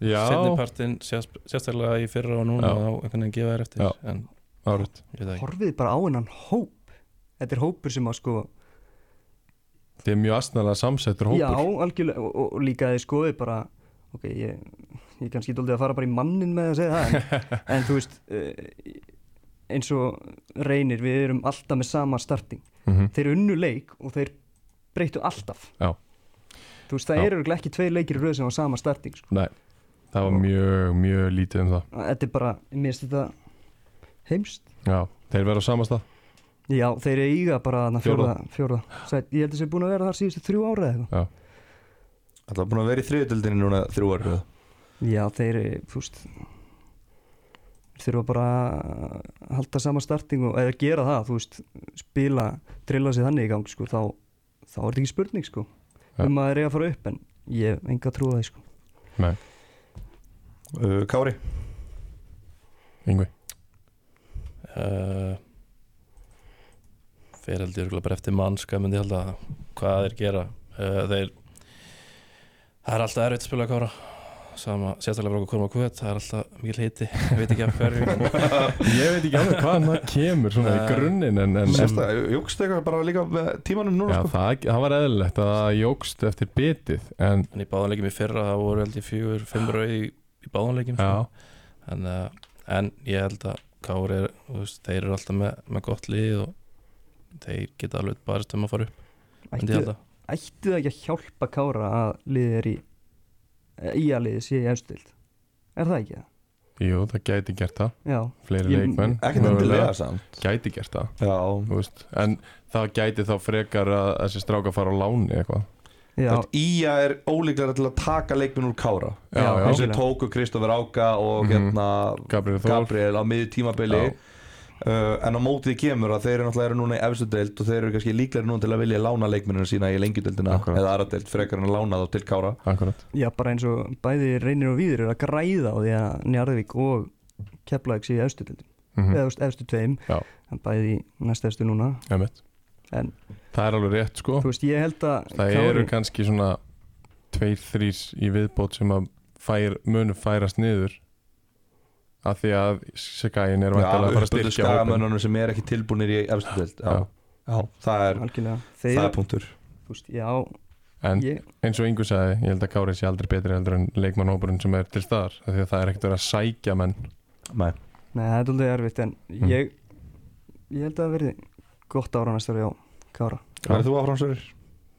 Speaker 1: Já,
Speaker 4: setni partinn sérst- sérstaklega í fyrra og
Speaker 1: Já.
Speaker 4: núna og þá einhvern veginn gefa þær eftir
Speaker 1: Já.
Speaker 4: en
Speaker 1: árið
Speaker 4: ég veit það ekki
Speaker 3: horfið bara á hennan hóp þetta er hópur sem að sko
Speaker 1: Þetta er mjög astnalega samsettur hópur
Speaker 3: já, algjörlega, og, og- og líka að þið skoði bara ok, ég, ég kannski dóldi að fara bara í mannin með að segja það en, en þú veist eh, eins og reynir, við erum alltaf með sama starting,
Speaker 1: Mhm.
Speaker 3: þeir unnu leik og þeir breyttu alltaf
Speaker 1: Já.
Speaker 3: þú veist, það
Speaker 1: Já.
Speaker 3: eru örugglega ekki tveir leikir í röð sem á sama starting sko.
Speaker 1: Nei, það var mjög, mjög lítið um það
Speaker 3: þetta er bara, mér finnst þetta heimst
Speaker 1: Já, þeir verða á samasta
Speaker 3: Já, þeir eiga bara þarna fjórða, fjórða. Sæt, Ég held að þessi er búin að vera þar síðustu þrjú ára eða eitthvað
Speaker 1: Já,
Speaker 2: Það er búin að vera í þriðutöldinni núna þrjú ára
Speaker 3: Já, þeir, eh, þú veist þeir þurfa bara að halda sama starting og eða gera það, þú veist, spila drilla sig þannig í gang, sko, þá þá er þetta ekki spurning, sko
Speaker 1: Já.
Speaker 3: um að þeir eiga að fara upp, en ég hef enga trú að því, sko
Speaker 1: nei,
Speaker 2: uh, Kári
Speaker 1: yngvi
Speaker 4: uh, Fyrir held ég örugglega bara eftir mannska myndi ég held að hvað þeir gera uh, þeir það er alltaf erfitt að spila kára sama, sérstaklega bara okkur koma kvöt það er alltaf mikil hiti, ég veit ekki af hverju en-
Speaker 1: Ég veit ekki alveg hvaðan það kemur svona í
Speaker 4: Nei.
Speaker 1: grunninn en, en, en
Speaker 2: Sérsta, Jókst eitthvað bara líka með tímanum núna
Speaker 1: Já,
Speaker 2: sko.
Speaker 1: það, það var eðlilegt að það jógst eftir bitið en
Speaker 4: en í báðanleikjum í fyrra það voru held ég fjögur, fimm rauð í, í báðanleikjum
Speaker 1: já,
Speaker 4: en, uh, en ég held að Kári er, þú veist, þeir eru alltaf með, með gott lið og þeir geta alveg barist um að fara upp myndi
Speaker 3: Ættu,
Speaker 4: ég held að
Speaker 3: ættu það ekki að hjálpa Kára að liðið er í í að liðið sé í efstild Er það ekki það?
Speaker 1: Jú, það gæti gert það,
Speaker 3: já,
Speaker 1: fleiri
Speaker 3: Ég-
Speaker 1: leikmenn
Speaker 2: ekkert
Speaker 1: mögulega.
Speaker 2: endilega samt
Speaker 1: Gæti gert það,
Speaker 2: já,
Speaker 1: þú veist En það gæti þá frekar að þessi stráka fara á láni eitthvað
Speaker 3: já,
Speaker 2: Þvist, Ía er ólíklega til að taka leikminn úr Kára
Speaker 1: Já,
Speaker 3: Já,
Speaker 1: já,
Speaker 2: eins og
Speaker 3: algjörlega.
Speaker 2: tóku Kristoffer Áka og
Speaker 1: Mhm.
Speaker 2: hérna
Speaker 1: Gabriel Þór
Speaker 2: Gabriel á miðju tímabili
Speaker 1: Já.
Speaker 2: uh, en á mótið kemur að þeir eru náttúrulega eru núna í efstu deild og þeir eru kannski líklega núna til að vilja lána leikmennina sína í lengjudeldina
Speaker 1: Akkurat.
Speaker 2: eða aðra deild frekar en að lána þá til Kára
Speaker 1: Akkurat,
Speaker 3: já, bara eins og bæði reynir og víður eru að græða á því að Njarðvík og Keflavík sé í efstu tildum,
Speaker 1: mm
Speaker 3: eða þú veist, efstu tveim
Speaker 1: Já.
Speaker 3: en bæði í næst efstu núna en
Speaker 1: það er alveg rétt sko
Speaker 3: þú veist, ég held að
Speaker 1: Það eru kannski svona tveir, þrýr í viðbót sem að fær, munu færast niður af því að Segæin er vantilega að fara að
Speaker 2: uppbyrðu
Speaker 1: styrkja hópin
Speaker 2: skagamönnunum sem er ekki tilbúnir í efstu deild já.
Speaker 1: Já.
Speaker 2: Já, það er,
Speaker 3: algjörlega,
Speaker 2: það er
Speaker 3: þeir,
Speaker 2: punktur
Speaker 3: þú veist, já
Speaker 1: En
Speaker 3: ég,
Speaker 1: eins og Ingu sagði, ég held að Kári sé aldrei betri heldur en leikmannhópurinn sem er til staðar af því að það er ekkert verið að sækja menn
Speaker 2: Nei.
Speaker 3: Nei, það er alveg erfitt en
Speaker 1: Mm.
Speaker 3: ég, ég held að það verði gott ára næstari á Kára
Speaker 2: Verður þú áfram Sverrir?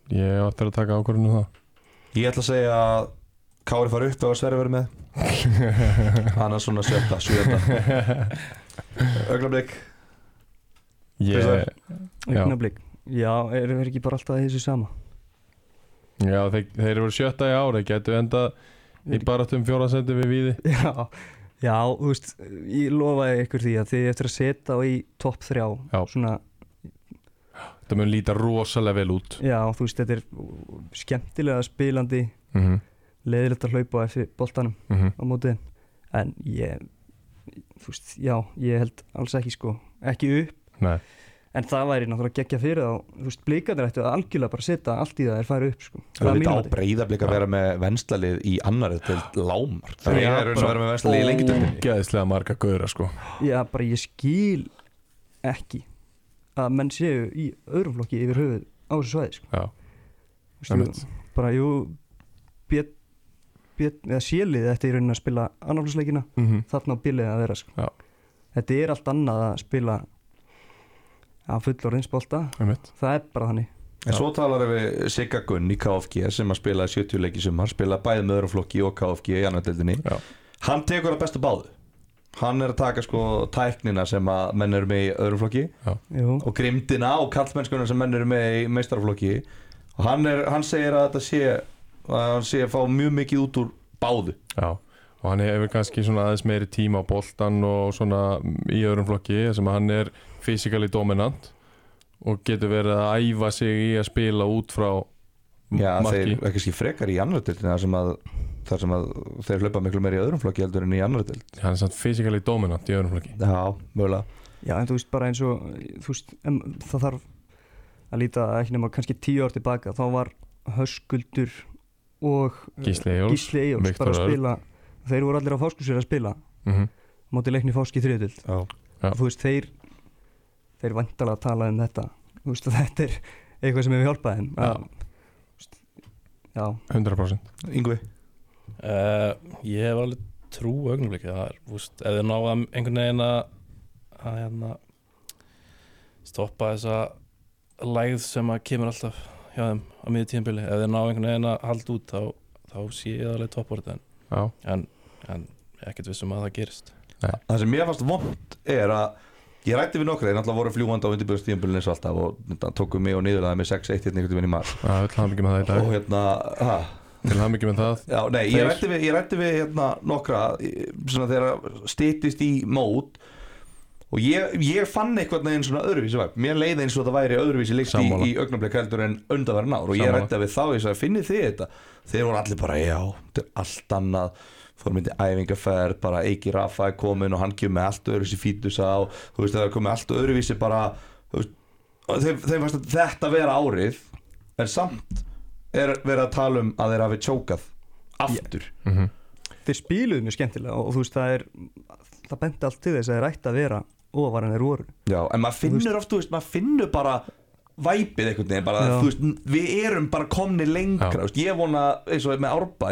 Speaker 1: Ég áttur að taka ákvörðinu það
Speaker 2: Ég ætla að segja að Kári fara upp og Sverri verður með annars svona sjötta, sjötta Öglablik
Speaker 1: Ég, Já.
Speaker 3: Augnablík Já, eru við ekki bara alltaf í þessu sama?
Speaker 1: já, þeir, þeir eru verið sjötta í ári getur endað í baráttum fjórasendi við víði
Speaker 3: Já, já, þú veist, ég lofaði ykkur því að þið eftir að setja á í topp þrjá
Speaker 1: Já.
Speaker 3: Svona,
Speaker 1: Það mun líta rosalega vel út
Speaker 3: já, þú veist, þetta er skemmtilega spilandi
Speaker 1: mm -hmm.
Speaker 3: leiðilegt að hlaupa á eftir boltanum
Speaker 1: Mm
Speaker 3: á mótið En ég, þú veist, já, ég held alls ekki sko Ekki upp
Speaker 1: Nei,
Speaker 3: En það væri náttúrulega geggja fyrir þá Þú veist, blikarnir ættu að algjörlega bara setja allt í það þeir færi upp sko.
Speaker 2: Það er
Speaker 3: að
Speaker 2: lítið
Speaker 3: mínu
Speaker 2: á
Speaker 3: mati.
Speaker 2: breyðablik að vera með venstlalið í annari til lámar Það
Speaker 3: Já,
Speaker 2: er eins og
Speaker 3: bara-
Speaker 2: vera með venstlalið í lengjutöldinni
Speaker 1: ógeðislega marga gauðra sko
Speaker 3: Já, bara ég skil ekki að menn séu í öðrum flokki yfir höfuð á þessu svæði sko.
Speaker 1: Já,
Speaker 3: Þú veist,
Speaker 1: einmitt.
Speaker 3: jú, bara, jú björn, björn, eða sélið þetta í rauninni að spila annarflósleikina
Speaker 1: mm -hmm.
Speaker 3: þarna á bílið að vera sko.
Speaker 1: Já.
Speaker 3: Þetta er allt annað að spila að fullorðinsbolta
Speaker 1: einmitt
Speaker 3: það er bara þannig
Speaker 2: En svo talar við Sigga Gunn í KFG sem að spila 70 leiki sem hann spila bæði með öðrum flokki og KFG í annari deildinni
Speaker 1: Já.
Speaker 2: Hann tekur að bestu báðu Hann er að taka sko tæknina sem að menn eru með í öðrum flokki
Speaker 3: Jú,
Speaker 2: og grimdina og kallmennskuna sem menn eru með í meistarflokki og hann, er, hann segir að þetta sé að hann sé að fá mjög mikið út úr báðu
Speaker 1: Já, og hann hefur kannski svona aðeins meiri tíma á boltan og svona í öðrum flokki sem að hann er fysikali dominant og getur verið að æfa sig í að spila út frá
Speaker 2: Já,
Speaker 1: marki
Speaker 2: þeir er kannski frekar í annar dildin þar sem að, þar sem að þeir hlaupa miklu meiri í öðrum flokki heldur en í annar dild
Speaker 1: Hann er samt fysikali dominant í öðrum flokki
Speaker 2: Já, mögulega
Speaker 3: Já, en þú veist bara eins og þú veist, em, það þarf að líta ekki nema kannski tíu ár tilbaka þá var Höskuldur og
Speaker 1: Gísli Jóls
Speaker 3: Gísli Eyjóls
Speaker 1: Viktor
Speaker 3: bara að
Speaker 1: Örn.
Speaker 3: spila þeir voru allir á fáskursir að spila
Speaker 1: mm -hmm.
Speaker 3: móti leikni fáski þriðutild
Speaker 2: Já.
Speaker 1: Já.
Speaker 3: þú veist, þeir þeir vantalega að tala um þetta þú veist, og þetta er eitthvað sem hefur hjálpað þeim
Speaker 1: Já.
Speaker 3: Að- þú veist, Já,
Speaker 1: 100%
Speaker 2: Yngvi
Speaker 4: Uh, ég hef alveg trú augnabliki það er, úst, ef þið náða einhvern veginn að að hérna stoppa þessa lægð sem að kemur alltaf hjá þeim á miðju tíðanbili, ef þið náða einhvern veginn að halda út þá, þá sé ég alveg toppvort en,
Speaker 1: Já,
Speaker 4: en, en ekkert vissum að það gerist
Speaker 2: Það sem mér fannst vond er að ég rætti við nokkra, þeir náttúrulega voru fljúandi á undirbjörnstíðanbjörn eins og alltaf og þetta tóku mig og niðurlega með 6-1 hérna einhvern veginn í maður
Speaker 1: það er hann ekki með það í dag
Speaker 2: og hérna, ha,
Speaker 1: Til hann ekki með það
Speaker 2: já, nei, ég
Speaker 1: Þeir-
Speaker 2: rætti við, ég rætti við hérna nokkra í- svona þegar stýttist í mót og ég, ég fann eitthvað neginn svona öðruvísi væp mér leiði eins og það væri öðruvísi líkt í,
Speaker 1: Sammála.
Speaker 2: í augnablik heldur en undanverðin ár og ég
Speaker 1: Sammála.
Speaker 2: rætti við þá, ég sagði, finnið þið þetta þeir voru allir bara, já, þetta er allt annað fórum myndi æfingaferð, bara Eiki Rafa er komin og hann kemur með allt öðruvísi fítusa og þú veist, það er komið allt öðruvísi bara, þú veist og þeim, þeim fannst þetta vera árið en samt er verið að tala um að þeir hafi tjókað aftur
Speaker 1: mm
Speaker 3: þeir spiluðu mjög skemmtilega og, og þú veist, það er það benti allt til þess að þeir ætti að vera ofar en þeir voru
Speaker 2: Já, en maður finnur oft, þú veist, maður finnur bara væpið einhvern veginn, bara,
Speaker 3: Já.
Speaker 2: þú veist, við erum bara komni lengra,
Speaker 1: Já.
Speaker 2: þú veist, ég vona, eins og með Árbæ,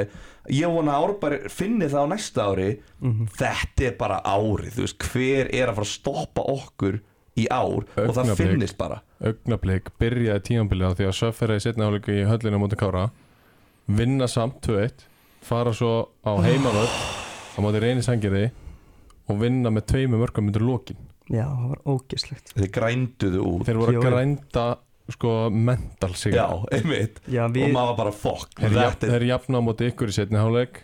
Speaker 2: ég vona að Árbæ finni það á næsta ári, Mhm. þetta er bara árið, þú veist, hver er að fara að stoppa okkur í ár og það
Speaker 1: Augnablik.
Speaker 2: finnist bara.
Speaker 1: Augnablik byrjaði tímanbilið á því að Söffera í setna hálfleiku í höllinu á móti Kára vinna samt 2-1 fara svo á heimavöld á móti reyni sangirði og vinna með tveimu mörgum undir lokin
Speaker 3: já, það var ógeðslegt
Speaker 2: þeir grænduðu út
Speaker 1: þeir voru
Speaker 3: Jó,
Speaker 1: að
Speaker 3: já.
Speaker 1: grænda sko mental sig
Speaker 2: já, einmitt
Speaker 3: já,
Speaker 2: og
Speaker 3: við,
Speaker 2: maður var bara fokk
Speaker 1: þeir, jafn, þeir jafna á móti ykkur í setni hálfleik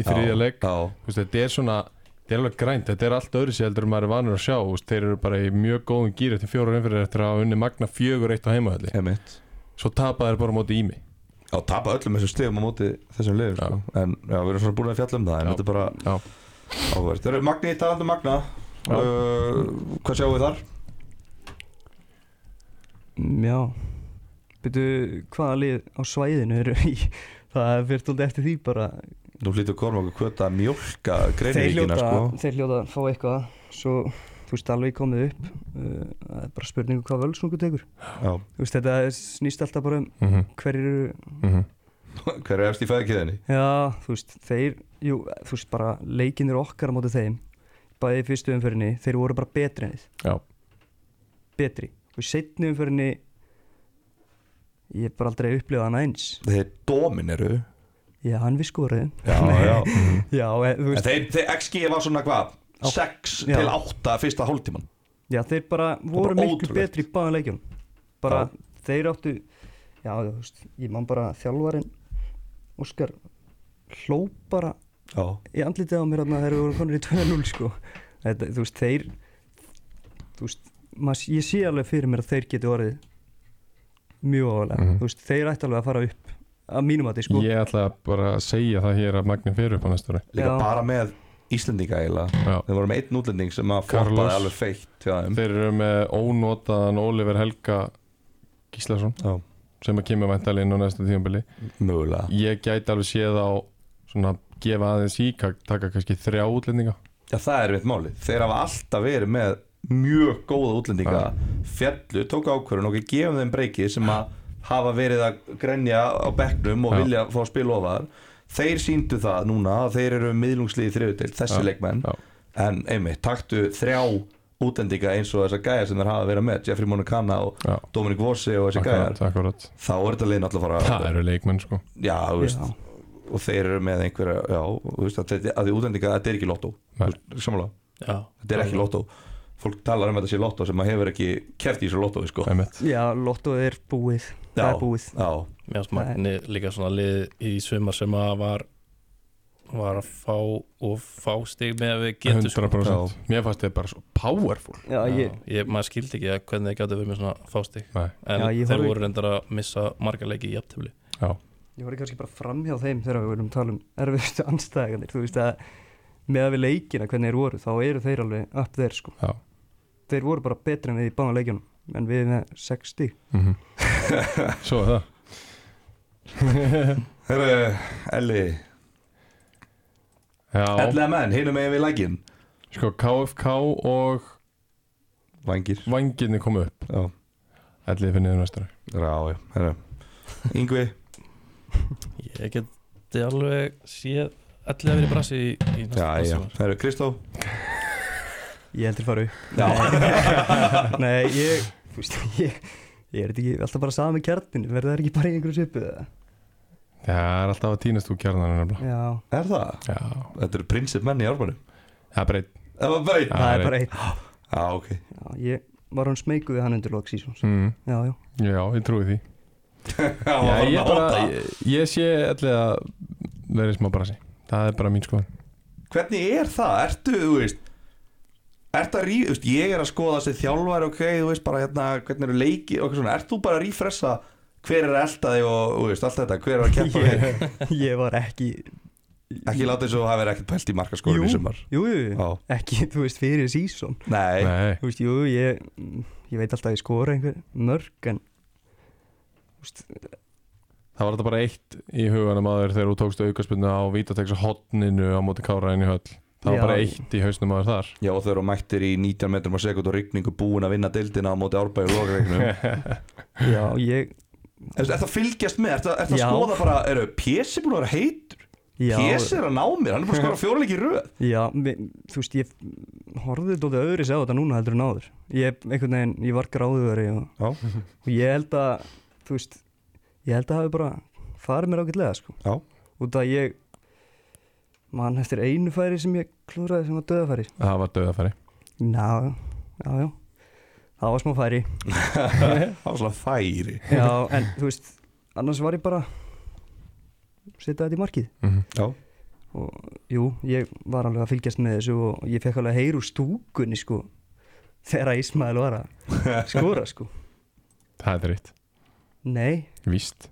Speaker 1: í þriðja leik
Speaker 2: já,
Speaker 1: Þú veist, þetta er svona þetta er alveg grænt, þetta er allt öðru sér heldur en maður er vanur að sjá, Þú veist, þeir eru bara í mjög góðum gýr eftir fjórar umfyrir eftir að hafa unni magna fjögur eitt á heimahölli,
Speaker 2: einmitt
Speaker 1: svo tapa þeir bara á móti ími
Speaker 2: Já, tapa öllum þessum stegum á móti þessum liður
Speaker 1: Já.
Speaker 2: sko. En já, við erum svona búin að fjalla um það En
Speaker 1: Já.
Speaker 2: þetta er bara
Speaker 1: Já.
Speaker 2: áhverjast Það eru Magni, talandi um Magna
Speaker 1: Já.
Speaker 2: uh, Hvað sjáum við þar?
Speaker 3: mm, já byrju, hvaða lið á svæðinu eru í það fyrir tóldi eftir því bara
Speaker 2: Nú hlýtur Kormák að kvöta að mjólka
Speaker 3: þeir
Speaker 2: greinvíkina
Speaker 3: hljóta,
Speaker 2: sko.
Speaker 3: þeir hljóta að fá eitthvað svo, þú veist, alveg komið upp uh, það er bara spurningu hvað völsungu tekur
Speaker 2: Já.
Speaker 3: þú veist, þetta snýst alltaf bara um
Speaker 1: mm
Speaker 2: Mhm.
Speaker 1: -hmm.
Speaker 3: hverjir eru
Speaker 2: Hver er efst í fæðikiðinni?
Speaker 3: Já, þú veist, þeir, jú, þú veist bara leikinir okkar á móti þeim bæði í fyrstu umfyrinni, þeir voru bara betri en þið
Speaker 1: Já.
Speaker 3: Betri, og í setni umfyrinni ég hef bara aldrei upplifað hann eins
Speaker 2: Þeir domineru
Speaker 3: Já, hann við skoraði
Speaker 2: Já, já
Speaker 3: Já, e, þú
Speaker 2: En
Speaker 3: veist,
Speaker 2: þeir, þeir XG var svona hvað?
Speaker 3: Á-
Speaker 2: 6
Speaker 3: Já.
Speaker 2: til 8 fyrsta hóltíman
Speaker 3: já, þeir bara voru
Speaker 2: bara
Speaker 3: miklu
Speaker 2: ótrúlegt.
Speaker 3: betri í báðan leikjum bara, þeir áttu Já, þú veist, ég man bara þjálfarin Óskar hló bara
Speaker 2: Já
Speaker 3: í andlitið á mér þarna þegar við vorum konur í 2-0 sko Þetta, þú veist, þeir þú veist, maður, ég sé alveg fyrir mér að þeir geti orðið mjög ofalega,
Speaker 1: Mhm.
Speaker 3: þú veist, þeir ætti alveg að fara upp að mínum að því sko
Speaker 1: ég ætla bara að segja það hér að Magni fyrir upp á næstu ári
Speaker 2: Líka
Speaker 3: Já.
Speaker 2: bara með Íslendinga eiginlega
Speaker 1: Já.
Speaker 2: Þeir voru með einn útlending sem að
Speaker 1: Carlos.
Speaker 2: floppaði alveg feitt hjá þeim.
Speaker 1: þeir eru með ónotaðan Oliver Helga Gíslason
Speaker 2: Já.
Speaker 1: sem að kemur væntalega inn á næsta tíumbili
Speaker 2: Mögulega
Speaker 1: ég gæti alveg séð á svona gefa aðeins í, ka- taka kannski þrjá útlendinga
Speaker 2: Já, það er mitt máli. Þeir hafa alltaf verið með mjög góða útlendinga fjallu, tók ákvörðun og gefum þeim breykið sem að hafa verið að grenja á bekknum og
Speaker 1: Já.
Speaker 2: vilja fá að spila ofar. Þeir síndu það núna að þeir eru miðlungsliði þriðutild, þessi
Speaker 1: Já.
Speaker 2: leikmenn.
Speaker 1: Já.
Speaker 2: En einmitt, taktu þrjá útlendinga eins og þessar gæja sem þeir hafa verið með, Jeffrey Monacana og
Speaker 1: Já.
Speaker 2: Dominic Vossi og þessi
Speaker 1: akkurat,
Speaker 2: gæjar.
Speaker 1: akkurat.
Speaker 2: Þá er þetta liðin alltaf að fara
Speaker 1: það eru leikmenn sko
Speaker 2: Já, þú veist,
Speaker 3: Já.
Speaker 2: og þeir eru með einhverja, já, þú veist, að, þetta- að því útlendinga, þetta er ekki lottó,
Speaker 1: Nei.
Speaker 2: samanlega
Speaker 4: já,
Speaker 2: þetta er ekki lottó fólk talar um að þetta sé lottó sem maður hefur ekki keft í þessu lottói sko
Speaker 1: einmitt.
Speaker 3: Já, lottoð er búið, það
Speaker 2: Já.
Speaker 3: er búið
Speaker 2: já,
Speaker 4: mér finnst magni líka svona lið í sumar sem að var var að fá og fá stig með að við getum sko.
Speaker 1: 100% mér fannst þið bara svo powerful
Speaker 3: Já, ég,
Speaker 4: Já, ég, maður skildi ekki að hvernig þeir gætu verið með svona fástig
Speaker 1: Nei.
Speaker 4: en
Speaker 3: Já, ég
Speaker 4: þeir
Speaker 3: horfði-
Speaker 4: voru reyndar að missa marga leiki í jafntöfli
Speaker 3: ég var kannski bara framhjá þeim þegar við vorum að tala um erfiðustu anstæðingarnir, þú veist að með að við leikina hvernig þeir voru, þá eru þeir alveg upp þeir sko
Speaker 1: Já.
Speaker 3: Þeir voru bara betri en við í báðan leikjunum en við með 60
Speaker 1: mm svo er það
Speaker 2: herru, Elli
Speaker 1: Já,
Speaker 2: Elli að menn, hinum megin við lækin
Speaker 1: sko KFK og
Speaker 2: vangir,
Speaker 1: vanginni komu upp
Speaker 2: já,
Speaker 1: Ætli finnið um næstari
Speaker 2: já, já, herru Yngvi,
Speaker 4: ég geti alveg séð allir að vera í brasi í, í
Speaker 2: já,
Speaker 4: næsta-
Speaker 2: já,
Speaker 4: næsta
Speaker 2: herru, Kristó
Speaker 3: Ég heldur fara upp
Speaker 2: já,
Speaker 3: Nei, ég, þú veist, ég, ég er þetta ekki alltaf bara sami kjarnin, verður það ekki bara í einhverju svipu eða?
Speaker 1: Það er alltaf að týnast úr kjarnan nefnilega
Speaker 3: Já,
Speaker 2: er það?
Speaker 1: Já,
Speaker 2: þetta eru prinsip menn í ármanum
Speaker 1: það er breytt
Speaker 2: það var
Speaker 1: Já,
Speaker 2: breyt,
Speaker 3: það er
Speaker 1: ég-
Speaker 3: bara einn.
Speaker 2: já, ok
Speaker 3: Já, ég var hann smeykuð við hann undir lok sísons.
Speaker 1: mm.
Speaker 3: Já, já.
Speaker 1: Já, ég trúi því
Speaker 2: já,
Speaker 1: Já,
Speaker 2: var
Speaker 1: ég,
Speaker 2: hann að
Speaker 1: bara,
Speaker 2: hóta
Speaker 1: ég, ég sé ætli að verið smá brasi Það er bara mín skoðan
Speaker 2: hvernig er það, ertu, þú veist Ertu að ríf, þú veist, ég er að skoða þessi þjálfari, ok, þú veist, bara hérna, hvernig eru leiki og eitthvað svona, ert þú bara að rífressa hver er að elta þig og, þú veist, allt þetta, hver er að keppa við
Speaker 3: Ég, ég var ekki,
Speaker 2: Ekki láta eins og það verið ekkert pælt í markaskórun í
Speaker 3: Jú.
Speaker 2: sumar
Speaker 3: jú, jú, jú,
Speaker 2: Já,
Speaker 3: ekki, þú veist, fyrir síson.
Speaker 2: nei,
Speaker 1: Nei,
Speaker 3: Þú veist, jú, ég, ég veit alltaf að ég skora einhver mörg, en, þú veist,
Speaker 1: það var þetta bara eitt í huganum að þér þegar þú tókst aukaspunna á Vítatex hodninu á móti Káraðin í höll Það var
Speaker 3: Já.
Speaker 1: bara eitt í hausnum að þér þar
Speaker 2: já og þau eru mættir í 19 metrum á sekund og rigningu búin að vinna deildina á móti árbæðu og lokreiknum
Speaker 3: já, ég,
Speaker 2: Er það að fylgjast með, er það að
Speaker 3: Já.
Speaker 2: skoða bara, eru Pési búin að vera heitur?
Speaker 3: já,
Speaker 2: Pési er að ná mér, hann er búin að skora fjórleiki í röð
Speaker 3: já, mi, þú veist, ég horfði dótið öðru sér á þetta núna heldur en áður. Ég, einhvern veginn, ég var gráðuveri og
Speaker 2: Já,
Speaker 3: og ég held að þú veist, ég held að hafi bara farið mér ágætlega sko
Speaker 2: Já.
Speaker 3: út að ég mann eftir einu færi sem ég klúraði sem var döðafæri
Speaker 1: það var döðafæri
Speaker 3: já, já, já það var smá færi
Speaker 2: Það var svona færi
Speaker 3: já, en þú veist, annars var ég bara setja þetta í markið
Speaker 1: mm
Speaker 2: Já,
Speaker 3: jú, ég var alveg að fylgjast með þessu og ég fekk alveg að heyra úr stúkunni sko, þegar Ísmael var að skora sko
Speaker 1: það er þreitt,
Speaker 3: nei,
Speaker 1: víst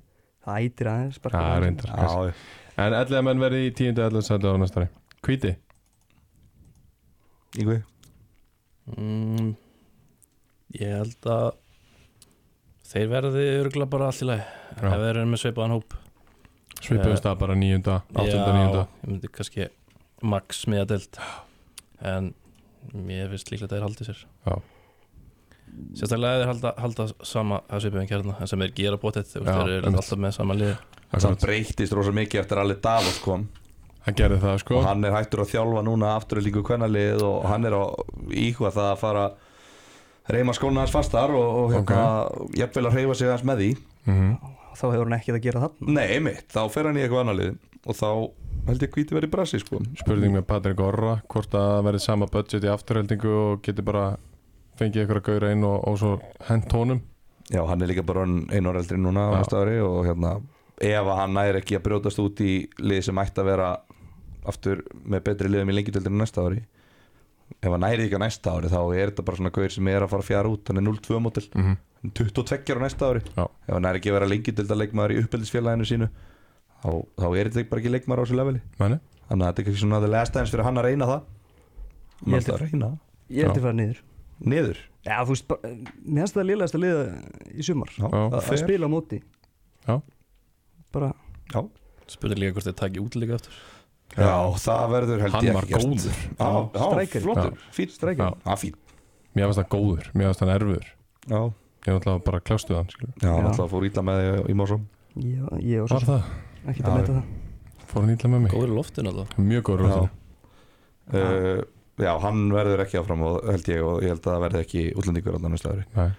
Speaker 3: það ætir aðeins bara
Speaker 1: það er reyndar kannski.
Speaker 2: já,
Speaker 1: en ellega menn verði í tíundu ellega sætlu á næstari hvíti,
Speaker 2: yngvi
Speaker 4: mm, Ég held að þeir verði örgulega bara allt í lagi ef
Speaker 1: Já.
Speaker 4: þeir eru með svipaðan hóp
Speaker 2: Eh.
Speaker 1: svipuðust það bara nýjunda, áttunda, nýjunda
Speaker 4: Já, ég myndi kannski max miðadelt en mér finnst líklega að þeir haldi sér
Speaker 1: Já.
Speaker 4: Sérstaklega ef þeir halda, halda sama að svipaðan kjarna hérna, en sem þeir gera bótið þeir
Speaker 1: Já,
Speaker 4: eru
Speaker 1: einmitt.
Speaker 4: alltaf með sama lið
Speaker 2: Það
Speaker 1: Akkurat.
Speaker 2: breytist rosa mikið eftir allir Davos kom
Speaker 1: hann gerði það sko
Speaker 2: og hann er hættur að þjálfa núna aftur í líku kvennalið og hann er að íhuga það að fara að reyma skóna hans fastar og, og hérna, jafnvel að reyfa sig hans með því
Speaker 1: Mhm.
Speaker 3: þá hefur hann ekkert að gera það
Speaker 2: Nei, einmitt, þá fer hann í eitthvað annar lið og þá held ég hvíti verið brasi sko
Speaker 1: spurning með Patrik Orra hvort að það verði sama budget í afturheldingu og geti bara fengið ykkur að gauðra inn og, og svo hent honum
Speaker 2: Já, hann er líka bara einu ára eldri núna á
Speaker 1: Já.
Speaker 2: næsta ári og hérna ef að hann næri ekki að brjótast út í lið sem ætti að vera aftur með betri liðum í lengjutildinu næsta ári ef hann næri ekki á næsta ári þá er þetta bara svona gauður sem er að fara fjara út hann er 0-2 mótil,
Speaker 1: mm
Speaker 2: 22 ára næsta ári
Speaker 1: Já.
Speaker 2: ef hann næri ekki að vera lengjutildaleikmaður í uppeldisfélaginu sínu þá, þá er þetta bara ekki leikmaður á þessu leveli
Speaker 1: -hmm.
Speaker 2: þannig að þetta er kannski svona the last dance fyrir hann að reyna það
Speaker 3: Ég
Speaker 2: hann er
Speaker 3: held
Speaker 2: alltaf að reyna það.
Speaker 3: ég
Speaker 1: Já.
Speaker 3: held að fara niður
Speaker 2: niður
Speaker 3: já, þú veist, bara, mér finnst það liðast að liða í sumar
Speaker 2: Já,
Speaker 1: Já.
Speaker 3: að,
Speaker 2: það
Speaker 3: að
Speaker 2: fer.
Speaker 3: spila á móti
Speaker 1: Já.
Speaker 3: bara,
Speaker 2: Já.
Speaker 4: Spurning líka hvort þeir taki út líka aftur
Speaker 2: Já, það verður held
Speaker 1: hann
Speaker 2: ég
Speaker 1: var
Speaker 2: ekki gert.
Speaker 1: góður
Speaker 2: Já, já,
Speaker 3: Strækari.
Speaker 2: flottur, fín
Speaker 3: Strækari.
Speaker 1: Já.
Speaker 2: Já, fín
Speaker 1: mér finnst það góður, mér finnst hann erfiður
Speaker 2: Já,
Speaker 1: ég er náttúrulega bara klástuð hann skilur.
Speaker 2: já,
Speaker 3: Já.
Speaker 2: náttúrulega fór ítla með þig í mórsum
Speaker 3: já, ég var
Speaker 1: var
Speaker 3: svo
Speaker 1: það,
Speaker 3: sem ekkert
Speaker 2: Já,
Speaker 3: að meta það
Speaker 1: fór hann ítla með mig
Speaker 4: Góður í loftinu alltaf
Speaker 1: mjög góður
Speaker 2: Já.
Speaker 1: úr það
Speaker 2: uh, Já, hann verður ekki áfram og held ég og ég held að það verði ekki útlendingur andan næsta ári
Speaker 1: Nei.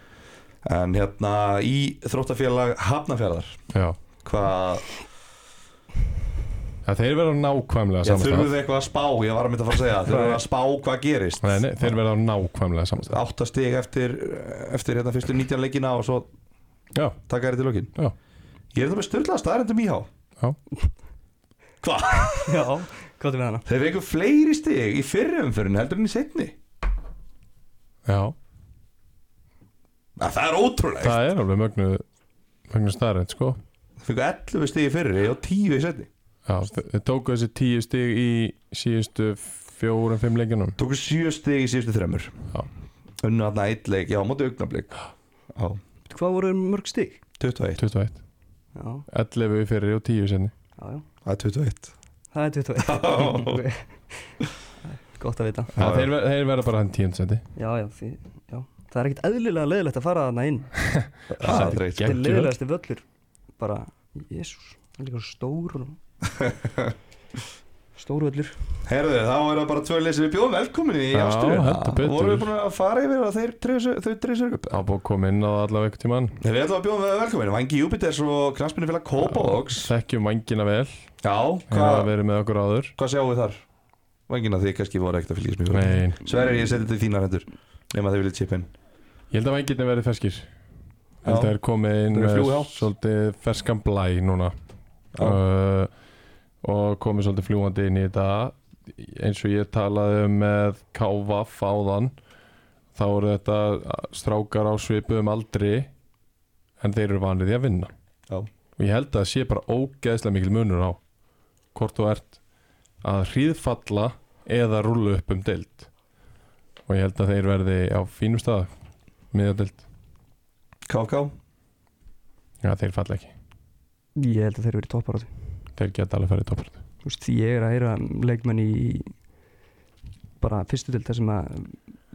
Speaker 2: En hérna í þróttafélag Hafnafjörðar
Speaker 1: Já.
Speaker 2: Hvað,
Speaker 1: Ja, þeir verða nákvæmlega
Speaker 2: já, þurfum
Speaker 1: samastað
Speaker 2: við eitthvað að spá, ég var að mynda að fara að segja Þurfum við að spá hvað gerist
Speaker 1: nei, nei, þeir verða nákvæmlega samastað
Speaker 2: Átta stig eftir, eftir hérna fyrstu 19 leikina og svo
Speaker 1: já,
Speaker 2: taka þér til lokin
Speaker 1: Já.
Speaker 2: Ég er þetta með styrlað staðarendum íhá
Speaker 3: já, hvað er með hana?
Speaker 2: Þeir veikum fleiri stig í fyrri umfyrin heldur en í setni
Speaker 1: já,
Speaker 2: að Það er ótrúlegt
Speaker 1: það er alveg mögnu mögnu starrið sko
Speaker 2: Þeir fengu 11 stig í fyrri og 10 í setni
Speaker 1: já, þe- þeir tóku þessi tíu stig í síðustu fjórum, fimm leikinum
Speaker 2: Tóku 7 stig í síðustu þremur
Speaker 1: Já.
Speaker 2: Unnu hann að eitt leik, já, á móti augnablik Já,
Speaker 3: hvað voru mörg stig?
Speaker 2: 21
Speaker 1: 21,
Speaker 3: já,
Speaker 1: 11 fyrir og 10 senni
Speaker 3: já, já,
Speaker 2: Það er 21
Speaker 3: það er 21 Ok. gott að vita
Speaker 2: Já,
Speaker 1: ja,
Speaker 2: já.
Speaker 1: þeir, ver- þeir verða bara hann 10 senti
Speaker 3: já, já, því, já það er ekkert eðlilega leiðilegt að fara þarna inn
Speaker 2: Það er dreitt
Speaker 3: þetta er
Speaker 1: Geggjuð.
Speaker 3: leiðilegasti völlur bara, jésús, það er líka svo stór og- stór völlur
Speaker 2: Herðu, þá er það bara tvö lið sem við bjóðum velkomin í
Speaker 1: Já,
Speaker 2: Ástriðuna.
Speaker 1: heldur betur.
Speaker 2: Vorum við búin að fara yfir að þeir treysu, þau treysu upp
Speaker 1: á búið að koma inn á það allavega eitthvað tímann
Speaker 2: Nei, Við ætlum að bjóðum við velkomin Vangi Júpiters og knastminni félag Kópavóks
Speaker 1: þekkjum vangina vel,
Speaker 2: Já,
Speaker 1: þeir hafa
Speaker 2: hvað
Speaker 1: verið með okkur áður
Speaker 2: hva sjáum við þar? Vangina því kannski voru ekkert að fylgjast mjög vel.
Speaker 1: nei,
Speaker 2: Sverrir, ég seti þetta í þínar hendur Nefn að þið viljið chipin
Speaker 1: ég held að vanginni verið ferskir ég held að
Speaker 2: Já.
Speaker 1: þeir komið inn
Speaker 2: Þeir eru
Speaker 1: með
Speaker 2: flughátt.
Speaker 1: svolítið ferskan blæ núna
Speaker 2: Já.
Speaker 1: uh, og komið svolítið fljúandi inn í þetta eins og ég talaði um með KVF áðan þá eru þetta strákar á svipuðum aldri en þeir eru vanið því að vinna
Speaker 2: Já.
Speaker 1: og ég held að það sé bara ógeðslega mikil munur á hvort þú ert að hríðfalla eða rúlu upp um deild og ég held að þeir verði á fínum stað miðjadeild,
Speaker 2: KFK
Speaker 1: já þeir falla ekki
Speaker 3: ég held að þeir eru verið topparátt
Speaker 1: þeir geta alveg farið í toppart
Speaker 3: Þú veist, ég er að heyra um leikmenn í bara fyrstu til þessum að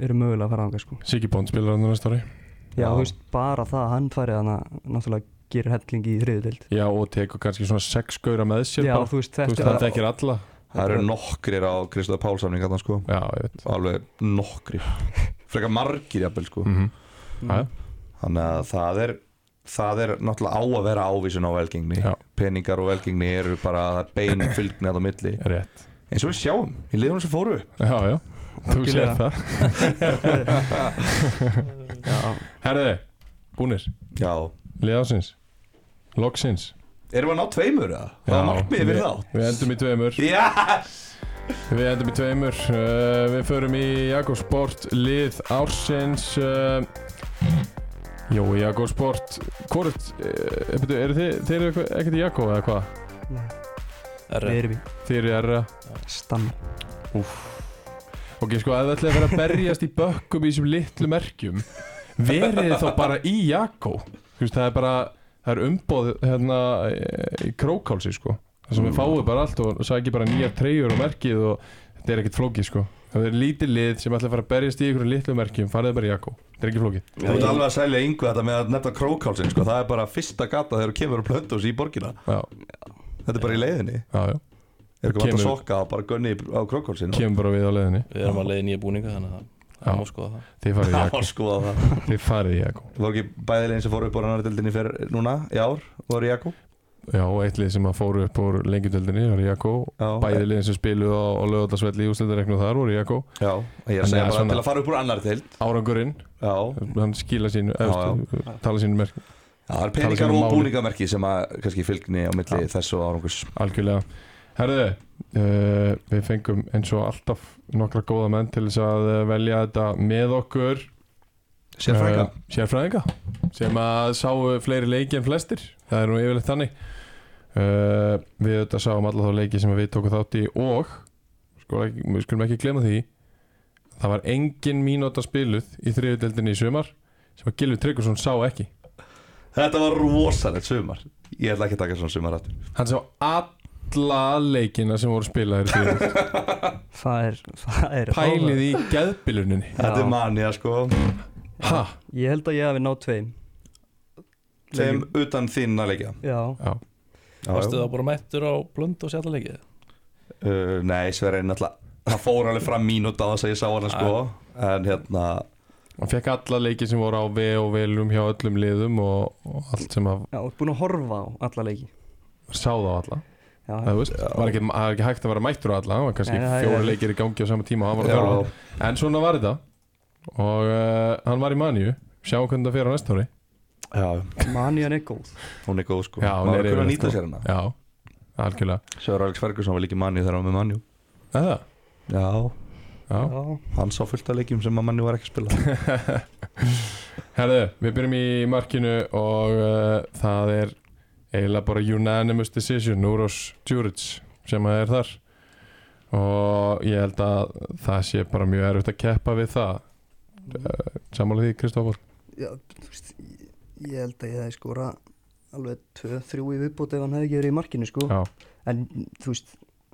Speaker 3: eru mögulega að fara ánga sko.
Speaker 1: Siggi Bond spilar hann næsta ári
Speaker 3: Já,
Speaker 2: Já.
Speaker 3: þú veist, bara það að hann færi þannig að náttúrulega gerir helling í þriðu deild.
Speaker 1: Já og tekur kannski svona sex gauðra með sér
Speaker 3: Já,
Speaker 1: bara,
Speaker 3: þú veist,
Speaker 1: þú veist
Speaker 3: þetta
Speaker 1: það þekkir alla
Speaker 2: Það eru nokkrir á Kristof Pálsamning þarna sko
Speaker 1: Já, ég veit
Speaker 2: Alveg nokkrir Frekar margir jafnvel sko
Speaker 1: mm -hmm.
Speaker 3: Mm.
Speaker 2: Þannig að það er Það er náttúrulega á að
Speaker 3: Mm.
Speaker 2: vera ávísun á velgengni
Speaker 1: Já.
Speaker 2: Peningar og velgengni eru bara bein fylgni að á milli
Speaker 1: Rétt
Speaker 2: eins og við sjáum í liðunum sem fóru upp.
Speaker 1: Já, já, þú sér
Speaker 3: Algjörlega.
Speaker 1: það Herði, búnir,
Speaker 2: Já
Speaker 1: liðásins Loksins
Speaker 2: Erum við að ná tveimur eða? Það er
Speaker 1: Já,
Speaker 2: markmiðið fyrir
Speaker 1: við-
Speaker 2: þá
Speaker 1: Við endum í tveimur
Speaker 2: Yes!
Speaker 1: Við endum í tveimur uh, Við förum í Jakobsport Lið ársins uh, Jó, Jakobsport Hvort, uh, byrju, eru þið Þeir eru eitthvað- ekkert í Jakob eða hvað?
Speaker 3: Nei,
Speaker 4: er,
Speaker 3: við erum í
Speaker 1: Þeir eru í erra
Speaker 3: stann
Speaker 1: Ok, sko, ef það ætlaði að vera að berjast í bökkum í þessum litlu merkjum verið þið þá bara í Jakó Þú veist, það er bara það er umboð hérna eh, í krókálsi, sko það
Speaker 2: Mm.
Speaker 1: sem við fáum bara allt og sækir bara nýjar treyjur og merkið og þetta er ekkert flókið, sko það er lítið lið sem ætlaði að fara að berjast í ykkur litlu merkjum, farið bara í Jakó þetta er ekki flókið
Speaker 2: Þú ert alveg að selja yngve þetta með að nefna krókálsinn sko. Það er bara fyrsta gata þegar þú kemur að plönda í borgina
Speaker 1: Já,
Speaker 2: Þetta er bara í leiðinni
Speaker 1: já, já,
Speaker 2: Er ekki vant að
Speaker 1: Kemur-
Speaker 2: sokka og bara gunni á krókálsinn
Speaker 1: kemur bara við á leiðinni
Speaker 4: við erum að leiða nýja búninga þannig að
Speaker 1: Já.
Speaker 4: það má skoða það
Speaker 1: þið farið í
Speaker 2: Já,
Speaker 1: Jakó,
Speaker 2: sko það
Speaker 1: þið farið í Jakó
Speaker 2: Það voru ekki bæði leginn sem fóru upp á rannardildinni fyrir núna í ár voru í Jakó
Speaker 1: Já, og eitt lið sem að fóru upp úr lengjudöldinni var í Jakó
Speaker 2: Já.
Speaker 1: bæði liðin sem spiluðu á, á lögðardasvelli í úslendareknu þar voru í Jakó
Speaker 2: Já, ég er
Speaker 1: En
Speaker 2: að segja
Speaker 1: ja,
Speaker 2: bara
Speaker 1: svona-
Speaker 2: til að fara upp úr annardild
Speaker 1: árangurinn
Speaker 2: Já,
Speaker 1: hann skila sínu
Speaker 2: Já,
Speaker 1: eftir, tala sínu merk
Speaker 2: Já, það er peningar
Speaker 1: Tala saman
Speaker 2: og
Speaker 1: máli.
Speaker 2: búningamerki sem að kannski fylgni á milli
Speaker 1: Já.
Speaker 2: þessu árangus
Speaker 1: algjörlega herðu, uh, við fengum eins og alltaf nokkra góða menn til þess að eh, velja þetta með okkur
Speaker 2: Sérfræðinga
Speaker 1: Eh, sérfræðinga sem að sáu fleiri leiki en flestir það er nú yfirleitt þannig uh, við auðvitað sáum alla þá leiki sem við tókum þátt í og sko, ekki, við skulum ekki glemma því það var engin mínúta spiluð í þriðudeldinni í sumar sem að Gilvi Tryggvason sá ekki
Speaker 2: Þetta var rosalegt sumar Ég ætla ekki að taka svona sumar aftur
Speaker 1: hann sá alla leikina sem voru spilaðir í þriðudeldinni
Speaker 3: Það er, það er
Speaker 1: pælið í geðbiluninni
Speaker 2: Þetta
Speaker 3: Já.
Speaker 2: er manja sko
Speaker 1: ha,
Speaker 3: Ég held að ég hafi náð tveim
Speaker 2: Sem utan þín að leikja
Speaker 3: Já,
Speaker 1: já,
Speaker 4: varstu það bara mættur á blönd og sjálfleikið
Speaker 2: Uh, nei, Sverre, náttúrulega Það fór alveg fram mínúta á þess að ég sá hana sko En hérna,
Speaker 1: hann fekk alla leiki sem voru á V og velum hjá öllum liðum og, og allt sem að
Speaker 3: já, og búin að horfa á alla leiki
Speaker 1: sá þá alla
Speaker 3: Já,
Speaker 1: það veist, var ekki, það er ekki hægt að vera mættur á alla það var kannski
Speaker 3: Nei, það er-
Speaker 1: fjóri leikir í gangi á sama tíma og hann var
Speaker 2: Já.
Speaker 1: að þjálfa en svona var þetta og uh, hann var í manju sjáum hvernig það fer á næsta ári
Speaker 2: já,
Speaker 3: manjan er góð
Speaker 2: hún er góð sko
Speaker 1: Já, hún
Speaker 2: Maður
Speaker 1: er
Speaker 2: er
Speaker 1: yfirleitt,
Speaker 2: að nýta
Speaker 1: sko.
Speaker 2: sér hana
Speaker 1: já, algjörlega
Speaker 2: Sverre Alex Ferguson var líki manni þegar hann var með manni
Speaker 1: eða,
Speaker 2: Já,
Speaker 1: já,
Speaker 3: Já,
Speaker 2: hann sá fullt af leikjum sem að manni var ekki að spila
Speaker 1: herðu, við byrjum í markinu og uh, það er eiginlega bara unanimous decision Úros Djuric sem að er þar og ég held að það sé bara mjög erfitt að keppa við það uh, sammála því Kristófur
Speaker 3: já þú veist, ég, ég held að ég hefði skora alveg 2-3 í viðbót ef hann hefði ekki verið í markinu sko
Speaker 1: já,
Speaker 3: En þú veist,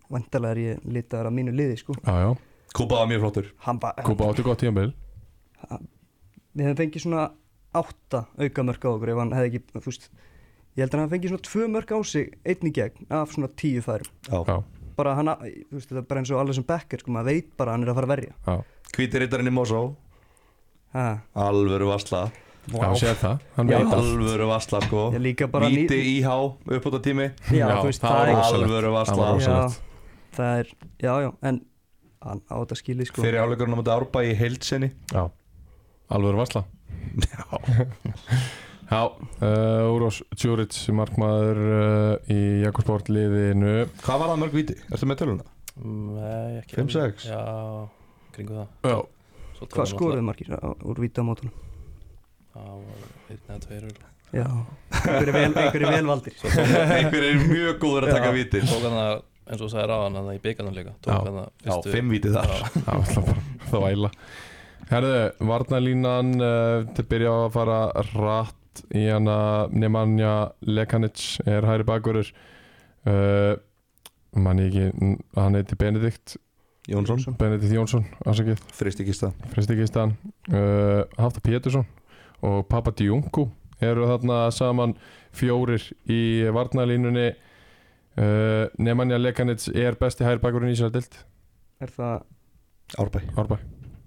Speaker 3: vantarlega er ég litaðar af mínu liði sko
Speaker 1: já, já,
Speaker 2: Kuba var mjög flottur
Speaker 3: Hann ba-
Speaker 1: Kuba áttu gott tíambil
Speaker 3: Við hefðum fengið svona átta auka mörg á okkur ef hann hefði ekki, þú veist Ég held að hann fengið svona tvö mörg á sig, einn í gegn, af svona tíu færum
Speaker 2: Já,
Speaker 1: já,
Speaker 3: bara hann, að- þú veist, þetta er bara eins og alveg sem Becker, sko, maður veit bara að hann er að fara að verja
Speaker 1: já
Speaker 2: hvíti rittarinn í Mosó
Speaker 3: ha.
Speaker 2: Alvöru vasla
Speaker 1: Já, sér það, hann
Speaker 3: Já.
Speaker 1: veit það
Speaker 2: Alvöru vasla sko
Speaker 3: Ég líka bara ný-
Speaker 2: Víti íhá, uppbúta tími
Speaker 3: Já,
Speaker 1: Já,
Speaker 3: þú veist,
Speaker 1: það
Speaker 3: það,
Speaker 1: var
Speaker 3: er
Speaker 1: rosalegt.
Speaker 2: Alvöru
Speaker 1: Það var
Speaker 2: vasla
Speaker 1: rosalegt.
Speaker 3: já, það er, já, já, en hann á þetta skilið, sko
Speaker 2: Fyrir áleikurinn á móti árbæ í heildsenni
Speaker 1: Já, alveg varsla Já, uh, Úrós Tjúrits, markmaður uh, í Jakobsport liðinu
Speaker 2: Hvað var það mörg víti? Ertu með töluna?
Speaker 4: nei, ekki
Speaker 2: Fimm, sex?
Speaker 4: já, kringu það
Speaker 1: Já,
Speaker 4: Svo
Speaker 3: Hvað
Speaker 4: tók hann
Speaker 3: skoruðu margir á, úr vítamótunum?
Speaker 4: náttúrulega- það var einn eða tveir örugglega.
Speaker 3: Já, einhverju vel, einhverju velvaldir
Speaker 4: Svo tók hann-
Speaker 2: Einhver er mjög góður að taka
Speaker 4: Já.
Speaker 2: víti
Speaker 4: tók hann að eins og þú sagði ráðan hann að í byggarnum líka
Speaker 1: Já.
Speaker 4: tók hann að
Speaker 2: Já, fimm víti þar
Speaker 1: það var alltaf bara þvæla Herðu, varnalínan uh, til byrja á að fara rætt í hana Nemanja Lekanic er hæri bakurur uh, mann ég ekki, n- hann heiti Benedikt
Speaker 2: Jónsson,
Speaker 1: Benedikt Jónsson, afsakið
Speaker 2: fristikista
Speaker 1: Fristikistan uh, Hafta Pétursson og Papa Djungu eru þarna saman fjórir í varnalínunni uh, Nemanja Lekanits er besti hærbakurinn í Ísardild
Speaker 3: Er það,
Speaker 2: Árbæ
Speaker 1: Árbæ,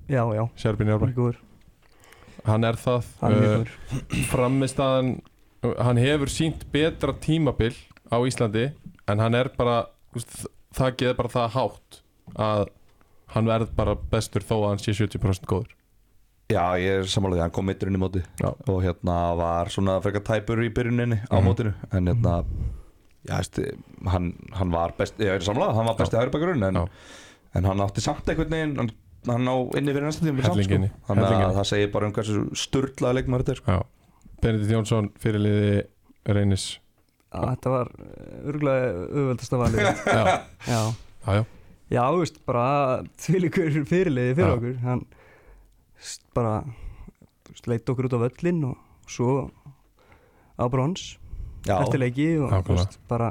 Speaker 3: já, já,
Speaker 1: Sérbin í Árbæ
Speaker 3: mjögur,
Speaker 1: hann er það Eh,
Speaker 3: Mm.
Speaker 2: Uh,
Speaker 3: hann er mjögur
Speaker 1: framistaðan hann hefur sínt betra tímabil á Íslandi en hann er bara þú veist, þakið er bara það hátt að hann verð bara bestur þó að hann sé 70% góður
Speaker 2: Já, ég er sammálaðið, hann kom mitturinn í móti
Speaker 1: Já.
Speaker 2: og hérna var svona frekar tæpur í byrjuninni á
Speaker 1: Mhm.
Speaker 2: mótinu en hérna já, veist, hann, hann var best, ég er sammálaðið, hann var besti hægri bakurinn en,
Speaker 1: Já.
Speaker 2: en hann átti samt einhvern veginn hann, hann á inni fyrir næsta tíma
Speaker 1: Helling inni,
Speaker 2: þannig
Speaker 1: helling
Speaker 2: að
Speaker 1: inni.
Speaker 2: það segir bara um hversu sturlaði leikmaður þetta er sko.
Speaker 1: Já. Benedikt Jónsson fyrirliði reynis
Speaker 3: að þetta var örgulega auðveldasta valið
Speaker 1: já,
Speaker 3: já,
Speaker 1: já, já,
Speaker 3: já, þú veist, bara þvílikur fyrirliði fyrir
Speaker 1: Já.
Speaker 3: okkur hann s- bara þú veist, leit okkur út á völlin og svo á brons
Speaker 2: Já,
Speaker 3: eftir leiki og
Speaker 1: Nákvæmlega.
Speaker 3: þú veist, bara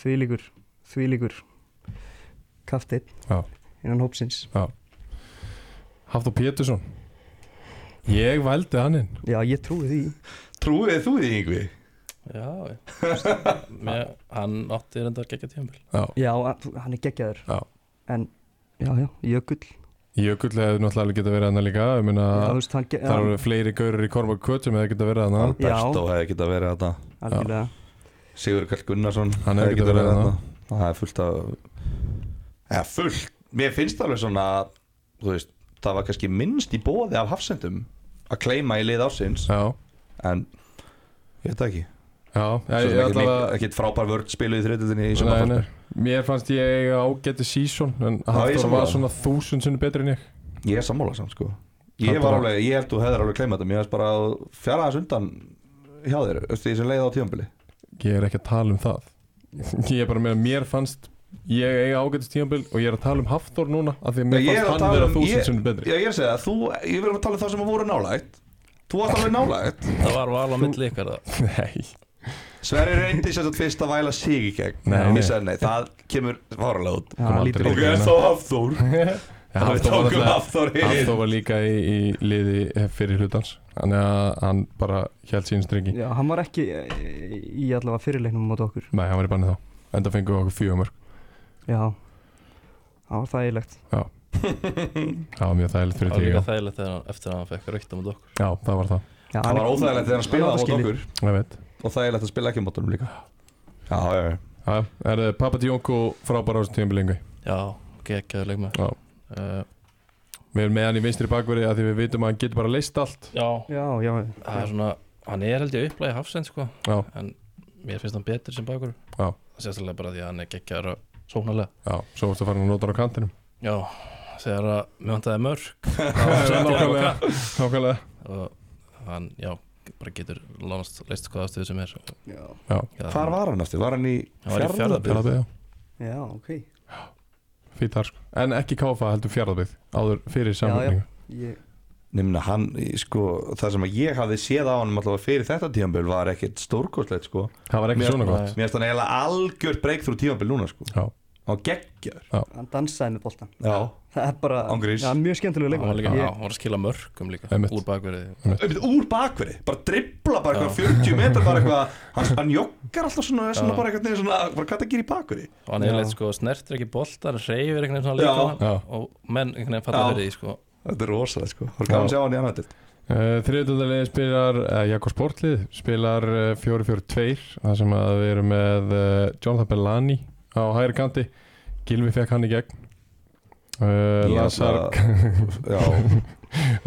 Speaker 3: þvílikur þvílikur kaftið
Speaker 1: Já.
Speaker 3: innan hópsins
Speaker 1: Hafþór Pétursson ég vældi hann inn
Speaker 3: já, ég trúi því
Speaker 2: trúið þú því yngvi?
Speaker 4: Já, ég, mér, hann átti reyndar geggja tímabil
Speaker 1: já.
Speaker 3: já, hann er geggjaður
Speaker 1: Já.
Speaker 3: en, já, já, Jökull
Speaker 1: Jökull hefði náttúrulega geta verið hann líka ég meina,
Speaker 3: já, þú veist, hann ge-
Speaker 1: það
Speaker 3: hann-
Speaker 1: eru fleiri gaurur í Korma Kötum hefði geta verið hann
Speaker 3: Já.
Speaker 2: Best og hefði geta verið þetta
Speaker 3: algjörlega
Speaker 2: Sigur Karl Gunnarsson
Speaker 1: Hann hefði getað verið
Speaker 2: þarna. Það er fullt af eða fullt, mér finnst alveg svona þú veist, það var kannski minnst í bóði af hafsendum að kleima í lið ásins
Speaker 1: já,
Speaker 2: en ég veit það ekki
Speaker 1: já, já
Speaker 2: Svo
Speaker 1: ég,
Speaker 2: sem ekkert
Speaker 1: allavega,
Speaker 2: leik- ekkert frábær vörd spiluð í þriðutinni í
Speaker 1: Nei, nei,
Speaker 2: sumarfartar
Speaker 1: mér fannst ég eiga ágæti sísón en
Speaker 2: ég
Speaker 1: Hafþór
Speaker 2: sammála.
Speaker 1: var svona þúsund sinni betri en ég
Speaker 2: ég er sammála samt sko ég
Speaker 1: Þetta
Speaker 2: var
Speaker 1: var-
Speaker 2: alveg, ég held þú hefðir alveg kleima þetta mér finnst bara að fjara þess undan hjá þér, þú veist, því sem leið á tíðanbili
Speaker 1: ég er ekki að tala um það ég er bara með að mér fannst ég eiga ágætis tíambil og ég er að tala um Hafþór núna af því að mér
Speaker 2: Ég er
Speaker 1: fannst
Speaker 2: að
Speaker 1: hann
Speaker 2: tala
Speaker 1: vera
Speaker 2: um- ég-
Speaker 1: þúsund sinni betri
Speaker 2: Já, ég er að segja, þú, ég vil að tala um þá sem voru nálægt þú varst alveg nálægt
Speaker 4: Það var val á milli ykkar það
Speaker 1: nei,
Speaker 2: Sverri reyndi sem sagt fyrst að væla sig í gegn
Speaker 1: Nei,
Speaker 2: Og
Speaker 1: nei.
Speaker 2: ég sagði nei, það kemur varulega út
Speaker 3: Já,
Speaker 1: Kom
Speaker 3: hann
Speaker 1: aldrei.
Speaker 3: lítur
Speaker 1: Ok,
Speaker 3: út
Speaker 1: en
Speaker 2: þá Hafþór
Speaker 1: Ja, Hafþór var náttúrulega-
Speaker 2: Hafþór
Speaker 1: Hafþór var líka í, í liði fyrir hlutans þannig að hann bara held sín strengi
Speaker 3: Já, hann var ekki eh, í allavega fyrirleiknum mót okkur
Speaker 1: nei, hann var í banni þá enda fengum við okkur fjögumörk
Speaker 3: Já, það var þægilegt
Speaker 1: það var mjög þægilegt
Speaker 4: Það
Speaker 1: fyrir
Speaker 4: var
Speaker 1: því
Speaker 4: líka
Speaker 1: já.
Speaker 4: þægilegt þegar hann- eftir að hann fekk raukt á mót okkur
Speaker 1: já, það var það,
Speaker 3: Já,
Speaker 2: Það var óþægilegt þegar hann spilaði
Speaker 3: það
Speaker 2: átt
Speaker 3: skilið.
Speaker 2: okkur
Speaker 1: ég veit
Speaker 2: Og þægilegt að spila ekki á mótunum líka Já, já, já
Speaker 1: Já, er þið Pappa Djónku frábæra á þessu tíambilingu
Speaker 4: Já, geggjaður leikmaður
Speaker 1: Já.
Speaker 4: uh,
Speaker 1: Við erum með hann í vinstri bakverði að því við vitum að hann getur bara leist allt
Speaker 4: já
Speaker 3: Já, já,
Speaker 4: það er svona Hann er held ég upplæði hafsend sko
Speaker 1: Já.
Speaker 4: En mér finnst hann betur sem bakur
Speaker 1: Já.
Speaker 4: Sérstaklega bara því að hann er geggjaður og sóknarlega
Speaker 1: Já, svo varstu að fara hann að nota hann á kantinum
Speaker 4: Já, þegar að mér vantaði mörg
Speaker 1: Nákvæmlega, nákvæmlega
Speaker 4: Og hann, já, bara getur lánast leist hvaða stöðu sem er Og-
Speaker 3: já
Speaker 4: Já,
Speaker 2: Hvar var hann eftir? Var hann í
Speaker 4: Hann var í Fjarðabyggð.
Speaker 1: Fjarðabyggð, já
Speaker 3: Já, ok
Speaker 1: Fýtt þar sko En ekki káfa heldur fjárðabíð Áður fyrir sammenningu
Speaker 3: Ég,
Speaker 2: Nefna hann, í- sko, það sem að ég hafði séð á hann Alltaf fyrir þetta tíðanbili var ekkit stórkostlegt, sko
Speaker 1: Það var ekki
Speaker 2: Mér-
Speaker 1: svona gott
Speaker 4: Nei.
Speaker 2: Mér finnst hann eiginlega algjört breakthrough tíðanbili núna, sko
Speaker 1: Já.
Speaker 2: Og geggjar
Speaker 3: hann dansaði með boltan
Speaker 2: Já
Speaker 3: Það er bara
Speaker 2: Án gríns.
Speaker 3: Já, mjög skemmtilegu
Speaker 4: Hann var
Speaker 3: leikur
Speaker 4: líka, já, hann var að skila mörgum líka
Speaker 1: Einmitt. Mm.
Speaker 4: Úr bakverði
Speaker 2: Einmitt, úr bakverði, bara dribbla bara eitthvað 40 metrar bara eitthvað hann, hann joggar alltaf svona, svona
Speaker 4: Já.
Speaker 2: bara eitthvað svona, bara hvað það gerir í bakverði
Speaker 4: og hann
Speaker 3: Já.
Speaker 4: er leitt sko snertir ekki boltar reyfir einhvern veginn
Speaker 2: Já.
Speaker 4: svona
Speaker 1: Já.
Speaker 4: líka og menn einhvern veginn falla
Speaker 2: Já.
Speaker 4: fyrir því sko
Speaker 2: þetta er rosalega sko, það er gaman að sjá hann í annaðild
Speaker 1: uh, Þriðutöldarlið spilar uh, Jakob Sportlið spilar uh, 4-4-2 Það sem að við erum með uh, Jonathan Bellani á hægri kanti Gilvi fekk hann í gegn uh, Lazar
Speaker 2: já,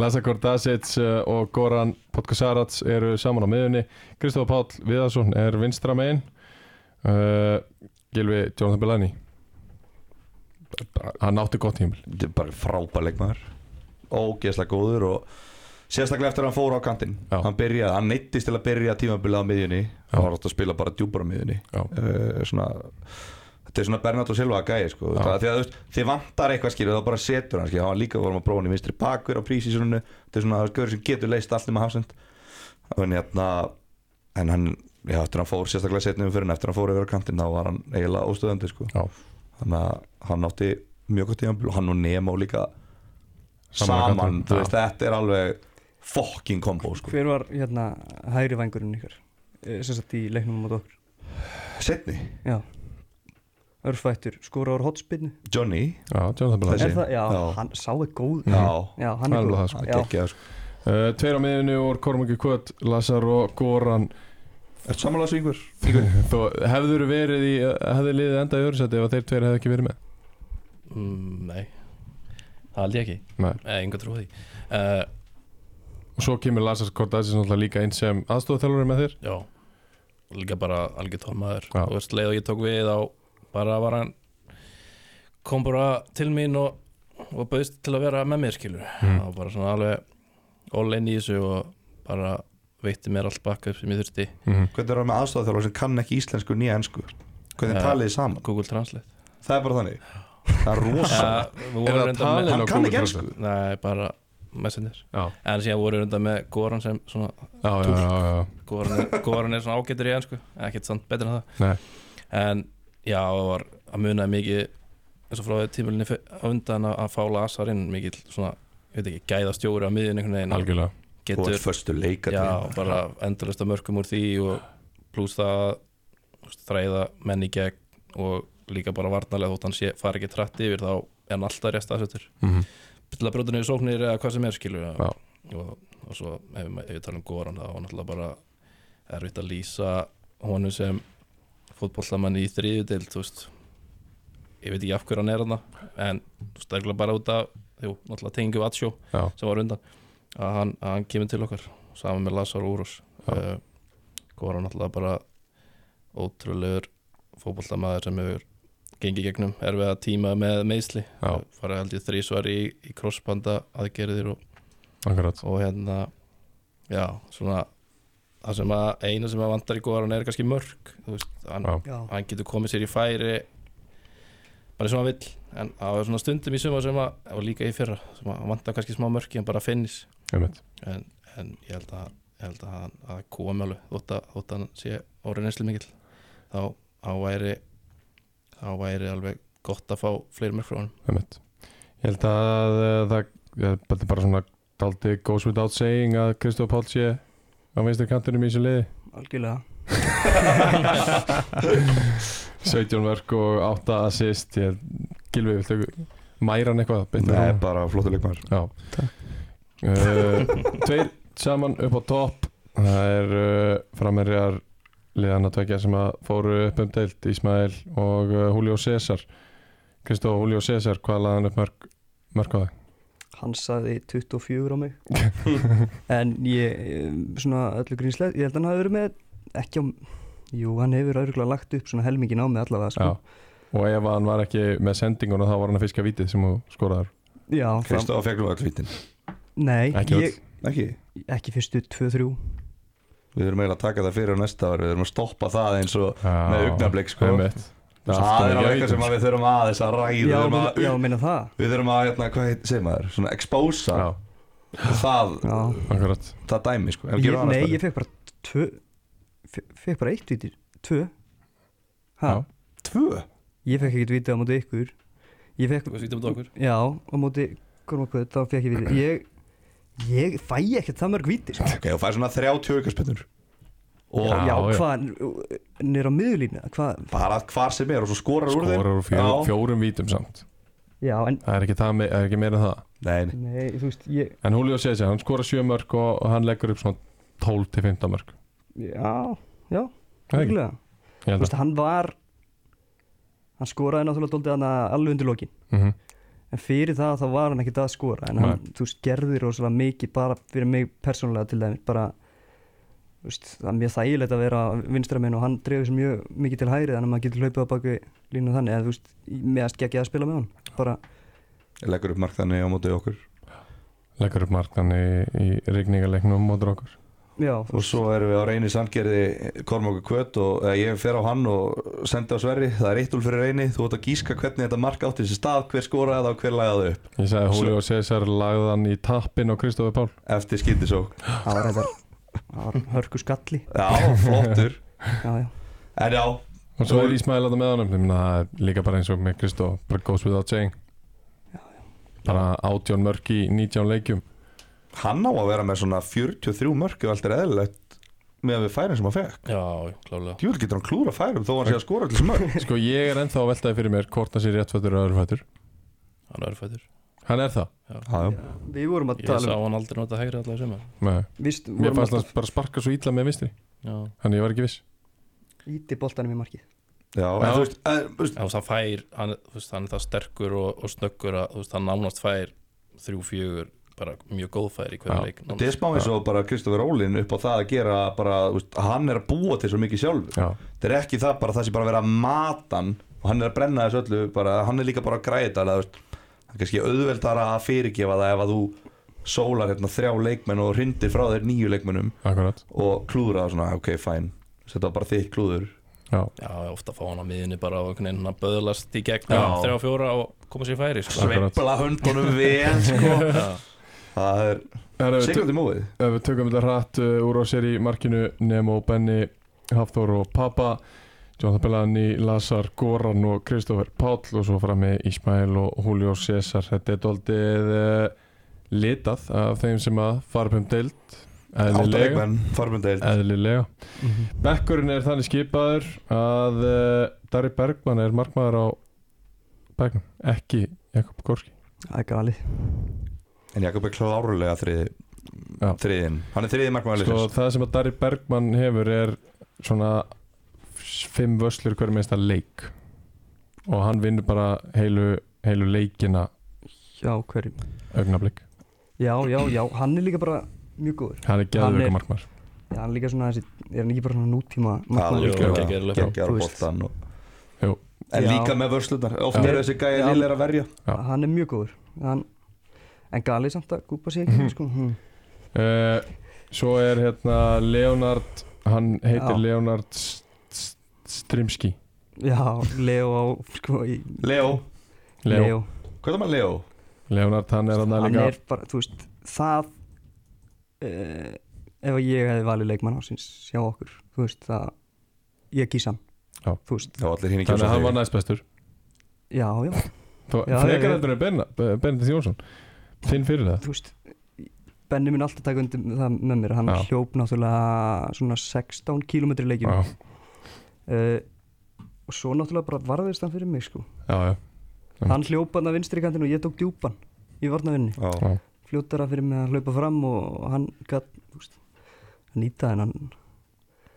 Speaker 1: Lazar Kordasic uh, og Goran Podkosarac eru saman á miðunni Kristof Páll Viðarsson er vinstra megin uh, Gilvi Jonathan Bellani Hann átti gott tímil
Speaker 2: þetta er bara frábær leikmaður ógeðslega góður og sérstaklega eftir að hann fór á kantinn
Speaker 1: Já.
Speaker 2: hann byrjaði, hann neittist til að byrja tímabilið á miðjunni
Speaker 1: Já.
Speaker 2: hann var alltaf að spila bara djúpar á miðjunni
Speaker 1: Já.
Speaker 2: uh, svona þetta er svona Bernardo Silva gæði sko,
Speaker 1: Já.
Speaker 2: það, því að þú veist, þið vantar eitthvað skilur þá bara setur hann skilur, hann var líka vorum að prófa hann í vinstri bakver á prísísuninu, þetta er svona göður sem getur leist allt um að hafsend en hérna, en hann já, eftir hann fór, sérstaklega setnum fyrir hann eftir hann fór yfir á kantinn, þá var hann eiginlega óstöðandi sko.
Speaker 1: Já.
Speaker 2: þannig að hann átti mjög gott tíðanbíl og hann og Nemo líka
Speaker 1: Saman á
Speaker 2: saman,
Speaker 1: kantinum,
Speaker 2: þú
Speaker 1: já.
Speaker 2: veist, þetta er alveg fucking kombo sko.
Speaker 3: Hver var hérna hægri vængurinn ykkar Eh, sem sagt í leiknum mót okkur
Speaker 2: setni,
Speaker 3: Já Örfættur skora úr hotspinnu
Speaker 2: Johnny
Speaker 1: Já, Jonathan Bellani
Speaker 2: Þessi.
Speaker 3: Er það, já,
Speaker 2: Já.
Speaker 3: hann sá er góð
Speaker 2: já,
Speaker 3: Mhm. Já, hann
Speaker 1: Hann
Speaker 3: er
Speaker 1: er
Speaker 3: góð
Speaker 1: það,
Speaker 2: það
Speaker 3: Já,
Speaker 1: Eh,
Speaker 2: gekkjaði sko.
Speaker 1: uh, Tveir á miðunni úr Kormungi Kvöt Lazar og Goran
Speaker 2: Ertu samanlega svingur?
Speaker 1: Þú hefður verið í, hefði liðið endað í öðru seti ef að þeir tveir hefði ekki verið með
Speaker 4: mm, Nei Það held ég ekki,
Speaker 1: Nei.
Speaker 4: eða einhver trúið því uh,
Speaker 1: Og svo kemur Lasas Kordasis náttúrulega líka inn sem aðstofþjálfari með þér
Speaker 4: Já Og líka bara algjör tómaður
Speaker 1: Já.
Speaker 4: og veist leið og ég tók við á bara var hann kom bara til mín og, og bauðst til að vera með mér skilur
Speaker 1: Mm.
Speaker 4: það var bara svona alveg all in í þessu og bara veitti mér allt bakka upp sem ég þurfti
Speaker 1: mm.
Speaker 2: Hvernig er það með aðstofþjálfur sem kann ekki íslensku nýja ensku? Hvernig
Speaker 4: Ja.
Speaker 2: talið þið saman?
Speaker 4: Google Translate
Speaker 2: Það er bara þannig Það er rosa
Speaker 4: ja, við vorum
Speaker 1: Er það
Speaker 4: reyndar
Speaker 1: talið
Speaker 4: með-
Speaker 2: Hann
Speaker 1: á
Speaker 2: kann
Speaker 1: Google
Speaker 2: ekki
Speaker 1: Translate?
Speaker 2: ensku
Speaker 4: Nei, bara messenger
Speaker 1: Já,
Speaker 4: en síðan voru undan með Goran sem svona
Speaker 1: já, já, já, já.
Speaker 4: Goran er, Goran er svona ágættur í ennsku ekkert samt betur en það
Speaker 1: Nei.
Speaker 4: en já, það var að munaði mikið eins og frá tímulinni á undan að, að fá Lasar inn mikið svona, ég veit ekki, gæða stjóri á miðjun einhvern veginn
Speaker 1: Algjörlega
Speaker 2: Þú
Speaker 4: getur,
Speaker 2: ert förstu leikar
Speaker 4: já, bara endurlösta mörgum úr því og pluss það að, þú veist, þræða menn í gegn og líka bara varnarlega þótt hann sé, fari ekki trætt yfir þá er hann alltaf rétt aðsettur
Speaker 1: mm.
Speaker 4: til að brjóta niður sóknir eða hvað sem er skilur
Speaker 1: Já.
Speaker 4: og, og svo ef, við- ef við talum um Goran þá var náttúrulega bara erfitt að lýsa honum sem fótbollamann í þriðudeild þú veist ég veit ekki af hverju hann er hann en þú veist það er bara út af jú, náttúrulega tengjum atsjó
Speaker 1: Já,
Speaker 4: sem var undan að hann, að hann kemur til okkar saman með Lazar Úrós
Speaker 1: Já.
Speaker 4: uh, Goran náttúrulega bara ótrúlegur fótboltamaður sem hefur gengið gegnum erfiða tíma með meðsli
Speaker 1: já,
Speaker 4: fara held ég þrísvar í, í crossbanda aðgerðir og,
Speaker 1: akkurat
Speaker 4: og hérna já, svona það sem að eina sem að vantar í góðar hann er kannski mörg þú veist, hann,
Speaker 1: Já,
Speaker 3: já,
Speaker 4: hann getur komið sér í færi bara eins og hann vill en það var svona stundum í suma sem að og líka í fyrra, sem að hann vantar kannski smá mörki en bara finnis
Speaker 1: einmitt
Speaker 4: en, en ég held að ég held að hann að komi alveg þótt að, þótt að hann sé orðin einslu mikill þá, þá væri þá væri alveg gott að fá fleiri mörg frá hann
Speaker 1: Einmitt. Ég held að uh, það ja, þetta er bara svona daldi goes without saying að Kristof Páll sé á vinstir kantinum í þessu liði
Speaker 3: algjörlega
Speaker 1: 17 verk og 8 assist ég gilvi, viltu mæra hann eitthvað? Beint að
Speaker 2: Nei,
Speaker 1: rúna?
Speaker 2: bara flottu leikmar
Speaker 1: Já uh, Tveir saman upp á topp Það er uh, framherjar liðan að tvekja sem að fóru upp um deilt Ísmael og uh, Julio César Kristó Julio César, hvað laði hann upp mörg, mörg á þig?
Speaker 3: hann sagði 24 á mig en ég um, svona öllu grínslega, ég held að hann hafi verið með ekki á, jú hann hefur örgulega lagt upp svona helmingin á mig allavega sko.
Speaker 1: Já. Og ef hann var ekki með sendinguna þá var hann að fiska vítið sem þú skoraðar
Speaker 3: já það,
Speaker 2: Kristof fekk nú öll vítin
Speaker 3: nei,
Speaker 1: Ekki öll.
Speaker 3: ég,
Speaker 2: Ekki
Speaker 3: ekki fyrstu 2-3
Speaker 2: Við erum eiginlega að taka það fyrir á næsta ári Við erum að stoppa það eins og Með augnablik, sko.
Speaker 1: einmitt.
Speaker 2: Það er
Speaker 1: allt
Speaker 2: alveg
Speaker 1: í
Speaker 2: eitthvað sem að við þurfum aðeins að ræða Við
Speaker 3: já,
Speaker 2: þurfum
Speaker 3: meina-
Speaker 2: að,
Speaker 3: já, meina það
Speaker 2: við þurfum að hérna, hvað heit, segir maður Svona expósa
Speaker 1: Já,
Speaker 2: það,
Speaker 3: já.
Speaker 1: akkurat
Speaker 2: það dæmi, sko
Speaker 3: Ég, nei, ég fekk bara tvö, fe- fekk bara eitt vítir, tvö ha,
Speaker 1: Já.
Speaker 2: Tvö?
Speaker 3: ég fekk ekkert vítið á móti ykkur ég fekk,
Speaker 4: Þú veist, vítum við okkur
Speaker 3: já, á móti kormakvöð, þá fekk ég vítið ég, ég fæ ekkert það mörg víti sko.
Speaker 2: Ok, og fær svona 30 aukarspennur Og
Speaker 1: Já,
Speaker 3: já,
Speaker 1: já.
Speaker 3: hvað, nýra á miðlínu hvað,
Speaker 2: bara hvar sem er og svo skorar úr þeim
Speaker 1: Skorar úr fjó,
Speaker 2: Já.
Speaker 1: fjórum vítum samt
Speaker 3: já, en
Speaker 1: Það er ekki, það me- það er ekki meira en það
Speaker 2: Nei, nei.
Speaker 3: nei, þú veist, ég
Speaker 1: En Julio César, hann skora 7 mörg og hann leggur upp svona 12-15 mörg
Speaker 3: já,
Speaker 1: Það
Speaker 3: já,
Speaker 1: er ekki.
Speaker 3: huglega
Speaker 1: Ég
Speaker 3: þú
Speaker 1: held að
Speaker 3: veist, hann var hann skoraði náttúrulega dóldi hann alveg undir lokin
Speaker 1: Mhm.
Speaker 3: en fyrir það þá var hann ekkert að skora en hann, þú veist, gerði rosalega mikið bara fyrir mig persónulega til dæmis bara, þú veist, það er mjög þægilegt að vera vinstramenn og hann dreifir sér mjög mikið til hæri þannig að maður getur hlaupið á baku línu þannig eða þú veist, meðast geggja að spila með hann bara,
Speaker 2: leggur upp mark þannig á móti okkur
Speaker 1: leggur upp markan í, í rigningarleiknum mótur okkur
Speaker 3: já, þú
Speaker 2: Og
Speaker 3: veist,
Speaker 2: svo erum við á reyni sandgerði Kormokur Kvöt og eða, ég fer á hann og sendi á Sverri, það er eittul fyrir reyni þú ert að gíska hvernig þetta mark átti þessi stað hver skoraði það og hver lagaði það upp
Speaker 1: Ég sagði Julio César lagðan í tappin á Kristofi Pál
Speaker 2: eftir skyndisók
Speaker 3: það var reyndar það var hörku skalli
Speaker 2: Já, flottur
Speaker 3: já, já,
Speaker 2: En já,
Speaker 1: og svo er Ísmail að það með honum Ég meina, það er líka bara eins og með Kristof bara goes without saying bara 18 mörg í 19 leikjum
Speaker 2: hann á að vera með svona 43 mörk og allt er eðlilegt með að við færum sem hann fekk
Speaker 4: Já, klálega
Speaker 2: Djúvel getur hann klúra færum þó hann sé að skora allir sem mörk
Speaker 1: Sko ég er ennþá að veltaði fyrir mér hvort það sé réttfættur og öðrufættur
Speaker 4: Hann er fættur
Speaker 1: Hann er það
Speaker 2: Já,
Speaker 3: við vorum að
Speaker 4: Ég
Speaker 3: tala
Speaker 4: sá
Speaker 3: um
Speaker 4: hann aldrei nota hægri allavega sem
Speaker 1: Nei.
Speaker 3: víst,
Speaker 1: Mér
Speaker 3: vorum
Speaker 1: fannst
Speaker 3: alltaf,
Speaker 1: hann bara sparka svo illa með vinstri
Speaker 4: já.
Speaker 1: Þannig ég var ekki viss
Speaker 3: Íti boltanum í markið
Speaker 2: Já, en
Speaker 1: Já.
Speaker 2: þú veist, að, þú veist
Speaker 4: En þú veist, hann fær, hann, þú veist, hann er það sterkur og, og snöggur að þú veist, hann nánast fær þrjú, fjögur, bara mjög góð fær í
Speaker 1: Já.
Speaker 4: hverju leik
Speaker 2: Þetta er
Speaker 4: nánast.
Speaker 2: smá eins og bara Kristoffer Rólin upp á það að gera bara, þú veist, hann er að búa til svo mikið sjálfur
Speaker 1: Já,
Speaker 2: Þetta er ekki það bara það sem bara verið að mata hann og hann er að brenna þessu öllu bara, hann er líka bara að græða þetta alveg, þú veist, það er kannski auðveldara að fyrirgefa það ef að þú sólar hérna þrjá leikmenn og hrindir frá þér nýju leikmennum
Speaker 1: akkurat
Speaker 2: og klúðra það svona, ok, fæn þetta var bara þitt klúður
Speaker 1: Já,
Speaker 4: Já, ég ofta fá hann á miðinni bara og einhvern veginn hann böðlast í gegn
Speaker 2: Já.
Speaker 4: þrjá, fjóra og koma sér í færi sko.
Speaker 1: Akkurat.
Speaker 2: sveifla höndunum vel sko.
Speaker 4: Já.
Speaker 2: það er
Speaker 1: Herra, við tö-
Speaker 2: siglandi móið
Speaker 1: ef við tökum þetta hratt uh, úr á sér í markinu Nemo, Benny, Hafþór og Papa Jonathan Bellani, Lazar, Goran og Kristoffer Páll og svo frammi Ismail og Julio César þetta er doldið uh, litað af þeim sem að fara upp um deild eðlilega,
Speaker 2: áttalegmenn, farmundeild
Speaker 1: eðlilega. Bekkurinn er þannig skipaður að uh, Dari Bergman er markmaður á Bergman, ekki Jakob Gorski
Speaker 3: Það er galið
Speaker 2: en Jakob er klárlega þriði
Speaker 1: Já.
Speaker 2: þriðin, hann er þriði
Speaker 1: Sko
Speaker 2: markmæðalis
Speaker 1: það sem að Dari Bergman hefur er svona fimm vöslur hverjum einsta leik og hann vinnur bara heilu, heilu leikina
Speaker 3: Já, hverjum
Speaker 1: augnablík
Speaker 3: Já, já, já, hann er líka bara mjög góður
Speaker 1: hann er
Speaker 3: Hann er-
Speaker 1: geðvöku markmar
Speaker 3: Já, hann er líka svona þessi Er hann ekki bara svona nútíma markmaður?
Speaker 4: algjörlega.
Speaker 3: líka?
Speaker 4: Geggjaður löpar.
Speaker 2: geggar
Speaker 3: Þú veist.
Speaker 2: bóttan og...
Speaker 1: Jú.
Speaker 2: en
Speaker 3: Já.
Speaker 2: líka með vörslunar oft
Speaker 1: Já.
Speaker 2: eru þessi gæði
Speaker 3: Já.
Speaker 2: liðlega að verja
Speaker 1: Já.
Speaker 3: Hann er mjög góður hann, En galið samt að gúpa sig
Speaker 1: Mhm.
Speaker 3: ekki sko. hm.
Speaker 1: uh, svo er hérna Leonard hann heitir
Speaker 3: Já.
Speaker 1: Leonard St- St- Strimski
Speaker 3: Já, Leo á sko, í,
Speaker 2: Leo,
Speaker 1: Leo.
Speaker 3: Leo.
Speaker 2: hvað er maður Leo?
Speaker 1: Leonard hann er hann
Speaker 3: Hann
Speaker 1: líka
Speaker 3: er bara, þú veist, það uh, Ef að ég hefði valið leikmann ásins Sjá okkur, þú veist, það Ég kýs hann
Speaker 1: Já.
Speaker 3: Þú veist,
Speaker 2: Já, allir hinn ekki
Speaker 1: þannig að hann var næst bestur
Speaker 3: já, já,
Speaker 1: Þó-
Speaker 3: Já, ég-
Speaker 1: frekar heldur en Benna- Benedikt Jónsson þinn fyrir það
Speaker 3: þú veist Benni minn alltaf taka undir það með mér hann
Speaker 1: Já.
Speaker 3: hljóp náttúrulega svona 16 km leikjum
Speaker 1: já,
Speaker 3: uh, og svo náttúrulega bara varðist hann fyrir mig sko
Speaker 1: já, já. Mm.
Speaker 3: hann hljóp hann að vinstri kantinn og ég tók djúpan í varnavinni,
Speaker 2: Já,
Speaker 1: Já.
Speaker 3: fljótara fyrir mig að hlaupa fram og hann gat, þú veist að nýta þennan,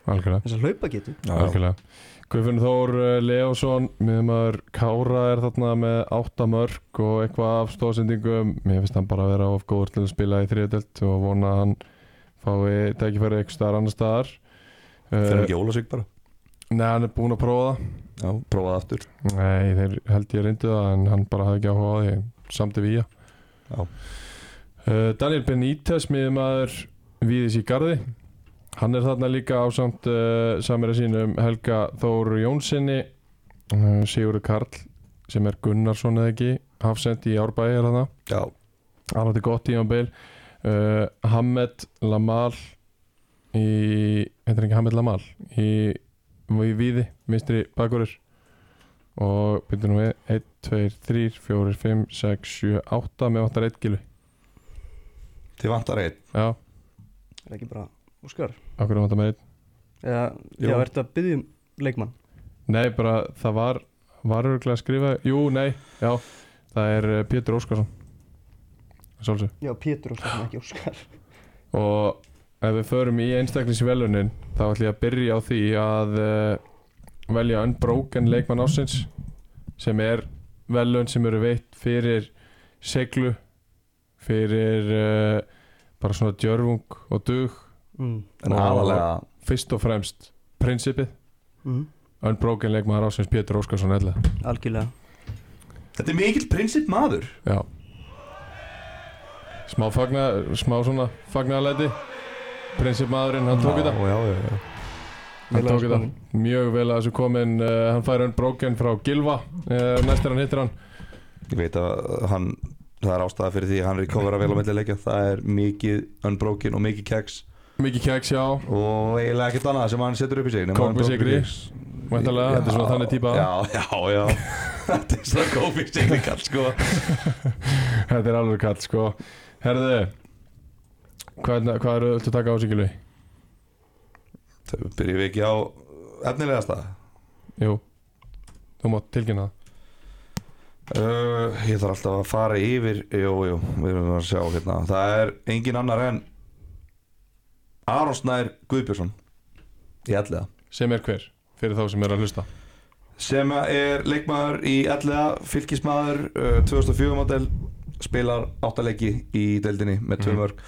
Speaker 1: algjörlega
Speaker 3: þess að hlaupa getur
Speaker 2: já.
Speaker 1: Algjörlega. Guðfinn Þór eh, Leósson, miðumar Kára er þarna með áttamörk og eitthvað af stóðsendingum. Mér finnst hann bara að vera of góður til að spila í þriðadelt og vona að hann fái tækifæri eitthvað staðar annar staðar.
Speaker 2: fyrir
Speaker 1: Uh,
Speaker 2: ekki Ólasvík bara
Speaker 1: nei, hann er búinn að prófa það.
Speaker 2: Já, prófa það aftur
Speaker 1: Nei, þeir held ég reyndu það en hann bara hafði ekki áhuga á því. Samt er við ég.
Speaker 2: Já.
Speaker 1: Uh, Daniel Benítez, miðumæður Víðis í Garði Hann er þarna líka á samt uh, samir að sínum Helga Þór Jónssoni uh, Sigurður Karl sem er Gunnarsson eða ekki Hafsend í Árbæi er þarna
Speaker 2: Já,
Speaker 1: Hann átti gott í ámbil uh, Hamed Lamal í heitir ekki Hamed Lamal í, í Víði, minstri bakurir og byrjum nú við 1, 2, 3, 4, 5, 6, 7, 8 með 8 reitgilu
Speaker 2: þið vantar einn
Speaker 1: Já,
Speaker 3: er ekki bara, Óskar
Speaker 1: okkur er þetta með einn
Speaker 3: eða,
Speaker 2: Jú.
Speaker 3: já, ertu að byggja um leikmann
Speaker 1: Nei, bara það var var örgulega að skrifa, jú, nei já, það er eh, Pétur Óskarsson svolsum
Speaker 3: já, Pétur Óskar, ekki Óskar
Speaker 1: og ef við förum í einstaklingsvelunin þá ætlum ég að byrja á því að uh, velja unbroken leikmann ásins sem er velun sem eru veitt fyrir seglu fyrir uh, bara svona djörfung og dug
Speaker 3: mm.
Speaker 2: En
Speaker 1: Og-
Speaker 2: aðalega
Speaker 1: fyrst og fremst prinsipið
Speaker 3: Mm.
Speaker 1: unbroken leikmann ásins Pétur Óskarsson ætla
Speaker 3: algjörlega
Speaker 2: Þetta er mikill prinsip maður
Speaker 1: Já Smá fagna, smá svona fagnaðalæti Prinsipmaðurinn, hann tók þetta
Speaker 2: Já, já, já, já.
Speaker 1: Hann
Speaker 3: Vel
Speaker 1: tók
Speaker 3: aðeins
Speaker 1: þetta
Speaker 3: komin.
Speaker 1: Mjög vel að þessu komin uh, Hann fær hann bróken frá Gilva uh, Næst er hann hittir hann
Speaker 2: Ég veit að hann Það er ástæða fyrir því að hann er í kofara vel á milli leikja Það er mikið unbroken og mikið keks
Speaker 1: Mikið keks, já
Speaker 2: Og eiginlega ekkert annað sem hann setur upp í sig nema
Speaker 1: Kók með
Speaker 2: unbroken
Speaker 1: sykri.
Speaker 2: keks.
Speaker 1: Væntanlega, þetta er svona
Speaker 2: Já,
Speaker 1: þannig típa
Speaker 2: Já, já, já Þetta er svona kópið sigri kall sko
Speaker 1: Þetta er alveg kall, sko Herðu Hvað, hvað eru öll að taka á sig, Gilvi?
Speaker 2: Það byrjum við ekki á efnilegasta
Speaker 1: Jú Þú mátt tilkynna það
Speaker 2: uh, Ég þarf alltaf að fara yfir Jú, jú, við erum að sjá hérna Það er engin annar en Aron Snær Guðbjörnsson í ellega
Speaker 1: sem er hver fyrir þá sem er að hlusta
Speaker 2: sem er leikmaður í ellega fylgismadur uh, 2004 model spilar áttaleiki í deildinni með tvö
Speaker 1: Mhm.
Speaker 2: mörg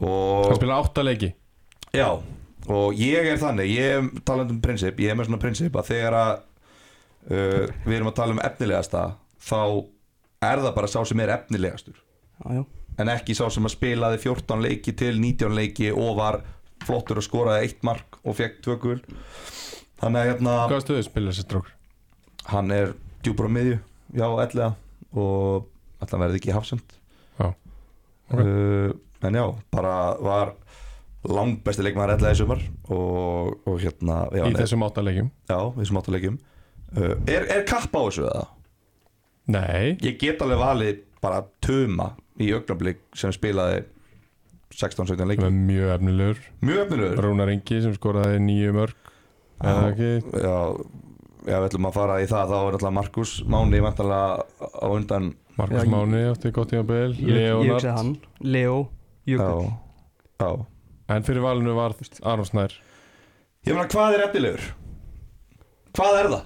Speaker 1: hann
Speaker 2: og,
Speaker 1: spila áttaleiki
Speaker 2: já, og ég er þannig ég talandi um prinsip, ég er með svona prinsip að þegar að uh, við erum að tala um efnilegasta þá er það bara sá sem er efnilegastur
Speaker 3: já, já,
Speaker 2: en ekki sá sem að spilaði 14 leiki til 19 leiki og var flottur og skoraði eitt mark og fekk tvö gul þannig að hérna
Speaker 1: hvað stöðu spila þessi strókur?
Speaker 2: hann er djúpur á miðju já, ellega og alltaf verði ekki hafsend
Speaker 1: Já, ok.
Speaker 2: uh, en já, bara var langbesti leikmaður ellega í sumar og, og hérna já,
Speaker 1: í
Speaker 2: hann er,
Speaker 1: þessum áttaleikjum
Speaker 2: já, við sem áttu leikjum uh, er, er kapp á þessu eða?
Speaker 1: nei,
Speaker 2: ég get alveg valið bara tuma í augnablík sem spilaði 16-17
Speaker 1: það
Speaker 2: leiki
Speaker 1: er mjög efnilegur
Speaker 2: mjög öfnilegur
Speaker 1: Rúnar Ingi sem skoraði nýju mörg eða ekki
Speaker 2: já, já, við ætlum að fara í það þá er alltaf Markus Máni vantanlega á undan
Speaker 1: Markus
Speaker 3: Já, ég-
Speaker 1: Máni átti gott í að byl
Speaker 3: ég, ég hugsaði
Speaker 1: Leonard
Speaker 3: hann Leo, Jökull
Speaker 2: já, já
Speaker 1: en fyrir valinu var Aron Snær
Speaker 2: Ég meina, hvað er efnilegur? Hvað er það?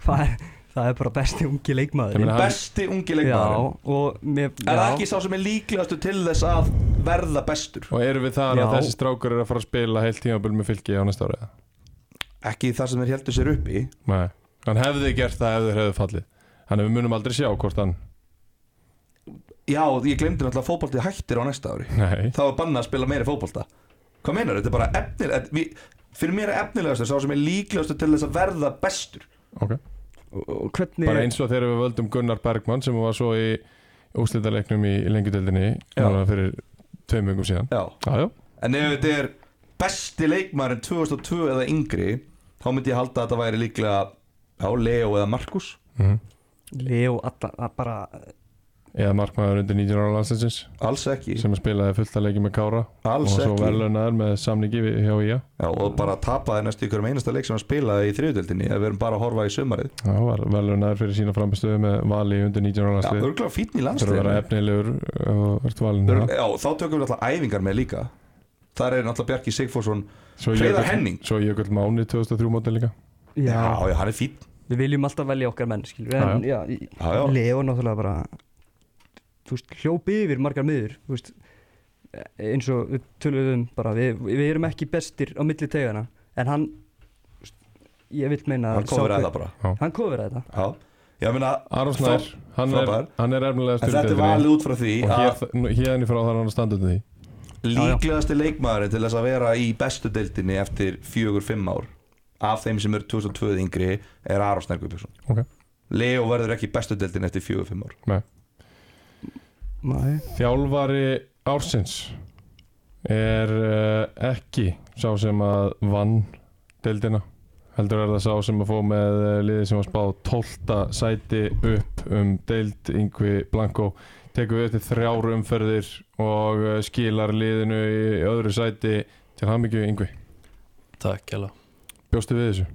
Speaker 3: hvað er, það er bara besti ungi
Speaker 1: Ég
Speaker 3: leikmaður
Speaker 1: meina, hann-
Speaker 2: Besti ungi
Speaker 3: já,
Speaker 2: leikmaðurinn
Speaker 3: og mér,
Speaker 2: Er það
Speaker 3: já,
Speaker 2: ekki sá sem er líklegastu til þess að verða bestur?
Speaker 1: og eru við þar að
Speaker 3: Já.
Speaker 1: þessi strákur er að fara að spila heilt tímabil með fylki á næsta ára eða?
Speaker 2: Ekki það sem þeir heldur sér upp í
Speaker 1: nei, hann hefði gert það ef þeir hefðu fallið þannig að við munum aldrei sjá hvort hann
Speaker 2: Já, ég glemdi náttúrulega að fótbolti hættir á næsta ári
Speaker 1: nei,
Speaker 2: Þá er bannað að spila meiri fótbolta Hvað meinar, þetta er bara efnileg Fyrir mér er efnilegastu sá sem er líklegastu til þess að verða bestur
Speaker 1: ok
Speaker 3: og, og hvernig
Speaker 1: bara eins og þegar við völdum Gunnar Bergmann sem var svo í úslitaleiknum í lengjudeldinni
Speaker 2: Já.
Speaker 1: núna fyrir tveim vöngum síðan
Speaker 2: Já,
Speaker 1: já, já,
Speaker 2: en ef þetta er besti leikmaðurinn 2002 eða yngri Þá myndi ég halda að þetta væri líklega Já, Leo eða Markus
Speaker 3: Leo, alla, að bara
Speaker 1: Mhm. eða markmaður undir 19 ára landsinsins
Speaker 2: Alls ekki,
Speaker 1: sem að spilaði fullt að leiki með Kára
Speaker 2: alls
Speaker 1: og svo
Speaker 2: ekki
Speaker 1: verðlunar með samningi við- hjá IA
Speaker 2: Já, og bara tapaði næstu ykkur um einasta leik sem hann spilaði í þriðutöldinni ef við erum bara að horfa í sömarið
Speaker 1: það var verðlunar fyrir sína framstöðu með vali undir 19 ára
Speaker 2: Já,
Speaker 1: landslið
Speaker 2: örgulega fínn í
Speaker 1: þurfa að vera
Speaker 2: landsliðinu
Speaker 1: efnilegur uh, og verðt valin
Speaker 2: Örgl- Já, þá tökum við alltaf æfingar með líka Þar er náttúrulega Bjarki Sigfússon
Speaker 1: svo
Speaker 2: Hreiðar
Speaker 1: Jökull-
Speaker 2: Henning.
Speaker 1: svo Jökull Máni 2003 mótin líka
Speaker 3: já,
Speaker 2: Já, já, hann er fínn
Speaker 3: við viljum alltaf velja okkar menn skilur, við, en já, já,
Speaker 2: Já, já,
Speaker 3: Leo náttúrulega bara þú veist, hljópi yfir margar miður þú veist, e, eins og við töluðum bara, við, við erum ekki bestir á milli tegana, en hann þú veist, ég vil meina
Speaker 2: hann komur að það bara
Speaker 3: hann kofur að þetta
Speaker 2: Já, ég meina,
Speaker 1: Aron Snær,
Speaker 2: Frá-
Speaker 1: hann er,
Speaker 2: frábær.
Speaker 1: hann er ermlega
Speaker 2: en þetta er valið út frá því
Speaker 1: og
Speaker 2: að
Speaker 1: hér- nú- hérðan í frá þar er hann að standa undir því
Speaker 3: já.
Speaker 2: líklegasti leikmaðurinn til þess að vera í bestu deildinni eftir fjögur, fimm ár af þeim sem eru 2002 yngri er Aron Snærgubjörnsson
Speaker 1: Ok.
Speaker 2: Leo verður ekki í bestu deildinni eftir fjögur, fimm ár
Speaker 3: Nei.
Speaker 1: Þjálfari ársins er uh, ekki sá sem að vann deildina heldur er það sá sem að fó með eh, liðið sem var spáð 12. sæti upp um deild Yngvi Blanko tekur við eftir þrjár umferðir og eh, skilar liðinu í öðru sæti til hamingju Yngvi
Speaker 4: Takk hella
Speaker 1: Bjóstu við þessu?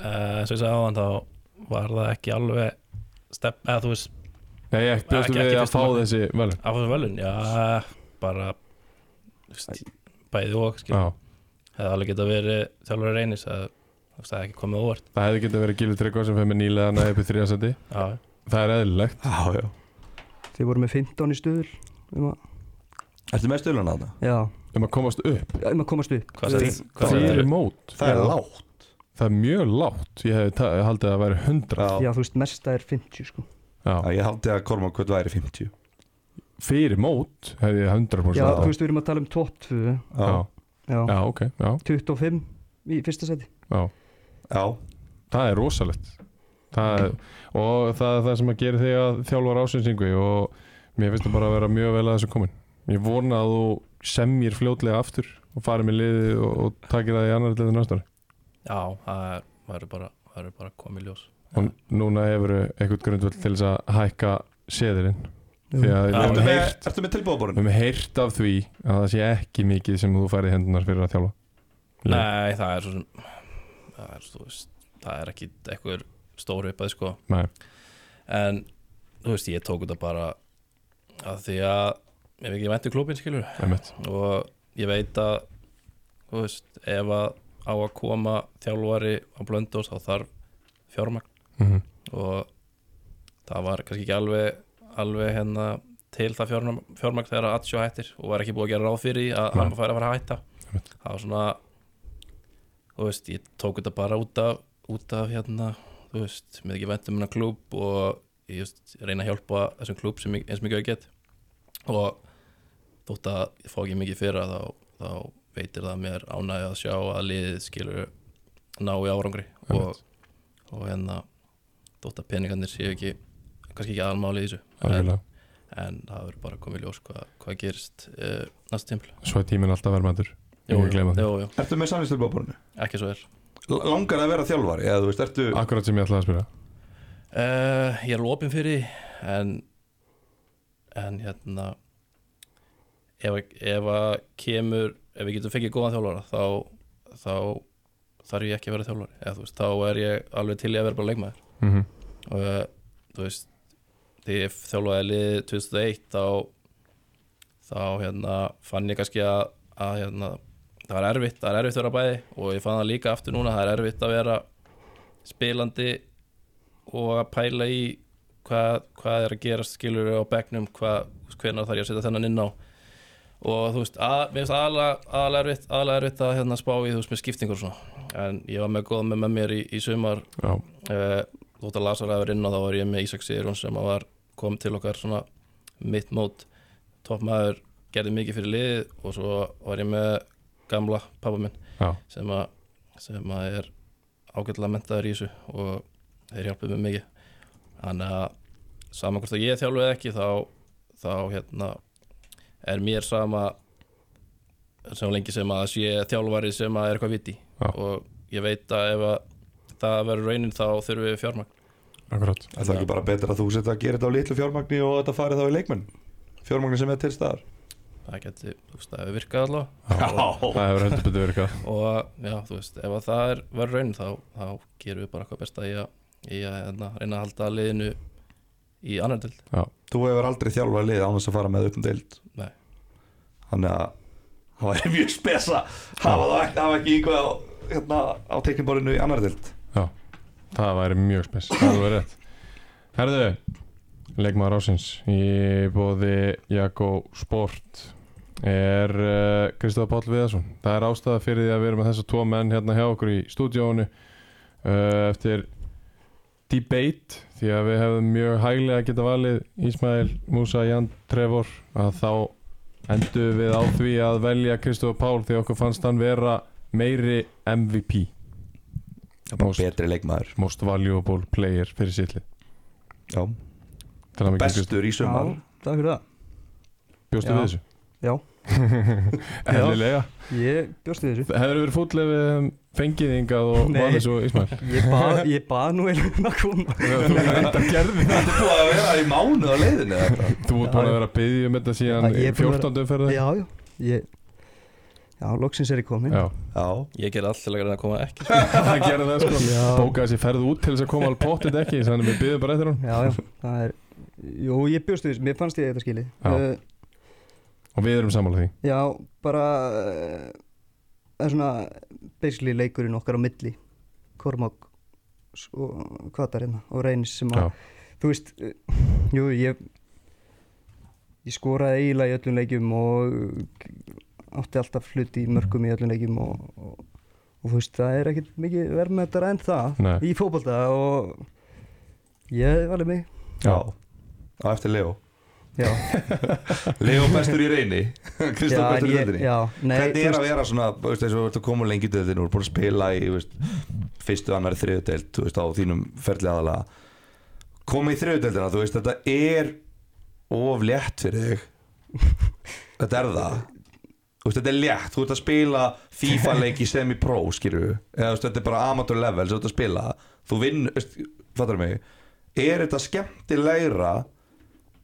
Speaker 4: Eh, eins og ég sagði áðan þá var það ekki alveg stepp, eða þú veist
Speaker 1: Nei, ekki, bjóstu
Speaker 4: Ekki-
Speaker 1: við
Speaker 4: ekki
Speaker 1: að
Speaker 4: fyrsta
Speaker 1: fá
Speaker 4: markið.
Speaker 1: þessi vel
Speaker 4: á þessu velun, já, bara þú veist, bæði og skil,
Speaker 1: Já,
Speaker 4: hefði alveg geta verið þjálfur reynis að þú veist, það hefði ekki komið óvart
Speaker 1: það hefði getið verið Gilvi Tryggva sem fyrir með nýlega hana upp í þrjá sæti
Speaker 4: já,
Speaker 1: Það er eðlilegt
Speaker 2: Já, já
Speaker 3: þið voru með 15 í stuðul um að,
Speaker 2: Ertu með stöðlun að það?
Speaker 3: já,
Speaker 1: um að komast upp
Speaker 3: um að komast upp
Speaker 4: hvað
Speaker 3: Við-
Speaker 4: sagði hvað
Speaker 1: Það
Speaker 4: sagði
Speaker 1: er mót
Speaker 2: Það er
Speaker 3: Já.
Speaker 2: lágt
Speaker 1: Það er mjög lágt, ég hefði ta- haldið að það væri 100
Speaker 3: já, þú veist, mesta er 50 sko
Speaker 1: Já.
Speaker 2: Já, ég haldi að Korma Kvöld væri 50
Speaker 1: Fyrir mót hefði ég 100%
Speaker 3: já,
Speaker 1: haldið.
Speaker 3: þú veist, við erum að tala um top 2
Speaker 1: já.
Speaker 2: Já,
Speaker 3: já,
Speaker 1: já, ok, já,
Speaker 3: 25 í fyrsta seti
Speaker 1: já
Speaker 2: já,
Speaker 1: Það er rosalegt það er, Og það er það sem að gera þig að þjálfar ásynsingvi og mér finnst það bara að vera mjög vel að þessu komin Ég vona að þú semjir fljótlega aftur og farið með liðið og, og takir það í annar liðið næstari
Speaker 4: já, það er- það eru bara, það eru bara komið í ljós
Speaker 1: og núna hefur eitthvað grundvöld til þess að hækka seðilinn því að við
Speaker 4: Já.
Speaker 1: höfum
Speaker 2: Ertu með,
Speaker 1: heyrt-
Speaker 2: ertu með
Speaker 1: við
Speaker 2: tilbúðaborun?
Speaker 1: höfum heyrt af því að það sé ekki mikið sem þú færið hendunar fyrir að þjálfa Nei.
Speaker 4: Nei, það er svo sem það er, þú veist, það er ekki eitthvað stór uppað sko
Speaker 1: Nei.
Speaker 4: en þú veist, ég tók þetta bara að því að ef ekki ég vænti klubin skilur
Speaker 1: Einmitt.
Speaker 4: og ég veit að þú veist, ef að á að koma þjálfari á blöndós þá þarf fjármagn
Speaker 1: Mhm.
Speaker 4: og það var kannski ekki alveg, alveg hérna til það fjármagn, fjármagn þegar Atsjó hættir og var ekki búið að gera ráð fyrir því að
Speaker 1: Nei.
Speaker 4: hann færi að fara að hætta
Speaker 1: Einmitt.
Speaker 4: það var svona þú veist, ég tók þetta bara út af út af hérna, þú veist með ekki vendum hennar klúb um og ég just, reyna að hjálpa þessum klúb sem ég, eins mikið og ég get og þótt að ég fá ekki mikið fyrir þá, þá veitir það mér ánægja að sjá að liðið skilur ná í árangri og, og hérna þótt að peningarnir séu ekki kannski ekki aðalmáli í þessu en,
Speaker 1: algjörlega
Speaker 4: en það verður bara komið ljós hvað, hvað gerist uh, næsta tímpil
Speaker 1: Svo er tíminn alltaf verðmættur Ekki gleyma því.
Speaker 4: jú, jú,
Speaker 2: Ertu með samvistilbáborinu?
Speaker 4: ekki svo er
Speaker 2: Langar að vera þjálfari, eða þú veist, ertu
Speaker 1: Akkurat sem ég ætlaði að spyrja
Speaker 4: uh, ég er lopin fyrir því, en en hérna ef, að- ef að kemur ef við getum fengið góðan þjálfara þá, þá þarf ég ekki að vera þjálfari eða þú veist, þá er ég alveg til í að vera bara leikmaður
Speaker 1: mm
Speaker 4: og eh, þú veist þegar ég þjálfaði liðið 2001 þá þá hérna fann ég kannski að, að hérna, það var erfitt, það er erfitt að vera bæði og ég fann það líka aftur núna, það er erfitt að vera spilandi og að pæla í hvað, hvað er að gerast skilur á bekknum, hvað, hvenar þarf ég að setja þennan inn á og þú veist, að, mér finnst aðalega aðalega erfitt, aðalega erfitt að hérna spá í þú veist með skiptingur og svona en ég var með góð með, með mér í, í sumar
Speaker 1: Já,
Speaker 4: uh, þótt að Lazar hafi verið inn á þá var ég með Ísak Sigurjón sem að var, kom til okkar svona mitt mót toppmaður, gerði mikið fyrir liðið og svo var ég með gamla pappa minn
Speaker 1: já,
Speaker 4: sem að, sem að er ágætlega mentaður í þessu og þeir hjálpuð mér mikið þannig að saman hvort að ég þjálfu eða ekki þá, þá hérna er mér sama sem lengi sem að sé þjálfari sem að er eitthvað viti
Speaker 1: Já.
Speaker 4: og ég veit að ef að það verður raunin þá þurfum við fjármagn
Speaker 1: akkurat
Speaker 2: Er það ekki bara betra að þú setja að gera þetta á litlu fjármagni og þetta farið þá í leikmenn? Fjármagni sem er til staðar
Speaker 4: það geti, þú veist, það hefur virkað allavega
Speaker 2: Já,
Speaker 1: Það hefur heldur betur virkað
Speaker 4: og já, þú veist, ef að það er verður raunin þá, þá gerum við bara eitthvað besta í að, í að hérna, reyna að halda liðinu í annar dild
Speaker 2: þú hefur aldrei þjálfað lið án þess að fara með upp um deild
Speaker 4: Nei.
Speaker 2: Þannig að það væri mjög spesa hafa það ekki, hafa ekki einhvað á, hérna, á teikniborinu í annar deild
Speaker 1: Það væri mjög spes, það væri rétt Herðu, leikmaður ásins í bóði Jakko Sport er uh, Kristof Páll Viðarsson það er ástæða fyrir því að við erum með þessa tvo menn hérna hjá okkur í stúdíónu uh, eftir debate því að við hefum mjög hæglega geta valið Ísmail, Musa, Jan, Trevor að þá endur við á því að velja Kristof Pál því okkur fannst hann vera meiri MVP Most-
Speaker 2: Betri leikmaður
Speaker 1: most valuable player fyrir sýtli
Speaker 2: Já. Bestur í sumar
Speaker 3: Já, takk fyrir það
Speaker 1: bjóstu
Speaker 3: Já.
Speaker 1: við þessu?
Speaker 3: Já.
Speaker 1: eðlilega
Speaker 3: Ég bjóst við þessu
Speaker 1: hefur verið fúll ef við hefðum fengið þingað og
Speaker 3: Nei.
Speaker 1: valið svo Ísmail
Speaker 3: Ég bað, ég bað nú einhvern að koma
Speaker 1: þú reyndar gerði
Speaker 2: Þetta er búið að vera í mánu á leiðinu eða eitthvað.
Speaker 1: Þú ert búin að vera að byggja um þetta síðan
Speaker 3: Já, ég er búin að vera-
Speaker 1: 14. umferðar
Speaker 3: Já, já ég, Já, loksins er ég komin
Speaker 1: Já,
Speaker 2: Já,
Speaker 4: ég gerði allt til að reyna að koma ekki
Speaker 1: það gerði það sko
Speaker 3: Já.
Speaker 1: Bókaði sér ferð út til þess að koma alveg pottið ekki Þannig við byggðum bara eftir hún
Speaker 3: já, já, það er Jú, ég bjóst við þessu, mér fannst ég þetta skili
Speaker 1: Já.
Speaker 3: uh,
Speaker 1: Og við erum sammála því
Speaker 3: já bara uh, Það er svona Basically leikurinn okkar á milli Kormák s- og Kvatar hérna og Reynis sem að
Speaker 1: Já,
Speaker 3: Þú veist, uh, jú, ég Ég skoraði eiginlega í öllum leikjum og eh, átti alltaf hluti í mörgum í öllum leikjum og, og, og þú veist, það er ekkert mikið verðmættara en það
Speaker 1: Nei.
Speaker 3: í fótbolta og ég valið mig
Speaker 2: já Á eftir Leo
Speaker 3: Já,
Speaker 2: Leo bestur í reyni Kristof
Speaker 3: já,
Speaker 2: bestur
Speaker 3: en
Speaker 2: í
Speaker 3: ég,
Speaker 2: reyni
Speaker 3: já nei,
Speaker 2: Hvernig
Speaker 3: þú
Speaker 2: er
Speaker 3: veist-
Speaker 2: að vera svona, þú veist, þess að þú ert að koma lengi til þinn og búin að spila í, þú veist, fyrstu, annari, þriðudeld, þú veist, á þínum ferli aðalega koma í þriðudeldina, þú veist, þetta er of létt fyrir þig þetta er það þú veist, þetta er létt, þú ert að spila FIFA-leiki sem í pró, skilju eða þú veist, þetta er bara amateur level sem þú ert að spila þú vinn, þú veist, fattar mig er þetta skemmtilegra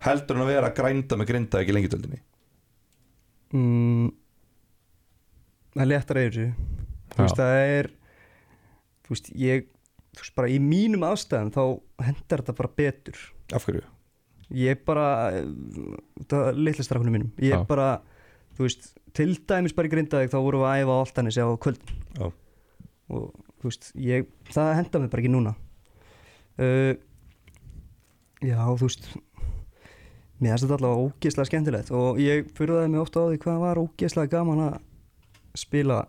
Speaker 2: heldur en að vera að grænda með grinda ekki lengi töldinni
Speaker 3: mm, Það er léttara yfir þessu Þú
Speaker 1: Já.
Speaker 3: veist, það er Þú veist, ég Þú veist, bara í mínum aðstæðum þá hendar þetta bara betur
Speaker 2: af hverju?
Speaker 3: ég bara eh, það litla strafnum mínum ég
Speaker 1: Já.
Speaker 3: bara, þú veist, til dæmis bara í grindaðið þá vorum við að æfa á Altanis á kvöld
Speaker 2: Já.
Speaker 3: og þú veist, ég, það henda mér bara ekki núna uh, já, þú veist mér finnst þetta allavega ógeðslega skemmtilegt og ég fyrðaði mig ofta á því hvað var ógeðslega gaman að spila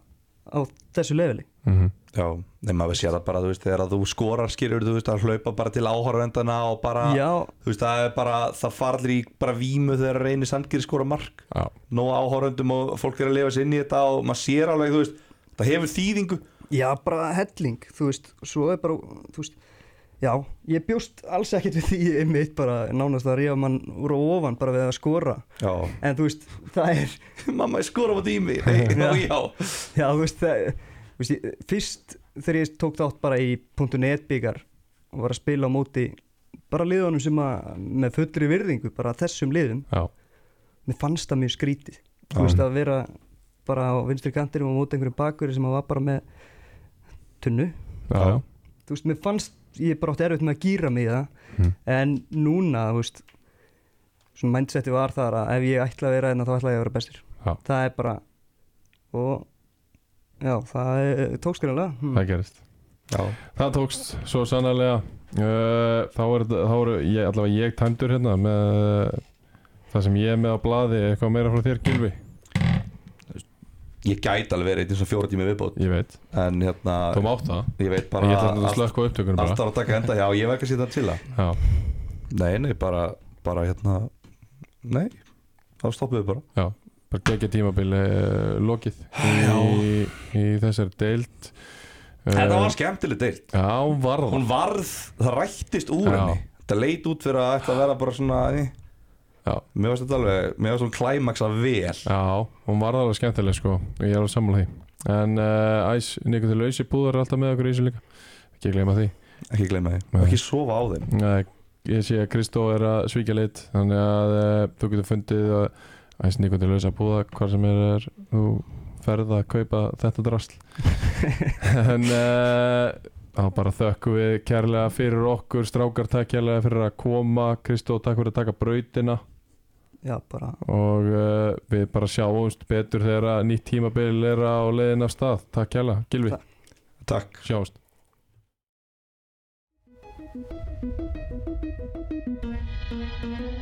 Speaker 3: á þessu leveli
Speaker 1: Mhm.
Speaker 2: Já, nema maður sé það bara, þú veist, þegar að þú skorar skilur, þú veist, að hlaupa bara til áhorvendana og bara,
Speaker 3: já,
Speaker 2: þú veist, það er bara, það farlir í bara vímu þegar reynir sandgeri skora mark,
Speaker 1: Já,
Speaker 2: nóg áhorvendum og fólk er að lifa sér inn í þetta og maður sér alveg, þú veist, það hefur þýðingu.
Speaker 3: já, bara helling þú veist, svo er bara þú veist, já, ég bjóst alls ekkert við því einmitt bara nánast að ríða mann úr og ofan bara við að skora
Speaker 2: Já,
Speaker 3: en þú veist, það er
Speaker 2: mamma ég skora á dými, nei, já, já,
Speaker 3: Já, þú veist, það, þú veist ég, fyrst þegar ég tók þátt bara í .net byggar og var að spila á móti bara liðunum sem að með fullri virðingu, bara þessum liðum
Speaker 1: já,
Speaker 3: mér fannst það mjög skrítið
Speaker 2: Já.
Speaker 3: þú veist að vera bara á vinstri kantinum og móti einhverjum bakverði sem að var bara með tunnu,
Speaker 1: já, já.
Speaker 3: þú veist, mér fannst ég bara átti erfitt með að gýra mig í það
Speaker 1: Mhm.
Speaker 3: en núna, þú veist svona mindseti var þar að ef ég ætla að vera þarna þá ætla ég að vera bestur
Speaker 1: Já.
Speaker 3: það er bara og já, það er, Hmm. tók skrinlega
Speaker 1: það gerist
Speaker 2: já,
Speaker 1: Það tókst svo sannarlega uh, Þá er þetta- þá eru ég, allavega ég tæmdur hérna með það sem ég er með á blaði eitthvað meira frá þér Gylfi
Speaker 2: ég gæti alveg verið eins og fjóra tími viðbót,
Speaker 1: Ég veit,
Speaker 2: en hérna,
Speaker 1: þú mátt það
Speaker 2: ég veit bara,
Speaker 1: Ég ætla að
Speaker 2: allt-
Speaker 1: slökka á upptökunum
Speaker 2: allt
Speaker 1: bara
Speaker 2: var að taka enda, já, ég var ekki að setja til það.
Speaker 1: Já,
Speaker 2: Nei, nei, bara, bara hérna Nei, þá stoppum við bara
Speaker 1: bara gegja tímabili uh, lokið
Speaker 2: Já.
Speaker 1: í, í þessari deild uh,
Speaker 2: Þetta var skemmtileg deilt
Speaker 1: Já, var það
Speaker 2: Hún varð, það rættist úr
Speaker 1: Já.
Speaker 2: henni Þetta leit út fyrir að ætla að vera bara svona nei.
Speaker 1: Já.
Speaker 2: Mér varst þetta alveg, mér varst svona klæmaksa vel
Speaker 1: Já, hún var alveg skemmtileg sko og ég er alveg sammála því En uh, Æs, Nikon til Lausi búðar er alltaf með okkur í þessu líka Ekki gleyma því
Speaker 2: Ekki gleyma því,
Speaker 1: Nei.
Speaker 2: ekki sofa á þeim
Speaker 1: Nei, ég sé að Kristó er að svíkja lit þannig að uh, þú getur fundið að æst nýgum til laus að búða hvar sem er, er þú ferð að kaupa þetta drasl en uh, þá bara þökkum við kærlega fyrir okkur strákar takk kærlega fyrir að koma Kristó takk fyrir að taka brautina
Speaker 3: já, bara,
Speaker 1: og uh, við bara sjáumst betur þegar að nýtt tímabil er á leiðin af stað takk kærlega, Gilvi,
Speaker 2: Takk
Speaker 1: sjáumst
Speaker 5: Thank you.